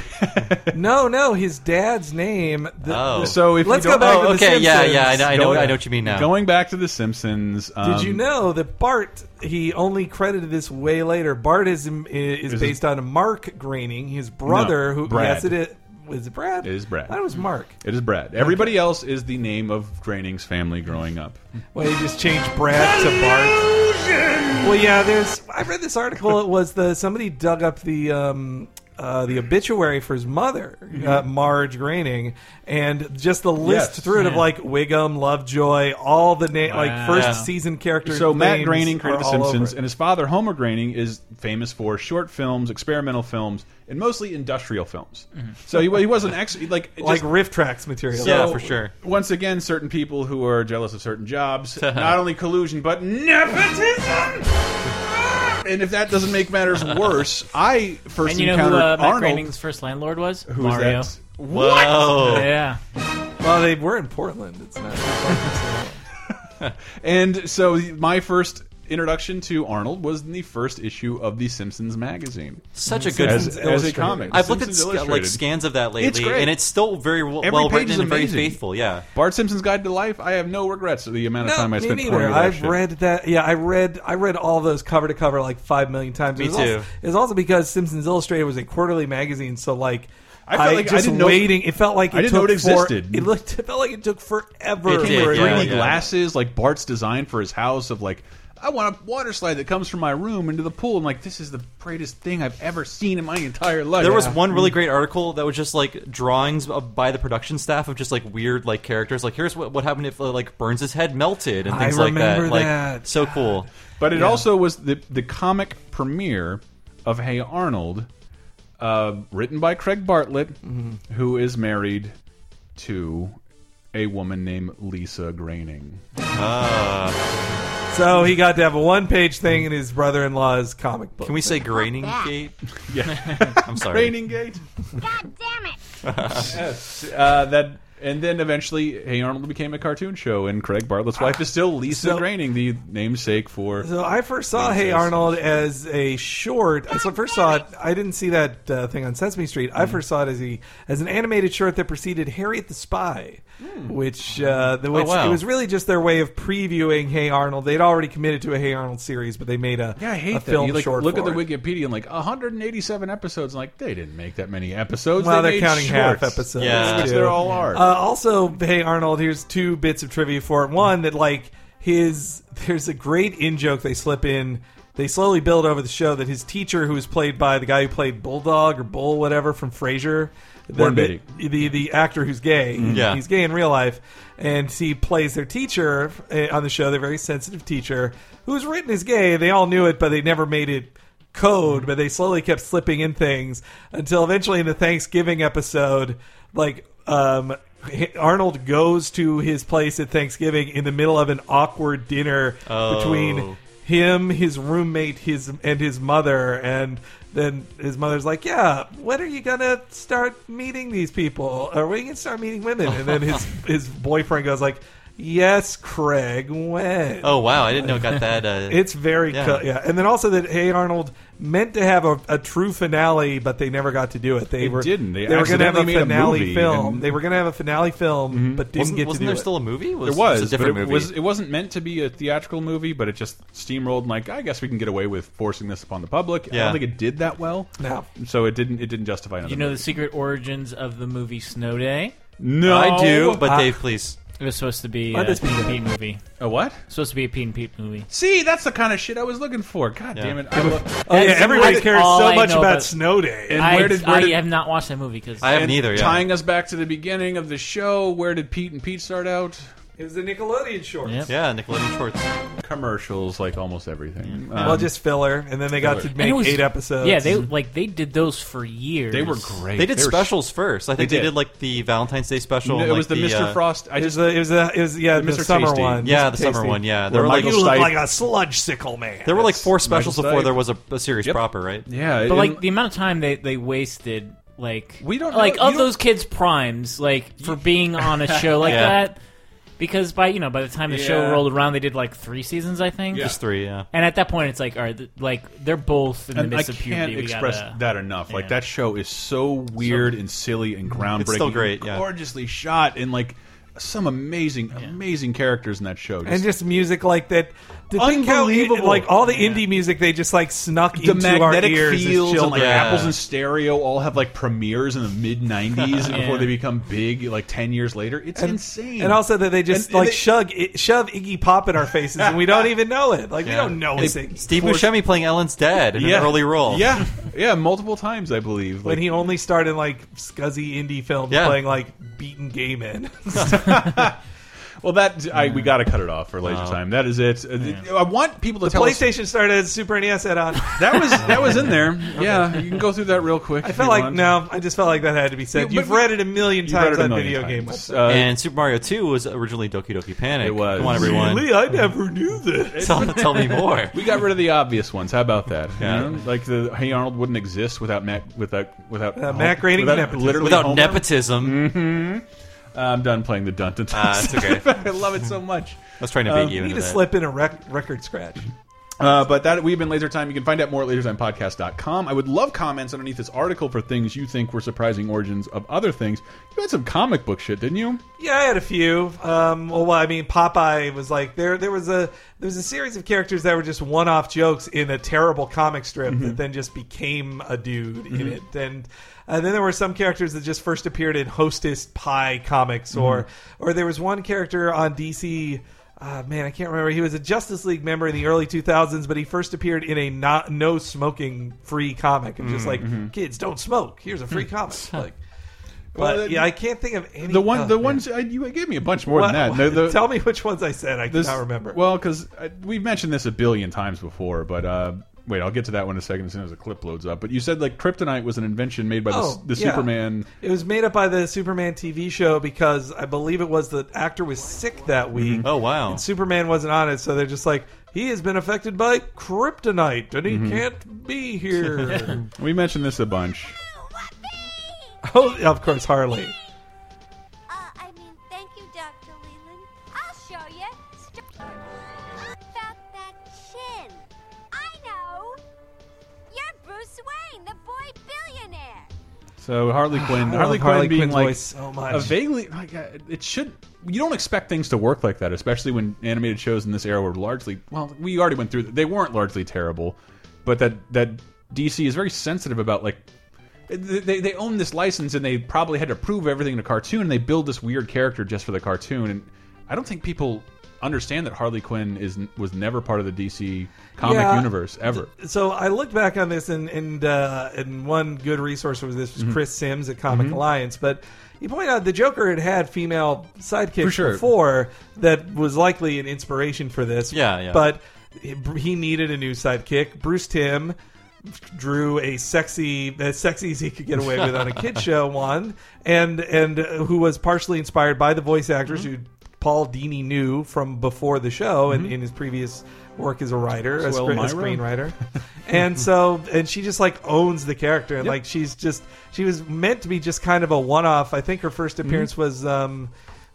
[SPEAKER 2] no, no, his dad's name. The,
[SPEAKER 4] Oh.
[SPEAKER 2] the-
[SPEAKER 1] so if you
[SPEAKER 2] let's
[SPEAKER 1] don't-
[SPEAKER 2] go back to the Simpsons.
[SPEAKER 4] yeah, I know- I know-
[SPEAKER 1] Going-
[SPEAKER 4] I know what you mean now.
[SPEAKER 1] Going back to the Simpsons, um,
[SPEAKER 2] Did you know that Bart? He only credited this way later. Bart is is,
[SPEAKER 1] Is it-
[SPEAKER 2] based on Mark Graining, his brother.
[SPEAKER 1] No,
[SPEAKER 2] who
[SPEAKER 1] Brad.
[SPEAKER 2] yes, it is. Was it Brad?
[SPEAKER 1] It is Brad.
[SPEAKER 2] That was Mark.
[SPEAKER 1] It is Brad. Everybody else is the name of Graining's family growing up.
[SPEAKER 2] Well, he just changed Brad to Bart. Well, yeah, there's. I read this article. It was the somebody dug up the um, uh, the obituary for his mother, uh, Marge Graining, and just the list
[SPEAKER 1] Mm-hmm. Yes.
[SPEAKER 2] through it of
[SPEAKER 1] Yeah.
[SPEAKER 2] like Wiggum, Lovejoy, all the name like
[SPEAKER 1] Wow.
[SPEAKER 2] first
[SPEAKER 1] Yeah.
[SPEAKER 2] season characters.
[SPEAKER 1] So Matt
[SPEAKER 2] names
[SPEAKER 1] Groening
[SPEAKER 2] are
[SPEAKER 1] created The
[SPEAKER 2] all over
[SPEAKER 1] Simpsons,
[SPEAKER 2] it.
[SPEAKER 1] and his father Homer Groening is famous for short films, experimental films, and mostly industrial films.
[SPEAKER 4] Mm-hmm.
[SPEAKER 1] So he, wa- he was an ex like
[SPEAKER 2] like
[SPEAKER 1] just-
[SPEAKER 2] riff tracks material.
[SPEAKER 1] So, Once again, certain people who are jealous of certain jobs, not only collusion but nepotism. Ah! and if that doesn't make matters worse, I first
[SPEAKER 3] And you know who
[SPEAKER 1] encountered
[SPEAKER 3] uh, Matt
[SPEAKER 1] Arnold.
[SPEAKER 3] Groening's first landlord was?
[SPEAKER 1] Who was
[SPEAKER 3] Mario.
[SPEAKER 1] that? What? Whoa.
[SPEAKER 3] Yeah.
[SPEAKER 2] Well, they were in Portland. It's not.
[SPEAKER 1] and so my first introduction to Arnold was in the first issue of the Simpsons magazine.
[SPEAKER 4] Such a good
[SPEAKER 1] as, as a comic.
[SPEAKER 4] I've looked at
[SPEAKER 1] Simpsons
[SPEAKER 4] sc- like
[SPEAKER 1] Illustrated.
[SPEAKER 4] scans of that lately,
[SPEAKER 1] It's great.
[SPEAKER 4] and it's still very well,
[SPEAKER 1] Every
[SPEAKER 4] well
[SPEAKER 1] page is
[SPEAKER 4] written and very
[SPEAKER 1] amazing.
[SPEAKER 4] faithful. Yeah,
[SPEAKER 1] Bart Simpson's Guide to Life. I have no regrets of the amount of time I
[SPEAKER 2] me
[SPEAKER 1] spent.
[SPEAKER 2] neither.
[SPEAKER 1] pouring over that
[SPEAKER 2] I've
[SPEAKER 1] shit.
[SPEAKER 2] read that. Yeah, I read. I read all those cover to cover like five million times.
[SPEAKER 4] Me
[SPEAKER 2] it was
[SPEAKER 4] too.
[SPEAKER 2] Also, it was also because Simpsons Illustrated was a quarterly magazine, so like.
[SPEAKER 1] I felt like I
[SPEAKER 2] just
[SPEAKER 1] didn't know-
[SPEAKER 2] waiting. it felt like it
[SPEAKER 1] I didn't know
[SPEAKER 2] took
[SPEAKER 1] it
[SPEAKER 2] for-
[SPEAKER 1] existed.
[SPEAKER 2] it looked. It felt like it took forever.
[SPEAKER 1] It came with
[SPEAKER 2] for
[SPEAKER 1] greeny
[SPEAKER 2] it.
[SPEAKER 1] glasses, like Bart's design for his house of like. I want a water slide that comes from my room into the pool. I'm like, this is the greatest thing I've ever seen in my entire life.
[SPEAKER 4] There was one
[SPEAKER 1] Mm-hmm.
[SPEAKER 4] really great article that was just like drawings of, by the production staff of just like weird like characters. Like here's what, what happened if uh, like Burns' head melted and
[SPEAKER 2] I
[SPEAKER 4] things like that.
[SPEAKER 2] remember
[SPEAKER 4] Like
[SPEAKER 2] that.
[SPEAKER 4] so cool.
[SPEAKER 1] But it
[SPEAKER 4] Yeah.
[SPEAKER 1] also was the the comic premiere of Hey Arnold, uh, written by Craig Bartlett,
[SPEAKER 4] Mm-hmm.
[SPEAKER 1] who is married to a woman named Lisa Graining.
[SPEAKER 2] So he got to have a one-page thing in his brother-in-law's comic book.
[SPEAKER 4] Can we say graining gate? Yeah, I'm sorry.
[SPEAKER 1] Raining Gate. God damn it! uh, that And then eventually, Hey Arnold became a cartoon show, and Craig Bartlett's
[SPEAKER 4] Ah,
[SPEAKER 1] wife is still Lisa
[SPEAKER 2] So-
[SPEAKER 1] Groening, the namesake for.
[SPEAKER 2] So I first saw Hey Arnold as a short. I so first saw it. I didn't see that uh, thing on Sesame Street.
[SPEAKER 1] Mm.
[SPEAKER 2] I first saw it as a as an animated short that preceded Harriet the Spy,
[SPEAKER 1] Mm.
[SPEAKER 2] which uh, the
[SPEAKER 4] Oh,
[SPEAKER 2] which,
[SPEAKER 4] wow.
[SPEAKER 2] it was really just their way of previewing Hey Arnold. They'd already committed to a Hey Arnold series, but they made a
[SPEAKER 1] Yeah, I hate
[SPEAKER 2] a
[SPEAKER 1] that.
[SPEAKER 2] film
[SPEAKER 1] you, like,
[SPEAKER 2] short.
[SPEAKER 1] look
[SPEAKER 2] for
[SPEAKER 1] at the
[SPEAKER 2] it.
[SPEAKER 1] Wikipedia and like 187 episodes. And like they didn't make that many episodes.
[SPEAKER 2] Well,
[SPEAKER 1] they
[SPEAKER 2] are
[SPEAKER 1] made
[SPEAKER 2] counting
[SPEAKER 1] shorts,
[SPEAKER 2] half episodes.
[SPEAKER 1] which
[SPEAKER 2] too.
[SPEAKER 1] they all are.
[SPEAKER 2] Uh, also, hey Arnold, here's two bits of trivia for it. One that like his there's a great in joke they slip in. They slowly build over the show that his teacher, who was played by the guy who played Bulldog or Bull, whatever from Frasier, the-
[SPEAKER 1] Warren
[SPEAKER 2] the,
[SPEAKER 1] Beatty.
[SPEAKER 2] the the actor who's gay,
[SPEAKER 1] Mhm. Yeah.
[SPEAKER 2] he's gay in real life, and he plays their teacher uh, on the show, their very sensitive teacher, who's written as gay. They all knew it, but they never made it code, but they slowly kept slipping in things until eventually in the Thanksgiving episode, like um, H- Arnold goes to his place at Thanksgiving in the middle of an awkward dinner
[SPEAKER 4] Oh.
[SPEAKER 2] between him, his roommate, his and his mother, and then his mother's like, "Yeah, when are you gonna start meeting these people? Are we gonna start meeting women?" And then his his boyfriend goes like. Yes, Craig. When?
[SPEAKER 4] Oh, wow, I didn't know it got that, uh,
[SPEAKER 2] it's very
[SPEAKER 4] yeah.
[SPEAKER 2] co- yeah. And then also that Hey Arnold meant to have a, a true finale, but they never got to do it. They,
[SPEAKER 1] They
[SPEAKER 2] were
[SPEAKER 1] didn't. They
[SPEAKER 2] were gonna have a
[SPEAKER 1] accidentally made a
[SPEAKER 2] finale
[SPEAKER 1] movie
[SPEAKER 2] film.
[SPEAKER 1] and- Mm-hmm.
[SPEAKER 2] They were going to have a finale film, but didn't
[SPEAKER 4] Wasn't-
[SPEAKER 2] get
[SPEAKER 4] wasn't
[SPEAKER 2] to do
[SPEAKER 4] there
[SPEAKER 2] it.
[SPEAKER 4] still a movie?
[SPEAKER 1] There was,
[SPEAKER 4] it was a different
[SPEAKER 1] but it
[SPEAKER 4] movie.
[SPEAKER 1] was it wasn't meant to be a theatrical movie, but it just steamrolled. And like, I guess we can get away with forcing this upon the public. I
[SPEAKER 3] Yeah.
[SPEAKER 1] don't think it did that well.
[SPEAKER 2] No.
[SPEAKER 1] so it didn't. It didn't justify another.
[SPEAKER 3] you know the secret origins of the movie Snow Day?
[SPEAKER 1] No. I do, but Dave,
[SPEAKER 4] please.
[SPEAKER 3] It was supposed to be
[SPEAKER 1] Let
[SPEAKER 3] a
[SPEAKER 1] this be
[SPEAKER 3] Pete and
[SPEAKER 1] good.
[SPEAKER 3] Pete movie.
[SPEAKER 1] A what?
[SPEAKER 3] Supposed to be a Pete and Pete movie.
[SPEAKER 1] See, that's the kind of shit I was looking for. God
[SPEAKER 3] Yeah.
[SPEAKER 1] damn it!
[SPEAKER 3] Yeah,
[SPEAKER 1] I
[SPEAKER 3] but- Oh, yeah, everybody That's cares all so I much know about about- Snow Day. I- I have not watched that movie 'cause- I haven't
[SPEAKER 1] and
[SPEAKER 3] either, yeah.
[SPEAKER 1] Tying us back to the beginning of the show, where did Pete and Pete start out?
[SPEAKER 2] It was the Nickelodeon shorts.
[SPEAKER 4] Yeah, Nickelodeon shorts.
[SPEAKER 1] Commercials, like almost everything. Uh,
[SPEAKER 2] well, just filler, and then they got
[SPEAKER 1] filler.
[SPEAKER 2] to
[SPEAKER 3] And it
[SPEAKER 2] make
[SPEAKER 3] was-
[SPEAKER 2] eight episodes.
[SPEAKER 3] Yeah, they like they did those for years.
[SPEAKER 1] They were great.
[SPEAKER 4] They did specials first. I think they did. like the Valentine's Day special.
[SPEAKER 1] No,
[SPEAKER 4] and,
[SPEAKER 1] it
[SPEAKER 4] like,
[SPEAKER 1] was the Mr.
[SPEAKER 4] uh,
[SPEAKER 1] Frost. I
[SPEAKER 2] It was
[SPEAKER 1] just
[SPEAKER 2] the- it was the- it was- yeah, the summer one.
[SPEAKER 4] Yeah,
[SPEAKER 2] Mr.
[SPEAKER 4] the summer
[SPEAKER 2] Tasty.
[SPEAKER 4] one. Yeah,
[SPEAKER 2] Where
[SPEAKER 4] there were like
[SPEAKER 2] Michael You look Stipe- like a sludge sickle man.
[SPEAKER 4] There were like four
[SPEAKER 2] Michael
[SPEAKER 4] specials before
[SPEAKER 2] Stipe.
[SPEAKER 4] there was a, a series proper, right?
[SPEAKER 1] Yeah,
[SPEAKER 3] but like the amount of time they they wasted, like we
[SPEAKER 1] don't know-
[SPEAKER 3] like
[SPEAKER 1] you
[SPEAKER 3] of
[SPEAKER 1] don't-
[SPEAKER 3] those kids' primes, like for being on a show like
[SPEAKER 4] Yeah.
[SPEAKER 3] that. Because by you know by the time the show
[SPEAKER 4] Yeah.
[SPEAKER 3] rolled around, they did like three seasons, I think.
[SPEAKER 4] Yeah. Just three, yeah.
[SPEAKER 3] And at that point, it's like, all right, th- like they're both in the
[SPEAKER 1] And I
[SPEAKER 3] midst of
[SPEAKER 1] can't
[SPEAKER 3] puberty. We
[SPEAKER 1] express
[SPEAKER 3] gotta- uh,
[SPEAKER 1] that enough. Like
[SPEAKER 3] yeah.
[SPEAKER 1] that show is so weird and silly and groundbreaking.
[SPEAKER 4] It's still great, yeah.
[SPEAKER 1] gorgeously shot and like some amazing, amazing characters in that show. Just-
[SPEAKER 2] and just music like that. To think how it-
[SPEAKER 1] Unbelievable.
[SPEAKER 2] like all the indie music they just like snuck
[SPEAKER 1] the
[SPEAKER 2] into our
[SPEAKER 1] magnetic
[SPEAKER 2] ears. as
[SPEAKER 1] fields and like
[SPEAKER 2] children.
[SPEAKER 1] apples and stereo all have like premieres in the mid 90s
[SPEAKER 2] Yeah.
[SPEAKER 1] before they become big like 10 years later it's insane
[SPEAKER 2] And also that they just
[SPEAKER 1] And- and
[SPEAKER 2] like
[SPEAKER 1] they-
[SPEAKER 2] shug shove, shove Iggy Pop in our faces and we don't even know it. Like we don't know it's Iggy.
[SPEAKER 4] Steve Buscemi playing Ellen's dad in an early role.
[SPEAKER 1] yeah yeah multiple times i believe
[SPEAKER 2] when
[SPEAKER 1] like,
[SPEAKER 2] he only starred in like scuzzy indie films
[SPEAKER 1] Yeah.
[SPEAKER 2] playing like beaten gay men.
[SPEAKER 1] well that I, we gotta cut it off for laser time that is it Uh, i want people to
[SPEAKER 2] the
[SPEAKER 1] tell us-
[SPEAKER 2] PlayStation started as Super NES head on.
[SPEAKER 1] that was that was in there yeah you can go through that real quick
[SPEAKER 2] I felt like no, I just felt like that had to be said.
[SPEAKER 1] You-
[SPEAKER 2] You've
[SPEAKER 1] but-
[SPEAKER 2] read it a million
[SPEAKER 1] You've read
[SPEAKER 2] times
[SPEAKER 1] it a
[SPEAKER 2] on
[SPEAKER 1] million
[SPEAKER 2] video
[SPEAKER 1] times.
[SPEAKER 2] game
[SPEAKER 1] Uh,
[SPEAKER 4] and Super Mario 2 was originally Doki Doki Panic. It
[SPEAKER 1] was.
[SPEAKER 4] Come on, everyone.
[SPEAKER 2] Really, I never knew this.
[SPEAKER 4] Tell- tell me more.
[SPEAKER 1] we got rid of the obvious ones. How about that?
[SPEAKER 4] Yeah.
[SPEAKER 1] You know, like the Hey Arnold wouldn't exist without Matt without without
[SPEAKER 2] Uh, Matt Groening
[SPEAKER 1] without
[SPEAKER 2] nepotism.
[SPEAKER 1] literally
[SPEAKER 4] Without
[SPEAKER 1] Homer.
[SPEAKER 4] nepotism.
[SPEAKER 1] Mm-hmm. I'm done playing the Dun Dun. Dun.
[SPEAKER 4] Ah, it's okay.
[SPEAKER 1] I love it so much.
[SPEAKER 4] I was trying to bait
[SPEAKER 1] Um,
[SPEAKER 4] you
[SPEAKER 2] You
[SPEAKER 4] into
[SPEAKER 2] need to
[SPEAKER 4] that.
[SPEAKER 2] slip in a rec- record scratch.
[SPEAKER 1] Uh, but that we've been Laser Time. You can find out more at lasertimepodcast.com. I would love comments underneath this article for things you think were surprising origins of other things. You had some comic book shit, didn't you?
[SPEAKER 2] Yeah, I had a few. Um, well, I mean, Popeye was like there. There was a there was a series of characters that were just one off jokes in a terrible comic strip
[SPEAKER 1] Mm-hmm.
[SPEAKER 2] that then just became a dude in
[SPEAKER 18] Mhm.
[SPEAKER 2] it. And uh, then there were some characters that just first appeared in Hostess Pie
[SPEAKER 1] Mm-hmm.
[SPEAKER 2] comics, or
[SPEAKER 18] Mhm.
[SPEAKER 2] or there was one character on DC. Uh, man, I can't remember. He was a Justice League member in the early 2000s, but he first appeared in a not no smoking free comic and just
[SPEAKER 1] Mm,
[SPEAKER 2] like
[SPEAKER 1] mhm.
[SPEAKER 2] kids don't smoke. Here's a free comic. Like, but
[SPEAKER 1] Well, that-
[SPEAKER 2] yeah, I can't think of any.
[SPEAKER 1] The one,
[SPEAKER 2] oh,
[SPEAKER 1] the
[SPEAKER 2] man.
[SPEAKER 1] ones I, you gave me a bunch more than that.
[SPEAKER 2] What-
[SPEAKER 1] No, the-
[SPEAKER 2] tell me which ones I said. I
[SPEAKER 1] This-
[SPEAKER 2] cannot remember.
[SPEAKER 1] Well, because we've mentioned this a billion times before, but uh, wait, I'll get to that one in a second as soon as the clip loads up. But you said like kryptonite was an invention made by the,
[SPEAKER 2] Oh,
[SPEAKER 1] the
[SPEAKER 2] yeah.
[SPEAKER 1] Superman.
[SPEAKER 2] It was made up by the Superman TV show because I believe it was the actor was sick that
[SPEAKER 1] Mm-hmm.
[SPEAKER 2] week.
[SPEAKER 4] Oh wow!
[SPEAKER 2] And Superman wasn't on it, so they're just like he has been affected by kryptonite and he
[SPEAKER 1] Mhm.
[SPEAKER 2] can't be here.
[SPEAKER 1] we mentioned this a bunch.
[SPEAKER 2] Ah. oh, of course, Harley.
[SPEAKER 6] Uh, I mean, yet. St- About that chin. I know. You're Bruce Wayne, the boy billionaire.
[SPEAKER 1] So Harley Quinn,
[SPEAKER 2] I
[SPEAKER 1] Harley Quinn
[SPEAKER 2] love Harley
[SPEAKER 1] being
[SPEAKER 2] Quinn's
[SPEAKER 1] like
[SPEAKER 2] voice Oh, so much.
[SPEAKER 1] a vaguely like uh, it should. You don't expect things to work like that, especially when animated shows in this era were largely well. We already went through; they weren't largely terrible, but that that DC is very sensitive about like they they- they own this license and they probably had to prove everything in a cartoon, and they build this weird character just for the cartoon. And I don't think people understand that Harley Quinn is was never part of the DC comic
[SPEAKER 2] Yeah.
[SPEAKER 1] universe ever.
[SPEAKER 2] So I looked back on this, and and uh, and one good resource for this was
[SPEAKER 1] Mhm.
[SPEAKER 2] Chris Sims at Comic
[SPEAKER 1] Mhm.
[SPEAKER 2] Alliance, but. He pointed out the Joker had had female sidekicks
[SPEAKER 1] For sure.
[SPEAKER 2] before that was likely an inspiration for this.
[SPEAKER 4] Yeah, yeah.
[SPEAKER 2] But he- he needed a new sidekick. Bruce Tim drew a sexy, as sexy as he could get away with on a kid show one, and and uh, who was partially inspired by the voice actors who Paul Dini knew from before the show and in his previous work as a writer, a,
[SPEAKER 1] Swell
[SPEAKER 2] scr- a
[SPEAKER 1] Myra.
[SPEAKER 2] screenwriter, and so and she just like owns the character and like she's just she was meant to be just kind of a one off. I think her first
[SPEAKER 4] Mm-hmm.
[SPEAKER 2] appearance was. um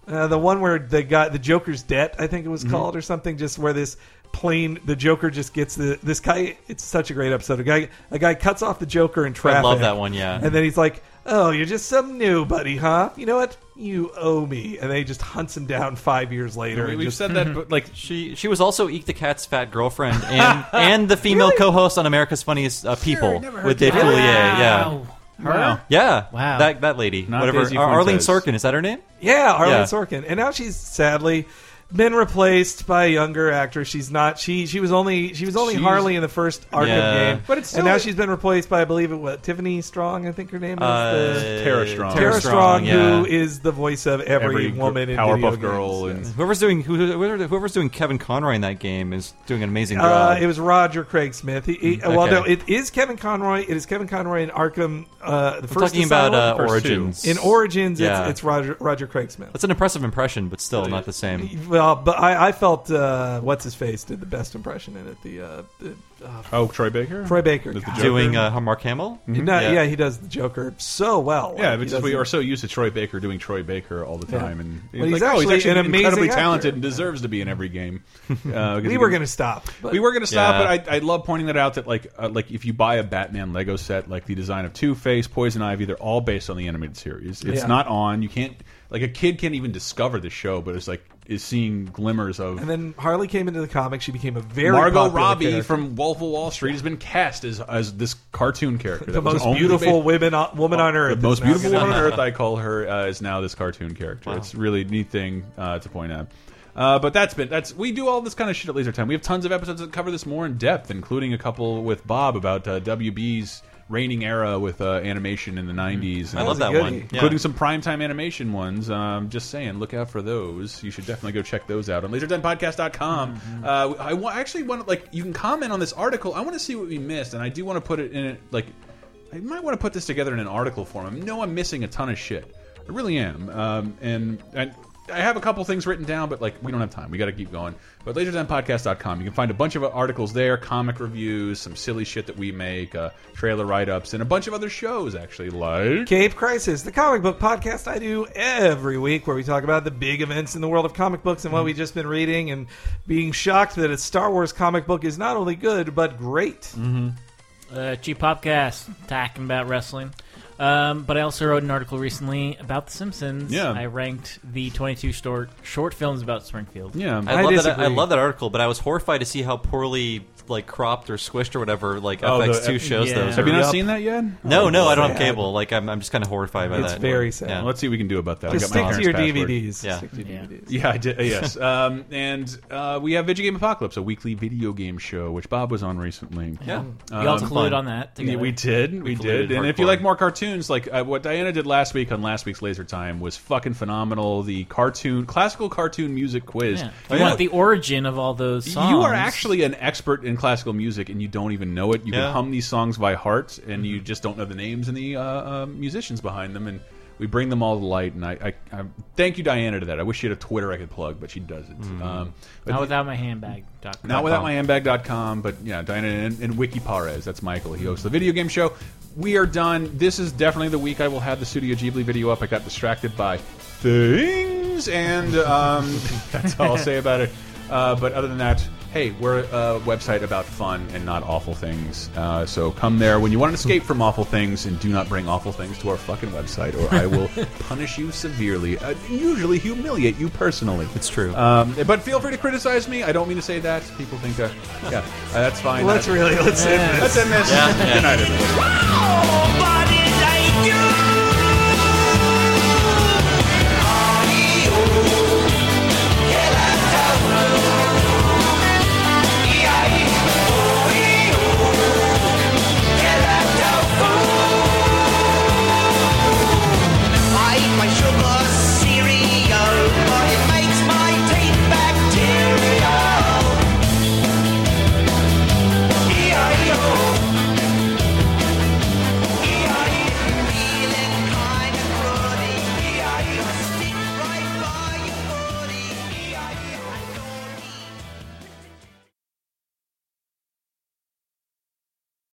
[SPEAKER 2] uh, the one where the guy, the Joker's debt, I think it was
[SPEAKER 4] Mm-hmm.
[SPEAKER 1] Mhm.
[SPEAKER 2] called, or something, just where this plane, the Joker just gets the this guy. It's such a great episode. A guy, a guy cuts off the Joker in traffic.
[SPEAKER 4] love that one, yeah.
[SPEAKER 2] And then he's like, "Oh, you're just some new buddy, huh? You know what? You owe me." And then he just hunts him down five years later.
[SPEAKER 4] We-
[SPEAKER 2] and
[SPEAKER 4] we've
[SPEAKER 2] just,
[SPEAKER 4] said that,
[SPEAKER 1] but like
[SPEAKER 4] she she was also Eek the Cat's fat girlfriend and and the female co-host on America's Funniest uh, People
[SPEAKER 2] never
[SPEAKER 4] with
[SPEAKER 2] heard
[SPEAKER 4] Dave
[SPEAKER 2] that.
[SPEAKER 4] Coulier. Yeah.
[SPEAKER 2] Wow. Her?
[SPEAKER 4] Yeah.
[SPEAKER 2] Wow.
[SPEAKER 4] That that lady.
[SPEAKER 2] Not
[SPEAKER 4] Whatever.
[SPEAKER 2] Daisy
[SPEAKER 4] Ar- Arlene
[SPEAKER 2] Fuentes.
[SPEAKER 4] Sorkin is that her name?
[SPEAKER 2] Yeah, Arlene Sorkin. And now she's sadly been replaced by a younger actress. She's not she she was only she was only
[SPEAKER 4] She's-
[SPEAKER 2] Harley in the first Arkham
[SPEAKER 4] Yeah.
[SPEAKER 2] game.
[SPEAKER 4] But it's
[SPEAKER 2] and now
[SPEAKER 4] still-
[SPEAKER 2] she's been replaced by I believe it what Tiffany Strong, I think her name is
[SPEAKER 4] Uh,
[SPEAKER 2] the-
[SPEAKER 4] Tara Strong.
[SPEAKER 2] Tara
[SPEAKER 4] Tara
[SPEAKER 2] Strong,
[SPEAKER 4] Strong, yeah.
[SPEAKER 2] who is the voice of every,
[SPEAKER 4] Every gr-
[SPEAKER 2] woman in
[SPEAKER 4] Powerpuff
[SPEAKER 2] video
[SPEAKER 4] Girl
[SPEAKER 2] games. Yes.
[SPEAKER 4] Whoever's doing who- whoever, whoever's doing Kevin Conroy in that game is doing an amazing
[SPEAKER 2] Uh,
[SPEAKER 4] job.
[SPEAKER 2] it was Roger Craig Smith. He, he- Well,
[SPEAKER 4] Mm, Okay.
[SPEAKER 2] no, it is Kevin Conroy. It is Kevin Conroy in Arkham. Uh, the
[SPEAKER 4] We're
[SPEAKER 2] first
[SPEAKER 4] talking about,
[SPEAKER 2] Asylum?
[SPEAKER 4] uh, First two. Origins.
[SPEAKER 2] In Origins,
[SPEAKER 4] Yeah.
[SPEAKER 2] it's, it's Roger Roger Craig Smith.
[SPEAKER 4] That's an impressive impression, but still not the same.
[SPEAKER 2] Well, but I, I felt uh, what's his face did the best impression in it. The, uh, the uh,
[SPEAKER 1] Oh, Troy Baker.
[SPEAKER 2] Troy Baker
[SPEAKER 1] With the
[SPEAKER 2] God.
[SPEAKER 1] Joker?
[SPEAKER 4] Doing uh, Mark Hamill.
[SPEAKER 2] Mm-hmm. No, yeah. he does the Joker so well.
[SPEAKER 1] Yeah, but
[SPEAKER 2] Like, he
[SPEAKER 1] just we
[SPEAKER 2] doesn't-
[SPEAKER 1] are so used to Troy Baker doing Troy Baker all the
[SPEAKER 2] Yeah.
[SPEAKER 1] time, and
[SPEAKER 2] But
[SPEAKER 1] it's like,
[SPEAKER 2] he's
[SPEAKER 1] oh, he's
[SPEAKER 2] actually
[SPEAKER 1] actually
[SPEAKER 2] an amazing
[SPEAKER 1] incredibly
[SPEAKER 2] actor.
[SPEAKER 1] talented and deserves to be in every game. Uh, because
[SPEAKER 2] We
[SPEAKER 1] he
[SPEAKER 2] were
[SPEAKER 1] can-
[SPEAKER 2] gonna stop, but-
[SPEAKER 1] We were going to stop,
[SPEAKER 2] Yeah.
[SPEAKER 1] but I, I love pointing that out. That like uh, like if you buy a Batman Lego set, like the design of Two Face, Poison Ivy, they're all based on the animated series. It's
[SPEAKER 2] Yeah.
[SPEAKER 1] not on. You can't like a kid can't even discover the show, but it's like is seeing glimmers of.
[SPEAKER 2] And then Harley came into the comics. She became a very
[SPEAKER 1] Margot
[SPEAKER 2] popular
[SPEAKER 1] Robbie
[SPEAKER 2] character.
[SPEAKER 1] from Wolf of Wall Street has been cast as as this cartoon character.
[SPEAKER 2] the
[SPEAKER 1] that was
[SPEAKER 2] most
[SPEAKER 1] only
[SPEAKER 2] beautiful
[SPEAKER 1] based-
[SPEAKER 2] women on, woman on earth.
[SPEAKER 1] the most
[SPEAKER 2] is now
[SPEAKER 1] beautiful
[SPEAKER 2] gonna
[SPEAKER 1] woman on
[SPEAKER 2] be-
[SPEAKER 1] earth, I call her, uh, is now this cartoon character. It's really a neat thing uh, to point out. Uh, but that's been that's we do all this kind of shit at Laser Time. We have tons of episodes that cover this more in depth, including a couple with Bob about uh, WB's reigning era with uh, animation in the '90s.
[SPEAKER 4] I love That was a that goodie. one. Yeah.
[SPEAKER 1] including some primetime animation ones. Um, just saying, look out for those. You should definitely go check those out on LaserTimePodcast.com. Uh, I wa- actually want to like you can comment on this article. I want to see what we missed, and I do want to put it in it like I might want to put this together in an article form. I know I'm missing a ton of shit. I really am. Um, and I, I have a couple things written down, but like we don't have time. We got to keep going. But lasertimepodcast.com, you can find a bunch of articles there, comic reviews, some silly shit that we make, uh, trailer write ups, and a bunch of other shows actually. Like
[SPEAKER 2] Cape Crisis, the comic book podcast I do every week, where we talk about the big events in the world of comic books
[SPEAKER 1] Mm-hmm.
[SPEAKER 2] and what we've just been reading, and being shocked that a Star Wars comic book is not only good but great. Mm-hmm.
[SPEAKER 3] Uh, G Popcast talking about wrestling. Um, but I also wrote an article recently about The Simpsons.
[SPEAKER 4] Yeah.
[SPEAKER 3] I ranked the 22 short short films about Springfield.
[SPEAKER 4] I, love that, I love that article, but I was horrified to see how poorly like cropped or squished or whatever like
[SPEAKER 1] Oh, the-
[SPEAKER 4] FX2 shows
[SPEAKER 1] yeah.
[SPEAKER 4] those.
[SPEAKER 1] Have
[SPEAKER 4] are.
[SPEAKER 1] you not Yep. seen that yet?
[SPEAKER 4] No,
[SPEAKER 1] Oh,
[SPEAKER 4] no, I don't
[SPEAKER 1] sad.
[SPEAKER 4] have cable. Like I'm, I'm just kind of horrified by
[SPEAKER 1] It's
[SPEAKER 4] that.
[SPEAKER 1] very sad. Let's see what we can do about that. I
[SPEAKER 2] Just
[SPEAKER 1] got my
[SPEAKER 2] stick to your
[SPEAKER 1] parents' password.
[SPEAKER 2] DVDs.
[SPEAKER 1] Yeah.
[SPEAKER 2] Stick to your DVDs.
[SPEAKER 1] Yeah, I did. Yes, um, and uh, we have Video Game Apocalypse, a weekly video game show, which Bob was on recently. Um,
[SPEAKER 3] Yeah. We all colluded on that
[SPEAKER 1] Yeah,
[SPEAKER 3] together.
[SPEAKER 1] we did, we,
[SPEAKER 3] We
[SPEAKER 1] did.
[SPEAKER 3] colluded
[SPEAKER 1] And if you
[SPEAKER 3] hardcore.
[SPEAKER 1] like more cartoons, like uh, what Diana did last week on last week's Laser Time was fucking phenomenal. The cartoon, classical cartoon music quiz.
[SPEAKER 3] Yeah.
[SPEAKER 1] You
[SPEAKER 3] You want
[SPEAKER 1] know,
[SPEAKER 3] the origin of all those songs.
[SPEAKER 1] Oh, you are actually an expert in classical music, and you don't even know it. You can
[SPEAKER 3] Yeah. Mm-hmm.
[SPEAKER 1] hum these songs by heart, and you just don't know the names and the uh, uh, musicians behind them. And we bring them all to light. And I, I, I thank you, Diana, to that. I wish she had a Twitter I could plug, but she doesn't.
[SPEAKER 3] Mm-hmm.
[SPEAKER 1] Um, but
[SPEAKER 3] Not without my handbag. Doc.
[SPEAKER 1] not without my handbag.com, but yeah, Diana and, and Wiki Parez. That's Michael. He hosts the video game show. We are done. This is definitely the week I will have the Studio Ghibli video up. I got distracted by things iTunes, and um, that's all I'll say about it. Uh, but other than that, hey, we're a website about fun and not awful things. Uh, so come there when you want to escape from awful things, and do not bring awful things to our fucking website, or I will punish you severely, uh, usually humiliate you personally. It's
[SPEAKER 4] true.
[SPEAKER 1] Um, but feel free to criticize me. I don't mean to say that. People think, uh, yeah, uh, that's fine.
[SPEAKER 2] Let's
[SPEAKER 1] That's-
[SPEAKER 2] really- let's end this.
[SPEAKER 1] Let's end this.
[SPEAKER 2] Yeah, yeah.
[SPEAKER 1] Good night, everyone.
[SPEAKER 10] Nobody like you.